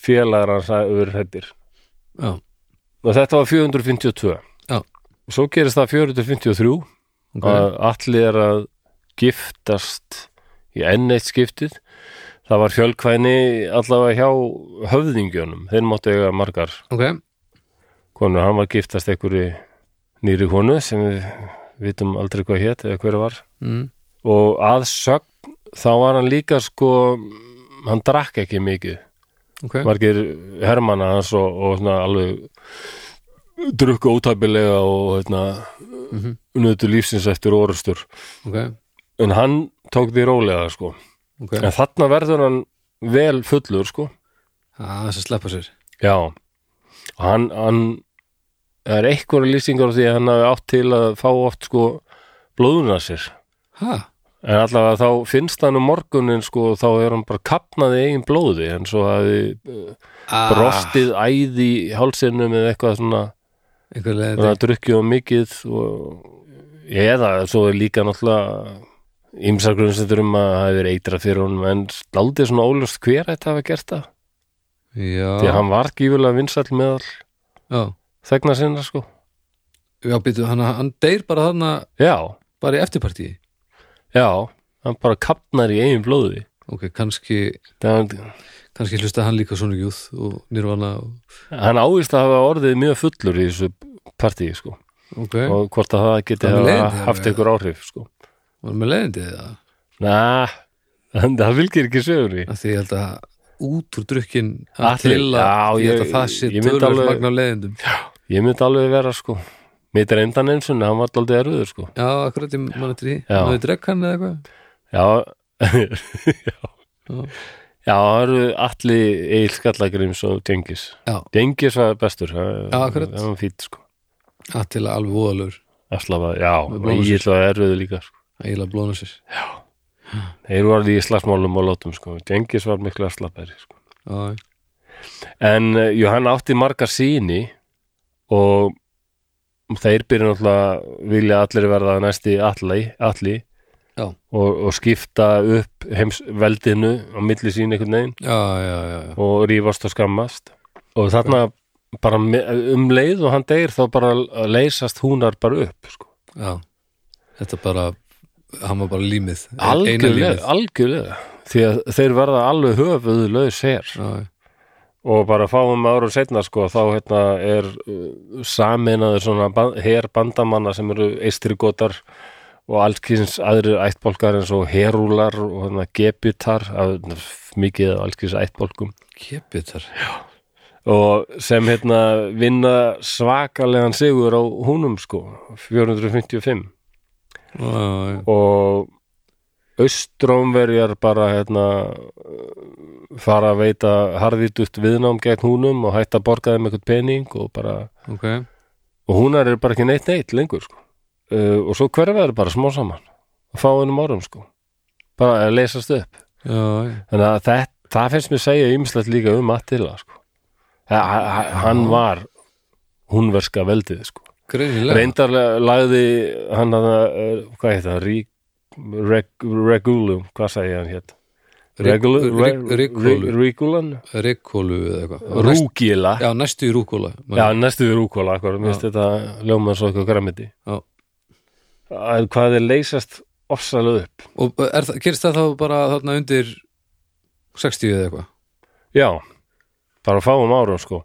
Speaker 1: félagar hans hafi verið hrættir
Speaker 2: Já,
Speaker 1: og þetta var 452
Speaker 2: Já.
Speaker 1: og svo gerist það 453
Speaker 2: ok
Speaker 1: að allir er að giftast í enn eitt skiptið það var fjölkvæni allavega hjá höfðingjónum þeir máttu eiga margar
Speaker 2: Ok,
Speaker 1: konur, hann var giftast einhverju nýri konu sem við vitum aldrei hvað hét eða hver var
Speaker 2: mm.
Speaker 1: og að sögn þá var hann líka sko hann drakk ekki mikið
Speaker 2: ok
Speaker 1: margir hermanna hans og, og svona alveg drukku ótapilega og hérna,
Speaker 2: Mhm.
Speaker 1: nötu lífsins eftir orustur
Speaker 2: Ok,
Speaker 1: en hann tók því rólega sko
Speaker 2: ok
Speaker 1: en þarna verður hann vel fullur sko
Speaker 2: Það er sem sleppa sér
Speaker 1: já og hann, hann það er eitthvað lýsingar á því að hann hafi átt til að fá oft sko blóðuna sér
Speaker 2: Ha,
Speaker 1: En allavega þá finnst hann um morgunin sko og þá er hann bara kapnaði eigin blóði en svo hafi
Speaker 2: ah,
Speaker 1: brostið æði í hálsinum eða eitthvað svona,
Speaker 2: Einhver leið
Speaker 1: svona drukkið og mikið og eða svo er líka náttúrulega ýmsar grunnsendur um að það hafi verið eitra fyrir honum en daldið svona ólust hver þetta hafi gert það
Speaker 2: Já,
Speaker 1: því að hann var gífulega vinsall meðal
Speaker 2: já
Speaker 1: þegna sinna sko
Speaker 2: Já, býtu, hann, hann deyr bara þarna
Speaker 1: Já,
Speaker 2: bara í eftirpartíi
Speaker 1: já, hann bara kapnar í eigin blóði
Speaker 2: Ok, kannski,
Speaker 1: þannig að
Speaker 2: kannski hlusta hann líka svona júð og nýrvana og,
Speaker 1: hann ávist að hafa orðið mjög fullur í þessu partíi sko
Speaker 2: Ok,
Speaker 1: og hvort að það geti
Speaker 2: Það er
Speaker 1: hafa
Speaker 2: leiðin,
Speaker 1: haft
Speaker 2: já.
Speaker 1: einhver áhrif sko.
Speaker 2: Varum við leiðindið það?
Speaker 1: Næ, það fylgir ekki sögunni
Speaker 2: Af því ég held að út úr drukkin að
Speaker 1: Allir-
Speaker 2: til að,
Speaker 1: já,
Speaker 2: ég held
Speaker 1: ég-
Speaker 2: að það sé
Speaker 1: ég myndi
Speaker 2: tölvöld
Speaker 1: alveg-
Speaker 2: magna leiðindum
Speaker 1: Ég myndi alveg vera sko Mér reyndan eins og hann var alltaf erfiður sko
Speaker 2: Já, akkurat ég mann eftir því
Speaker 1: Já.
Speaker 2: Náðu drekk hann eða eitthvað
Speaker 1: Já
Speaker 2: Já.
Speaker 1: Já Já, það eru allir Egil Skallagrims og Dengis
Speaker 2: Já,
Speaker 1: Dengis var bestur það-
Speaker 2: Já, akkurat.
Speaker 1: Það var fýtt sko
Speaker 2: að til að alveg voðalur
Speaker 1: Aslafa, já,
Speaker 2: Með
Speaker 1: og
Speaker 2: blóðsýr.
Speaker 1: Egil var erfiður líka sko.
Speaker 2: að ég laði blóna sér
Speaker 1: Þeir voru alveg í slagsmálum og látum sko Dengis var miklu aslapæri sko
Speaker 2: Já,
Speaker 1: En eh, jú, hann átti margar síni og þeir byrja náttúrulega vilja allir verða næsti alli, alli
Speaker 2: Já.
Speaker 1: og, og skipta upp heimsveldinu á milli sín einhvern veginn
Speaker 2: já, já, já, já.
Speaker 1: og rífast og skammast og þarna bara me- um leið og hann deyr þá bara leysast húnar bara upp sko.
Speaker 2: já. Þetta bara, hann var bara límið E- Eina
Speaker 1: algjörlega,
Speaker 2: límið
Speaker 1: algjörlega því að þeir verða alveg höfuð laus her
Speaker 2: Já, já.
Speaker 1: og bara fáum ára setna sko þá hérna er uh, sameinaður svona ban- her bandamanna sem eru eistrigotar og allskins aðrir ættbólkar eins og herúlar og hérna gebitar af, mikið af allskins ættbólkum
Speaker 2: Kepitar
Speaker 1: og sem hérna vinna svakalegan sigur á húnum sko 455
Speaker 2: Já, já,
Speaker 1: og austrómverjar bara hérna uh, fara að veita harðitutt viðnám gegn húnum og hætta að borga þeim eitthvað pening og bara
Speaker 2: ok
Speaker 1: og húnar eru bara ekki neitt neitt lengur sko. uh, og svo hverfa eru bara smá saman og fá hennum árum sko bara að leysast upp
Speaker 2: Já, já,
Speaker 1: þannig að það, það finnst mér segja ymslegt líka um Attila sko. Ha- ha- ha- hann var húnverska veldið sko.
Speaker 2: greinilega
Speaker 1: reyndar lagði hann að hvað heit það Rí- Reg- Regulum, hvað sagði ég hann hér
Speaker 2: Rík- rík- Ríkólu
Speaker 1: Regulan
Speaker 2: Ríkólu eða eitthvað Það var næst-
Speaker 1: Rúkila
Speaker 2: Já, næstu í rúkóla
Speaker 1: já, næstu við Rúkola akkur, mér finnst þetta ljóma svo eitthvað græmiti
Speaker 2: Já.
Speaker 1: Að hvað þeir leysast ofsalega upp
Speaker 2: Og er, það- gerist það þá bara þarna undir 60 eða eitthvað?
Speaker 1: já, bara fáum árum sko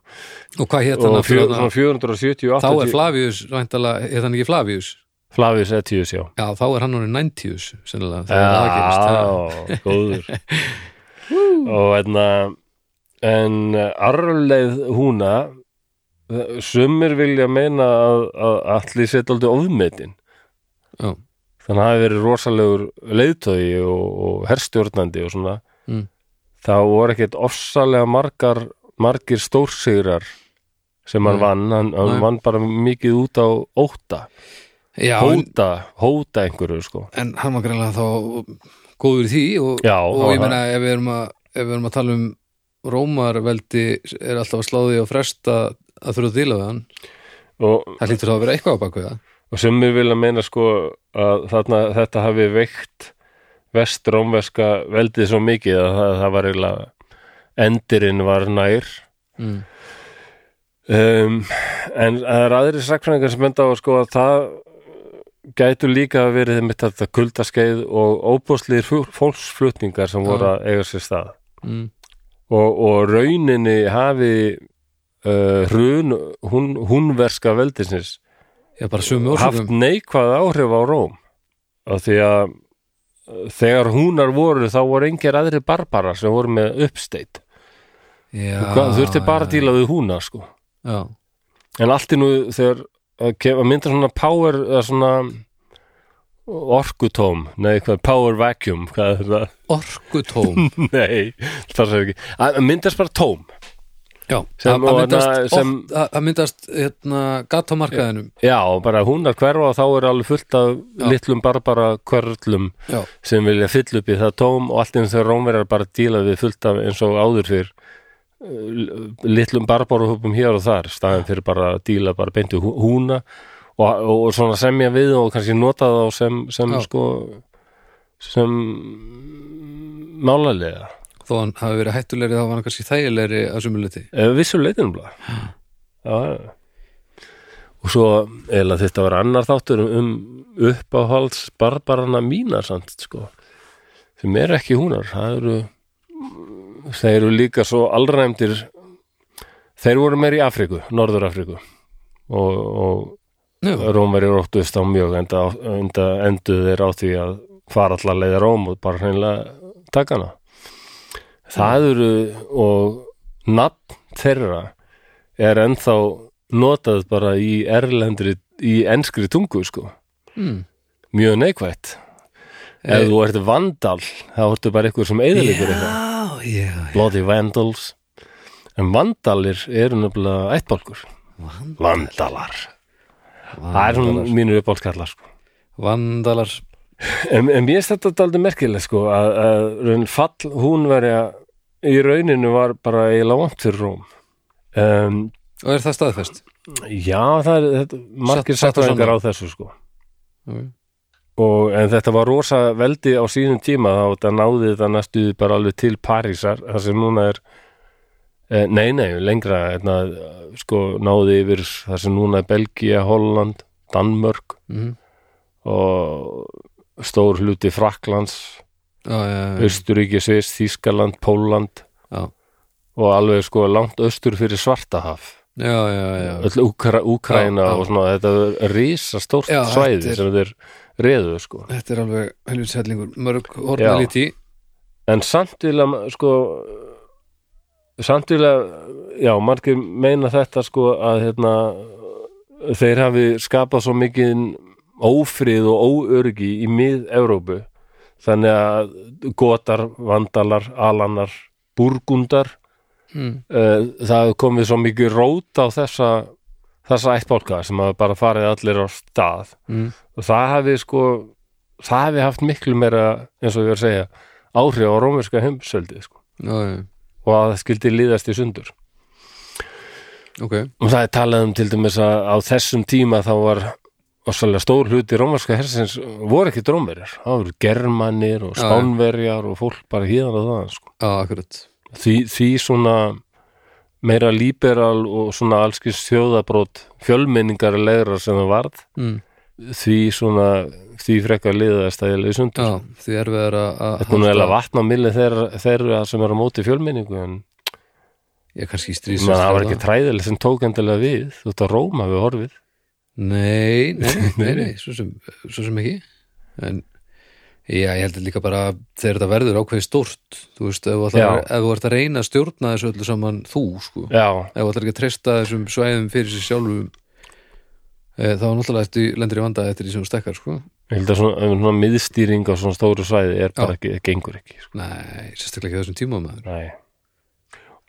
Speaker 2: Og hvað hétt hann
Speaker 1: og fjör,
Speaker 2: aftur
Speaker 1: svona
Speaker 2: þarna?
Speaker 1: 470
Speaker 2: Þá er
Speaker 1: 80
Speaker 2: Flavius, væntalega, hétt hann ekki Flavius?
Speaker 1: Flavius Etius, já
Speaker 2: Já, þá er hann orðin 90s, sennilega, þegar það gerist.
Speaker 1: Já, [laughs] góður og hérna en arleið húna sumir vilja meina að, að allir setja aldrei ofmetin
Speaker 2: Já.
Speaker 1: þannig að hafi verið rosalegur leiðtögi og, og herstjórnandi og svona
Speaker 2: Mm.
Speaker 1: þá voru ekkert ofsalega margar margir stórsigrar sem hann
Speaker 2: Nei.
Speaker 1: vann, hann, hann
Speaker 2: Nei.
Speaker 1: vann bara mikið út á óta
Speaker 2: Já, en,
Speaker 1: hóta, hóta einhverju sko
Speaker 2: en hann var greinlega þá góður í því og,
Speaker 1: Já,
Speaker 2: og
Speaker 1: hann
Speaker 2: ég
Speaker 1: var
Speaker 2: meina ef við erum að, ef við erum að tala um Rómarveldi er alltaf að sláði og fresta að þurfa að díla við hann.
Speaker 1: og
Speaker 2: Það hlýtur þá að vera eitthvað á baku það.
Speaker 1: og sem við vilja meina sko að þarna, þetta hafi veikt vestrómverska veldið svo mikið að það, það var eiginlega endirinn var nær
Speaker 2: Mm.
Speaker 1: um, en það er aðri sakfræðingar sem benda á sko að það gætu líka að verið mitt þetta kuldaskeið og óbúslir fólksflutningar sem voru að eiga sér stað
Speaker 2: Mm.
Speaker 1: og, og rauninni hafi uh, hrun hún, húnverska veldisins
Speaker 2: Já, bara sömu
Speaker 1: haft
Speaker 2: orsökum.
Speaker 1: neikvað áhrif á Róm af því að uh, þegar húnar voru þá voru engir aðri barbarar sem voru með uppsteitt
Speaker 2: Já,
Speaker 1: Hvað, þurfti bara
Speaker 2: já,
Speaker 1: að díla við húna sko
Speaker 2: Já,
Speaker 1: en allt í nú þegar að kef- að mynda svona power eða svona orkutóm, nei hvað, power vacuum hvað er það, [laughs]
Speaker 2: orkutóm.
Speaker 1: nei það er ekki, að að myndast bara tóm
Speaker 2: Já,
Speaker 1: Sem
Speaker 2: að- að
Speaker 1: og
Speaker 2: myndast,
Speaker 1: hérna,
Speaker 2: sem...
Speaker 1: sem-
Speaker 2: að myndast hérna, gatt á markaðinum
Speaker 1: já, bara húnar hverfa og þá er alveg fullt af
Speaker 2: Já.
Speaker 1: litlum barbara hverlum
Speaker 2: já,
Speaker 1: sem vilja fylla upp í það tóm og allt eins þegar rómverjar bara díla við fullt af eins og áður fyrr uh, litlum barbaruhupum hér og þar staðan fyrir bara að díla bara beintu húna og, og, og svona semja við og kannski nota þá sem, sem
Speaker 2: Já.
Speaker 1: sko sem málalega
Speaker 2: þó hann hafi verið hættulegri þá var hann kannski þægilegri að sumuleiti
Speaker 1: Eh, vissu leitinum blá já og svo eða þetta var annar þáttur um- um uppáhalds barbarana mína samt sko sem eru ekki húnar það eru þeir eru líka svo allræmdir þeir voru meir í Afríku, Norður Afríku og, og
Speaker 2: já,
Speaker 1: Rómverjur óttuðist á mjög enda, enda enduðu þeir á því að fara allar leiða róm og bara hreinlega taka hana
Speaker 2: Mm.
Speaker 1: það eru og nafn þeirra er ennþá notað bara í erlendri, í enskri tungu sko,
Speaker 2: mm.
Speaker 1: mjög neikvætt
Speaker 2: Eh.
Speaker 1: ef þú ert vandal þá ertu bara eitthvað sem eðalíkur eitthvað
Speaker 2: Já, já,
Speaker 1: Bloody Vandals en vandalir eru nefnilega ættbálkur
Speaker 2: Vand-
Speaker 1: vandalar, það er
Speaker 2: vandalar
Speaker 1: svona mínur uppbálskallar sko.
Speaker 2: Vandalar
Speaker 1: en, en mér stætti þetta aldrei merkilega sko, að, að raun fall hún verja í rauninu var bara eiginlega vant fyrir Róm um,
Speaker 2: Og er það staðfest?
Speaker 1: já það er þetta, margir
Speaker 2: Satt- satt og
Speaker 1: sattvæðingar á þessu sko
Speaker 2: Mm.
Speaker 1: og en þetta var rosa veldi á sínum tíma þá þetta náði þetta næstu bara alveg til Parísar þar sem núna er eh, nei nei lengra hérna, sko náði yfir þar sem núna er Belgía, Holland, Danmörk
Speaker 2: Mm.
Speaker 1: og stór hluti Fraklands,
Speaker 2: Já, já, já,
Speaker 1: Austuríki, Sviss, Þískaland, Póland
Speaker 2: já,
Speaker 1: og alveg sko langt austur fyrir Svartahaf
Speaker 2: já, já, já.
Speaker 1: öll Úkra, Úkraina
Speaker 2: Já, já.
Speaker 1: og svona þetta er risa stórt
Speaker 2: Já, þetta
Speaker 1: svæði
Speaker 2: er-
Speaker 1: sem þeir reðu sko
Speaker 2: Þetta er alveg helvits hellingur Mörg
Speaker 1: Já.
Speaker 2: horna líti
Speaker 1: en samt vilja sko samt vilja já, margir meina þetta sko að hérna þeir hafi skapað svo mikið ófrið og óörgi í mið-Evrópu þannig að gotar, vandalar, alanar burgundar
Speaker 2: mm.
Speaker 1: uh, það hefur komið svo mikið rót á þessa þessa ættbálka sem hafa bara farið allir á stað
Speaker 2: Mm.
Speaker 1: og það hafi sko það hafi haft miklu meira eins og ég var að segja áhrif á rómverska heimsöldi sko,
Speaker 2: Já, já,
Speaker 1: og að það skildi líðast í sundur
Speaker 2: ok
Speaker 1: og það er talað um til dæmis að á þessum tíma þá var og svolítið stór hluti rómverska hersins voru ekki drómverjar, það voru germanir og
Speaker 2: Já, já.
Speaker 1: spánverjar og fólk bara híðan og það sko
Speaker 2: Já, akkurat
Speaker 1: því, því svona meira líberal og svona allskis þjóðabrót fjölmenningar legra sem það varð
Speaker 2: mm.
Speaker 1: því svona, því frekar liðast að ég leiði sundur.
Speaker 2: Já, því er við að
Speaker 1: Þetta er nú eða vatna milli þeirra, þeirra sem er á móti fjölmenningu en
Speaker 2: Ég kannski
Speaker 1: Man,
Speaker 2: strísast
Speaker 1: það var ekki træðileg sem tók endilega við þú ert að róma við horfið
Speaker 2: Nei, nei, [laughs] nei,
Speaker 1: Nei,
Speaker 2: nei, svo sem, svo sem ekki en já, ég heldur líka bara að þegar þetta verður ákveðið stórt þú veist, ef þú ætlar-
Speaker 1: Já.
Speaker 2: ef þú ert að reyna að stjórna þessu öllu saman þú, sko
Speaker 1: Já,
Speaker 2: ef þú ætlar ekki að treysta þessum svæðum fyrir sér sjálfum e, þá náttúrulega eftir, lendir í vanda eftir því sem þú stekkar, sko
Speaker 1: ég held að svona, svona miðstýring á svona stóru svæði er bara ekki, gengur ekki sko.
Speaker 2: Nei, sérstaklega ekki á þessum tíma maður
Speaker 1: Nei.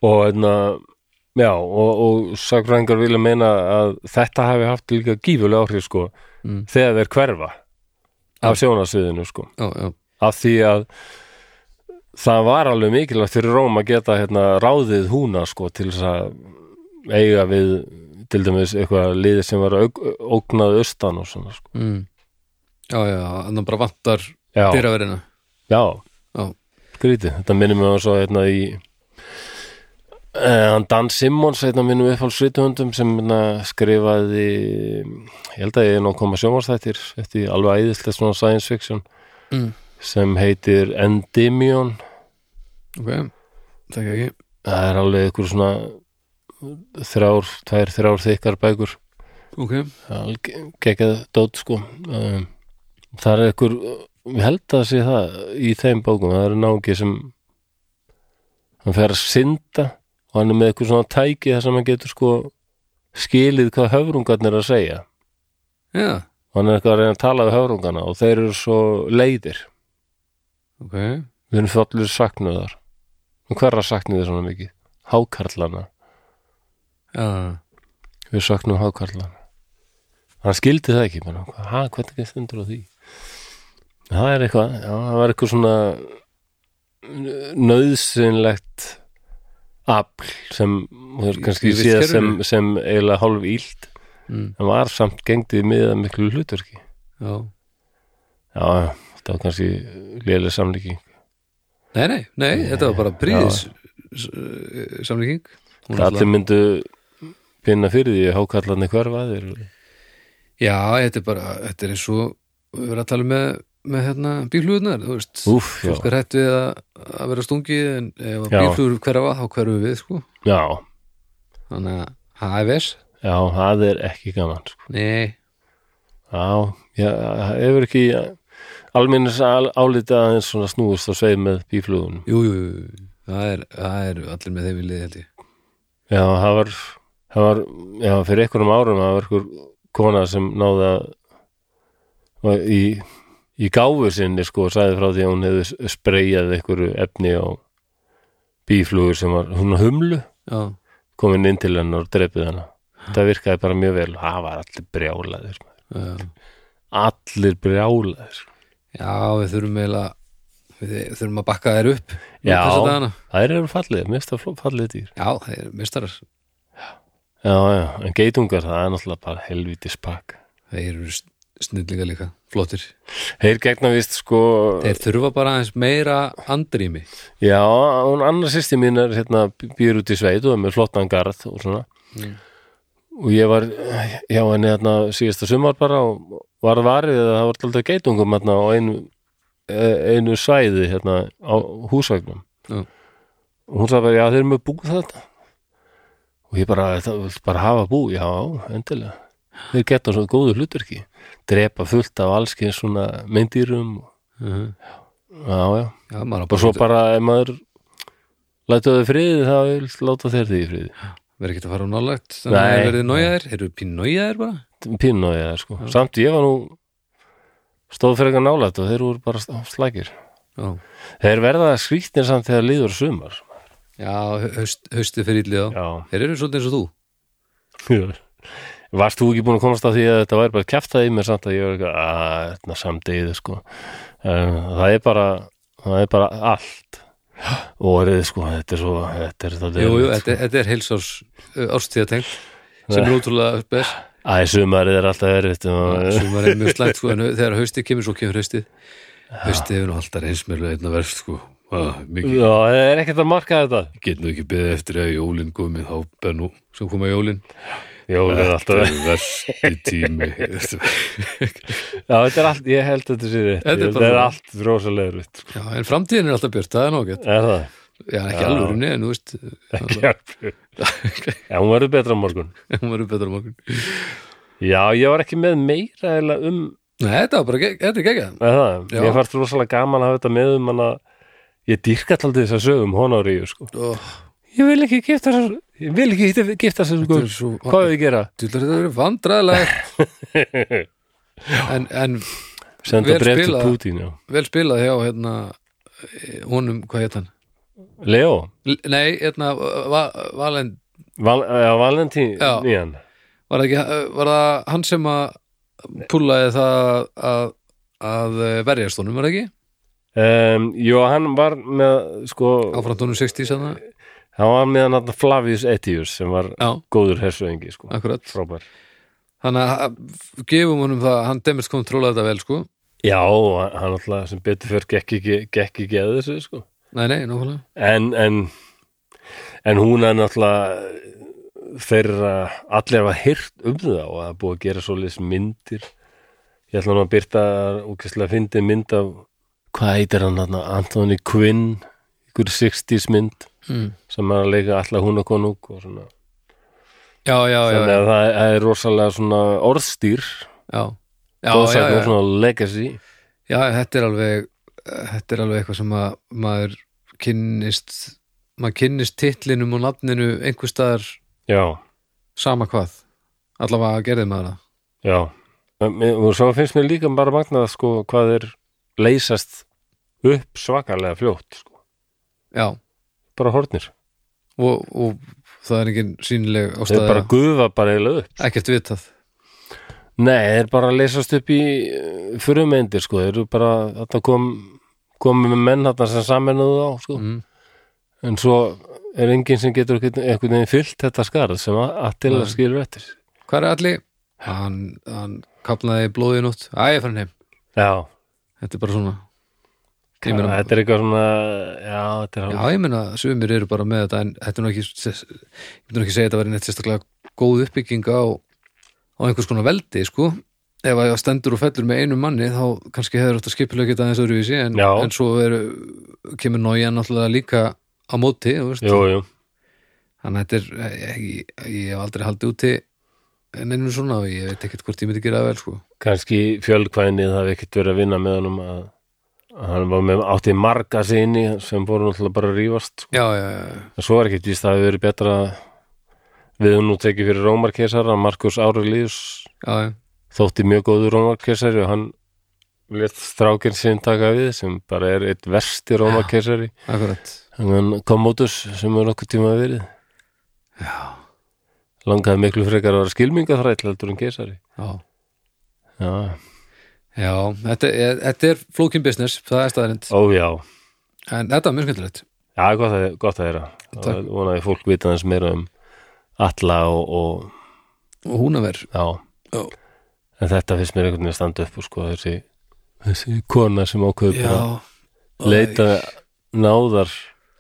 Speaker 1: Og einna, já, og, og sakfræðingar vilja meina að þetta hafi haft líka gífulega áhrif sko,
Speaker 2: Mm.
Speaker 1: þegar þeir hverfa af sjónarsviðinu sko,
Speaker 2: Já, já,
Speaker 1: af því að það var alveg mikilvægt fyrir Róm að geta hérna, ráðið húna sko, til þess að eiga við til dæmis eitthvað liðið sem var auk- ógnað austan og svona sko.
Speaker 2: mm. já, já, þannig bara vantar
Speaker 1: Já,
Speaker 2: dyraverina
Speaker 1: já,
Speaker 2: Já,
Speaker 1: skrítið, þetta minnum við svo hérna í uh, Dan Simmons, hérna minnum við upphál svituhundum sem hérna, skrifaði ég held að ég er nú að koma sjónvarsþættir eftir alveg æðislega svona science fiction
Speaker 2: Mm.
Speaker 1: sem heitir Endymion
Speaker 2: ok, þakka ekki
Speaker 1: það er alveg ykkur svona þrjár, tvær, þrjár þykkar bækur
Speaker 2: Ok,
Speaker 1: gekkað dót sko um, það er einhver við held að sé það í þeim bókum það er náungi sem hann fer að synda og hann er með eitthvað svona tæki þar sem hann getur sko skilið hvað höfrungarnir er að segja
Speaker 2: já,
Speaker 1: og hann er eitthvað að reyna að tala við höfrungana og þeir eru svo leiðir
Speaker 2: ok
Speaker 1: við erum fjallur saknuðar og hverra saknuði svona mikið? Hákarlana
Speaker 2: Já,
Speaker 1: við saknum hákarlana hann skildi það ekki bara, ha, hvernig er stundur á því það er eitthvað já, það var eitthvað svona nöðsynlegt afl sem er
Speaker 2: Í-
Speaker 1: kannski
Speaker 2: í
Speaker 1: séð sem,
Speaker 2: vistkerfinu?
Speaker 1: sem eiginlega hálf ílt
Speaker 2: Mm.
Speaker 1: en var samt gengdið miða miklu hlutverki
Speaker 2: já
Speaker 1: já, já, þetta var kannski lélega samlíking
Speaker 2: Nei, nei, nei, þetta var bara príðis eh, samlíking Hún er
Speaker 1: allir
Speaker 2: alltaf-
Speaker 1: myndu finna fyrir því að hákarlarnir hverfaðir
Speaker 2: Já, þetta er bara, þetta er eins og við erum að tala um með, með hérna bíflugurnar, þú veist
Speaker 1: úf, já,
Speaker 2: fólk er hætt við að, að vera stungið en ef að
Speaker 1: Já.
Speaker 2: bíflugur hverfa, þá hverfum við sko
Speaker 1: já,
Speaker 2: þannig að HFS,
Speaker 1: já, það er ekki gaman sko
Speaker 2: nei
Speaker 1: Já, já, hefur ekki almennins álita aðeins svona snúist og sveið með bíflugunum
Speaker 2: Jú, jú, jú, það er, það er allir með þeim viljið held ég
Speaker 1: Já, það var, það var já, fyrir einhverjum árum það var einhver kona sem náða í, í gáfu sinni sko, sagði frá því að hún hefði spreyjað einhverju efni á bíflugur sem var hún á humlu
Speaker 2: Já,
Speaker 1: komin inn til hennar og dreipið hennar það virkaði bara mjög vel og það var allir brjálaðir maður.
Speaker 2: já,
Speaker 1: allir brjálaðir
Speaker 2: já við þurfum eiginlega við þurfum að bakka þær upp
Speaker 1: Já.
Speaker 2: þessa dagana.
Speaker 1: þær eru fallið, mest að fallið dýr
Speaker 2: Já, þeir eru mistarar
Speaker 1: já, já, en geitungar það er náttúrulega bara helvítið spakk
Speaker 2: Þeir eru snillinga líka, flottir
Speaker 1: þeir gegna vist sko
Speaker 2: Þeir þurfa bara aðeins meira andrými
Speaker 1: já, hún annar sýsti mín er hérna, býr út í sveit og er með flottan garð og svona og ég var já, henni hérna síðasta sumar bara og var varið að það var alltaf geitungum hérna á einu eh, einu svæði hérna á húsvagnum
Speaker 2: Já.
Speaker 1: og hún sagði bara, já þeir eru með búið þetta og ég bara, þetta vilt bara hafa búið, já, endilega þeir geta svo góðu hlutverki drepa fullt af allskið svona meindýrum,
Speaker 2: Mhm.
Speaker 1: já, já
Speaker 2: Já, maður á
Speaker 1: og svo bara ef maður lætu þau í friði, þá vil láta þeir því í friði
Speaker 2: verður ekki að fara á nálægt þannig að
Speaker 1: Nei.
Speaker 2: þeir verði nájaðir, eru pín nájaðir bara
Speaker 1: pínu og ég, sko, samt ég var nú stóð fyrir eitthvað nálætt og þeir voru bara sl- slækir
Speaker 2: Já,
Speaker 1: þeir verða skrýtnir samt þegar líður sumar
Speaker 2: já haust, haustu fyrir illið á
Speaker 1: já
Speaker 2: Þeir eru svolítið eins og þú
Speaker 1: Varst þú ekki búin að komast að því að þetta væri bara kjaftaði í mér samt að ég var eitthvað að þetta samdegið sko en það er bara það er bara allt og orðið sko, þetta er svo þetta er það
Speaker 2: Jú, jú, þetta, þetta er heilsárs ástíðatengt sem er ótrúlega best
Speaker 1: Æ, sumarið er alltaf erfitt og,
Speaker 2: sem var mjög slæmt
Speaker 1: [laughs]
Speaker 2: sko en þegar haustið kemur svo kemur haustið haustið er nú alltaf einsmjölu einna verð sko Ah, mikið,
Speaker 1: Já, það er ekkert að marka þetta
Speaker 2: get nú ekki beðið eftir að jólin komi þá bennu sem koma
Speaker 1: [laughs]
Speaker 2: jólin
Speaker 1: Jó, þetta er alltaf
Speaker 2: er versti
Speaker 1: [laughs]
Speaker 2: tími
Speaker 1: Já, þetta er allt, ég held að þetta sé rétt
Speaker 2: Þetta er
Speaker 1: Ég held að
Speaker 2: bara-
Speaker 1: Þetta er allt rosalega rétt
Speaker 2: Já,
Speaker 1: sko.
Speaker 2: en framtíðin er alltaf björt, það er nágætt
Speaker 1: Er það?
Speaker 2: Já, ekki alveg runni, en þú veist [laughs]
Speaker 1: Ekki alveg. Já, hún verður betra á morgun
Speaker 2: hún verður betur á morgun
Speaker 1: Já, ég var ekki með meira eiginlega um
Speaker 2: Nei, þetta var bara, gegg- þetta er geggjað
Speaker 1: Er það,
Speaker 2: Já.
Speaker 1: ég fannst rosalega gaman að hafa þetta með um hann að ég dýrka alltaf þess að sögum honoríu sko.
Speaker 2: oh,
Speaker 1: Ég vil ekki gifta sér ég vil ekki gifta sér sko.
Speaker 2: Þetta er svo-
Speaker 1: hvað við gera?
Speaker 2: Dullar þetta verið vandræðilegt [laughs] en, en
Speaker 1: Senda
Speaker 2: Vel
Speaker 1: bref til
Speaker 2: spilað.
Speaker 1: Putin já.
Speaker 2: vel spilað hjá hérna eh, honum, hvað hétt hann?
Speaker 1: Leo,
Speaker 2: L nei, hérna va Valend,
Speaker 1: Val, eh, já, Valentín
Speaker 2: Já.
Speaker 1: nýjan,
Speaker 2: var það ekki var það hann sem að púlaði það að, að verjast honum, var það ekki?
Speaker 1: um, Jó, hann var með sko,
Speaker 2: Áframtónum 60 sann Já,
Speaker 1: hann var með hann þarna Flavius Etius sem var góður hersöðingi sko.
Speaker 2: akkurat
Speaker 1: frábær
Speaker 2: Þannig að að gefum honum það, hann demist kontróla þetta vel sko
Speaker 1: Já, hann hann alltaf sem betur fyrr gekk ekki, gekk ekki að þessu sko.
Speaker 2: Nei, nei, nákvæmlega
Speaker 1: en, en, en hún er náttúrulega þeirra allir hafa hýrt um það og það er búið að gera svoleiðis myndir ég ætla nú að byrta úkesslega fyndi mynd af hvað heitir hann þarna, Anthony Quinn ykkur 60s mynd
Speaker 2: mm.
Speaker 1: sem er að leika allar hún og konung og svona
Speaker 2: Já, já, já,
Speaker 1: þannig
Speaker 2: já,
Speaker 1: að það það er rosalega svona orðstýr
Speaker 2: já. Já, já,
Speaker 1: goðsagn
Speaker 2: já,
Speaker 1: og svona legacy
Speaker 2: já, þetta er alveg þetta er alveg eitthvað sem að maður kynnist maður kynnist titlinum og nafninu einhvers staðar
Speaker 1: já,
Speaker 2: sama hvað allavega gerði maður það
Speaker 1: já En mér- og svo finnst mér líka bara magnað sko hvað er leysast upp svakalega fljótt sko
Speaker 2: Já,
Speaker 1: bara hornir
Speaker 2: og, og það er engin sínileg
Speaker 1: þeir
Speaker 2: ástæða
Speaker 1: bara gufa bara eiginlega upp
Speaker 2: ekkert vitað
Speaker 1: nei, þeir bara leysast upp í furumeindir sko, þeir eru bara þetta kom, komið með menn þarna sem saminuðu á sko
Speaker 2: Mm.
Speaker 1: en svo er enginn sem getur einhvern einhvern veginn fyllt þetta skarð sem að til að skilur eftir
Speaker 2: Hvað er allir? Hann, hann kaplaði blóðið nótt Æ, ég fann heim,
Speaker 1: já,
Speaker 2: þetta er bara svona Ég meina-
Speaker 1: þetta er eitthvað svona um- já, þetta er
Speaker 2: Já,
Speaker 1: hálf
Speaker 2: ég meina, sumir eru bara með þetta en þetta er nú ekki, ég myndi nú ekki segja þetta var neitt sérstaklega góð uppbygging á, á einhvers konar veldi, sko ef að stendur og fellur með einum manni þá kannski hefur þetta skipulega geta aðeins öðruvísi en,
Speaker 1: Já.
Speaker 2: en svo er, kemur nája náttúrulega líka á móti, þú veist
Speaker 1: jú, jú,
Speaker 2: þannig að þetta er, ég, ég, ég hef aldrei haldið úti nefnir svona og ég veit ekkert hvort ég myndi gera það vel sko
Speaker 1: kannski fjölkvæðinni það hefði ekkert verið að vinna með honum að, að hann var með átti marga sinni sem voru náttúrulega bara að rífast sko.
Speaker 2: já, já, já,
Speaker 1: en svo er ekkert víst að það hefur verið betra að við höfum nú tekið fyrir Rómarkesar að Markus Árelíus
Speaker 2: já, já,
Speaker 1: þótti mjög góður Rómarkesari og hann let strákinn sinn taka við sem bara er eitt versti Rómarkesari
Speaker 2: akkurat
Speaker 1: hann komótus sem er okkur tíma verið
Speaker 2: já,
Speaker 1: langaði miklu frekar að vera skilminga þræll heldur en kesari
Speaker 2: já,
Speaker 1: já,
Speaker 2: já þetta, er- þetta er flókin business það er staðarind,
Speaker 1: ó já
Speaker 2: en þetta er mjög skemmtilegt
Speaker 1: Já, gott að, gott að heyra
Speaker 2: Takk.
Speaker 1: og vonaði fólk vita aðeins meira um alla og, og
Speaker 2: og hún að vera
Speaker 1: já,
Speaker 2: já,
Speaker 1: en þetta finnst mér einhvern veginn að standa upp og sko þessi, þessi kona sem ákveður bara að leita náðar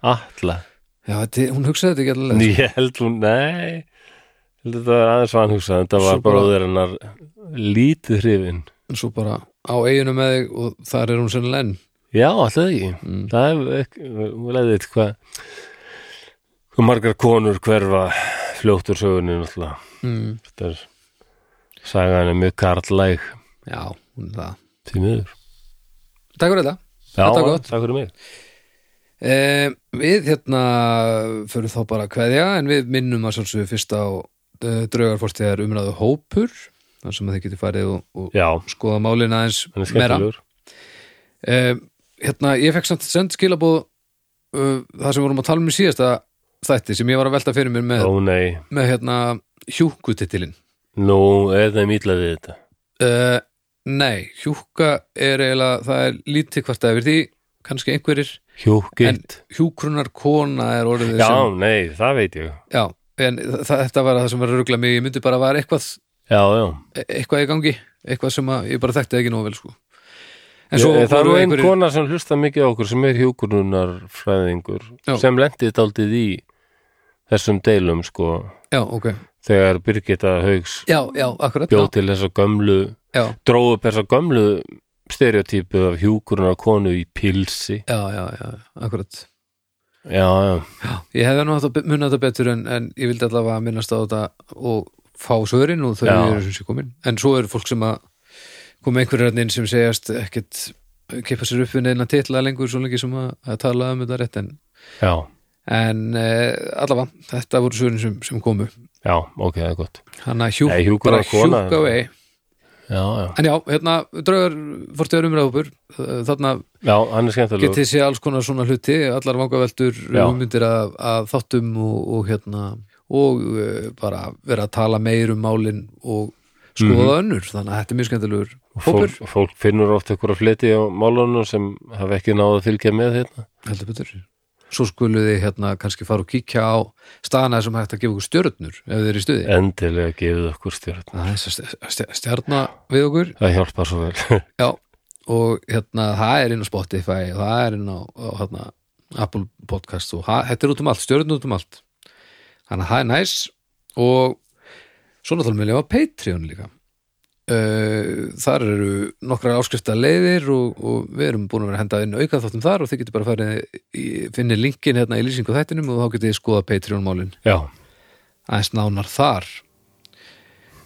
Speaker 1: alla
Speaker 2: já, þetta, er- hún hugsaði þetta ekki
Speaker 1: en
Speaker 2: allavega
Speaker 1: ég held hún, nei ég held þetta var aðeins vanhugsað þetta
Speaker 2: Svo
Speaker 1: var
Speaker 2: bara-
Speaker 1: bróður hennar lítið hrifin
Speaker 2: en svo bara á eiginu með þig og þar er hún sennilega enn
Speaker 1: já, alltaf ekki
Speaker 2: Mm.
Speaker 1: það er ekki, við leiðið hvað hvað margar konur hverfa fljóttur sögunni náttúrulega
Speaker 2: mm.
Speaker 1: þetta er sagan er mjög karlæg
Speaker 2: já, hún er það
Speaker 1: því miður
Speaker 2: takk fyrir þetta
Speaker 1: Já,
Speaker 2: Þetta er gott.
Speaker 1: takk fyrir mig
Speaker 2: Eh, við hérna fyrir þá bara að kveðja en við minnum að sjálfsögðu fyrst á eh, draugarfortiðar umræðu hópur þar sem að þið getið farið og, og
Speaker 1: Já,
Speaker 2: skoða málin aðeins
Speaker 1: hann
Speaker 2: meira
Speaker 1: er skemmtilegur
Speaker 2: eh, Hérna, ég fekk samt send skilabóð uh, það sem vorum að tala um í síðasta þætti sem ég var að velta fyrir mér með,
Speaker 1: Ó nei,
Speaker 2: með hérna hjúkutitilin
Speaker 1: nú er það mýtlaði þetta
Speaker 2: eh, Nei, hjúka er eiginlega, það er lítið hvart yfir því kannski einhverjir, en
Speaker 1: Hjúkitt
Speaker 2: hjúkrunar kona er orðið
Speaker 1: Já,
Speaker 2: sem
Speaker 1: nei, það veit ég
Speaker 2: Já, en þa- þetta var það sem var að rugla mig, ég myndi bara að var eitthvað,
Speaker 1: Já, já,
Speaker 2: e- eitthvað í gangi, eitthvað sem að ég bara þekkti ekki nóg vel sko. En
Speaker 1: Ég- það er
Speaker 2: voru
Speaker 1: nú ein
Speaker 2: einhverjir-
Speaker 1: kona sem hlusta mikið á okkur sem er hjúkurunar fræðingur
Speaker 2: Já.
Speaker 1: sem lendi daldið í þessum deilum sko
Speaker 2: Já, ok,
Speaker 1: þegar Birgitta Haugs
Speaker 2: já, já, akkurat
Speaker 1: bjóð
Speaker 2: já,
Speaker 1: til þessa gömlu
Speaker 2: já,
Speaker 1: dróð upp þessa gömlu stereotípu af hjúkurunar konu í pilsi
Speaker 2: já, já, já, akkurat
Speaker 1: Já, já,
Speaker 2: Ég hefði nú átt að be- muna þetta betur en, en ég vildi allavega minnast á þetta og fá svörin og þau
Speaker 1: Já.
Speaker 2: eru sem sé komin En svo eru fólk sem að koma einhverjir hann inn sem segjast ekkit kippa sér upp við neina titla lengur svo lengi sem að, að tala um þetta rétt en,
Speaker 1: já
Speaker 2: en eh, allavega, þetta voru svörin sem, sem komu
Speaker 1: Já, ok, það er gott
Speaker 2: hann að hjúk,
Speaker 1: Nei, hjúkur
Speaker 2: bara
Speaker 1: að kona.
Speaker 2: hjúka vei
Speaker 1: Já, já,
Speaker 2: en já, hérna, draugar fórstöður umræðhópur þarna
Speaker 1: já hann er skemmtilegur
Speaker 2: getið sé alls konar svona hluti allar vangaveltur,
Speaker 1: Já.
Speaker 2: hugmyndir að, að þáttum og, og hérna og uh, bara vera að tala meir um málin og skoða önnur þannig að þetta er mjög skemmtilegur hópur
Speaker 1: Mhm. fólk, fólk finnur oft ekkur að flyti á málunum sem hafa ekki náð að fylgja með hérna
Speaker 2: heldur betur svo skuluð þið hérna kannski fara og kíkja á staðana sem hægt að gefa okkur stjörnur ef þið eru í
Speaker 1: Eh.
Speaker 2: stuði
Speaker 1: endilega gefið okkur stjórn
Speaker 2: það er þess að stj- stjarna við okkur
Speaker 1: það hjálpar svo vel [laughs]
Speaker 2: Já, og hérna það er inn á Spotify og það er inn á, á hérna, Apple Podcast og það, þetta er út um allt, stjörn út um allt þannig að það er næs og svo náttúrulega með lefa Patreon líka Uh, þar eru nokkrar áskrifta leiðir og, og við erum búin að vera að henda inn auka þáttum þar og þið getur bara að fara finni linkin hérna í lýsingu á þættinum og þá getið þið skoða Patreon-málin
Speaker 1: já,
Speaker 2: aðeins nánar þar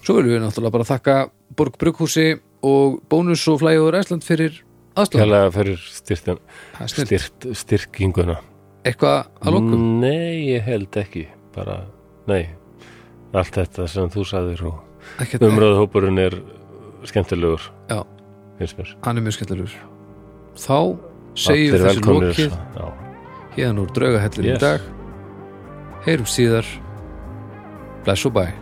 Speaker 2: Svo viljum við náttúrulega bara þakka Borg Brukhúsi og Bónus og Flæjóður Æsland fyrir aðstöðan
Speaker 1: kærlega fyrir styrtin, styrt, styrkinguna
Speaker 2: Eitthvað að lokum
Speaker 1: nei, ég held ekki bara, nei allt þetta sem þú sagðir og
Speaker 2: Ekkert,
Speaker 1: umröðhópurinn er skemmtilegur
Speaker 2: Já,
Speaker 1: finnst mér
Speaker 2: hann er mjög skellur Þá segjum við
Speaker 1: Allir
Speaker 2: þessu
Speaker 1: velkomnir.
Speaker 2: lokið
Speaker 1: Já.
Speaker 2: hérna úr draugahellin
Speaker 1: Yes.
Speaker 2: í dag Heyrum síðar Bless og bye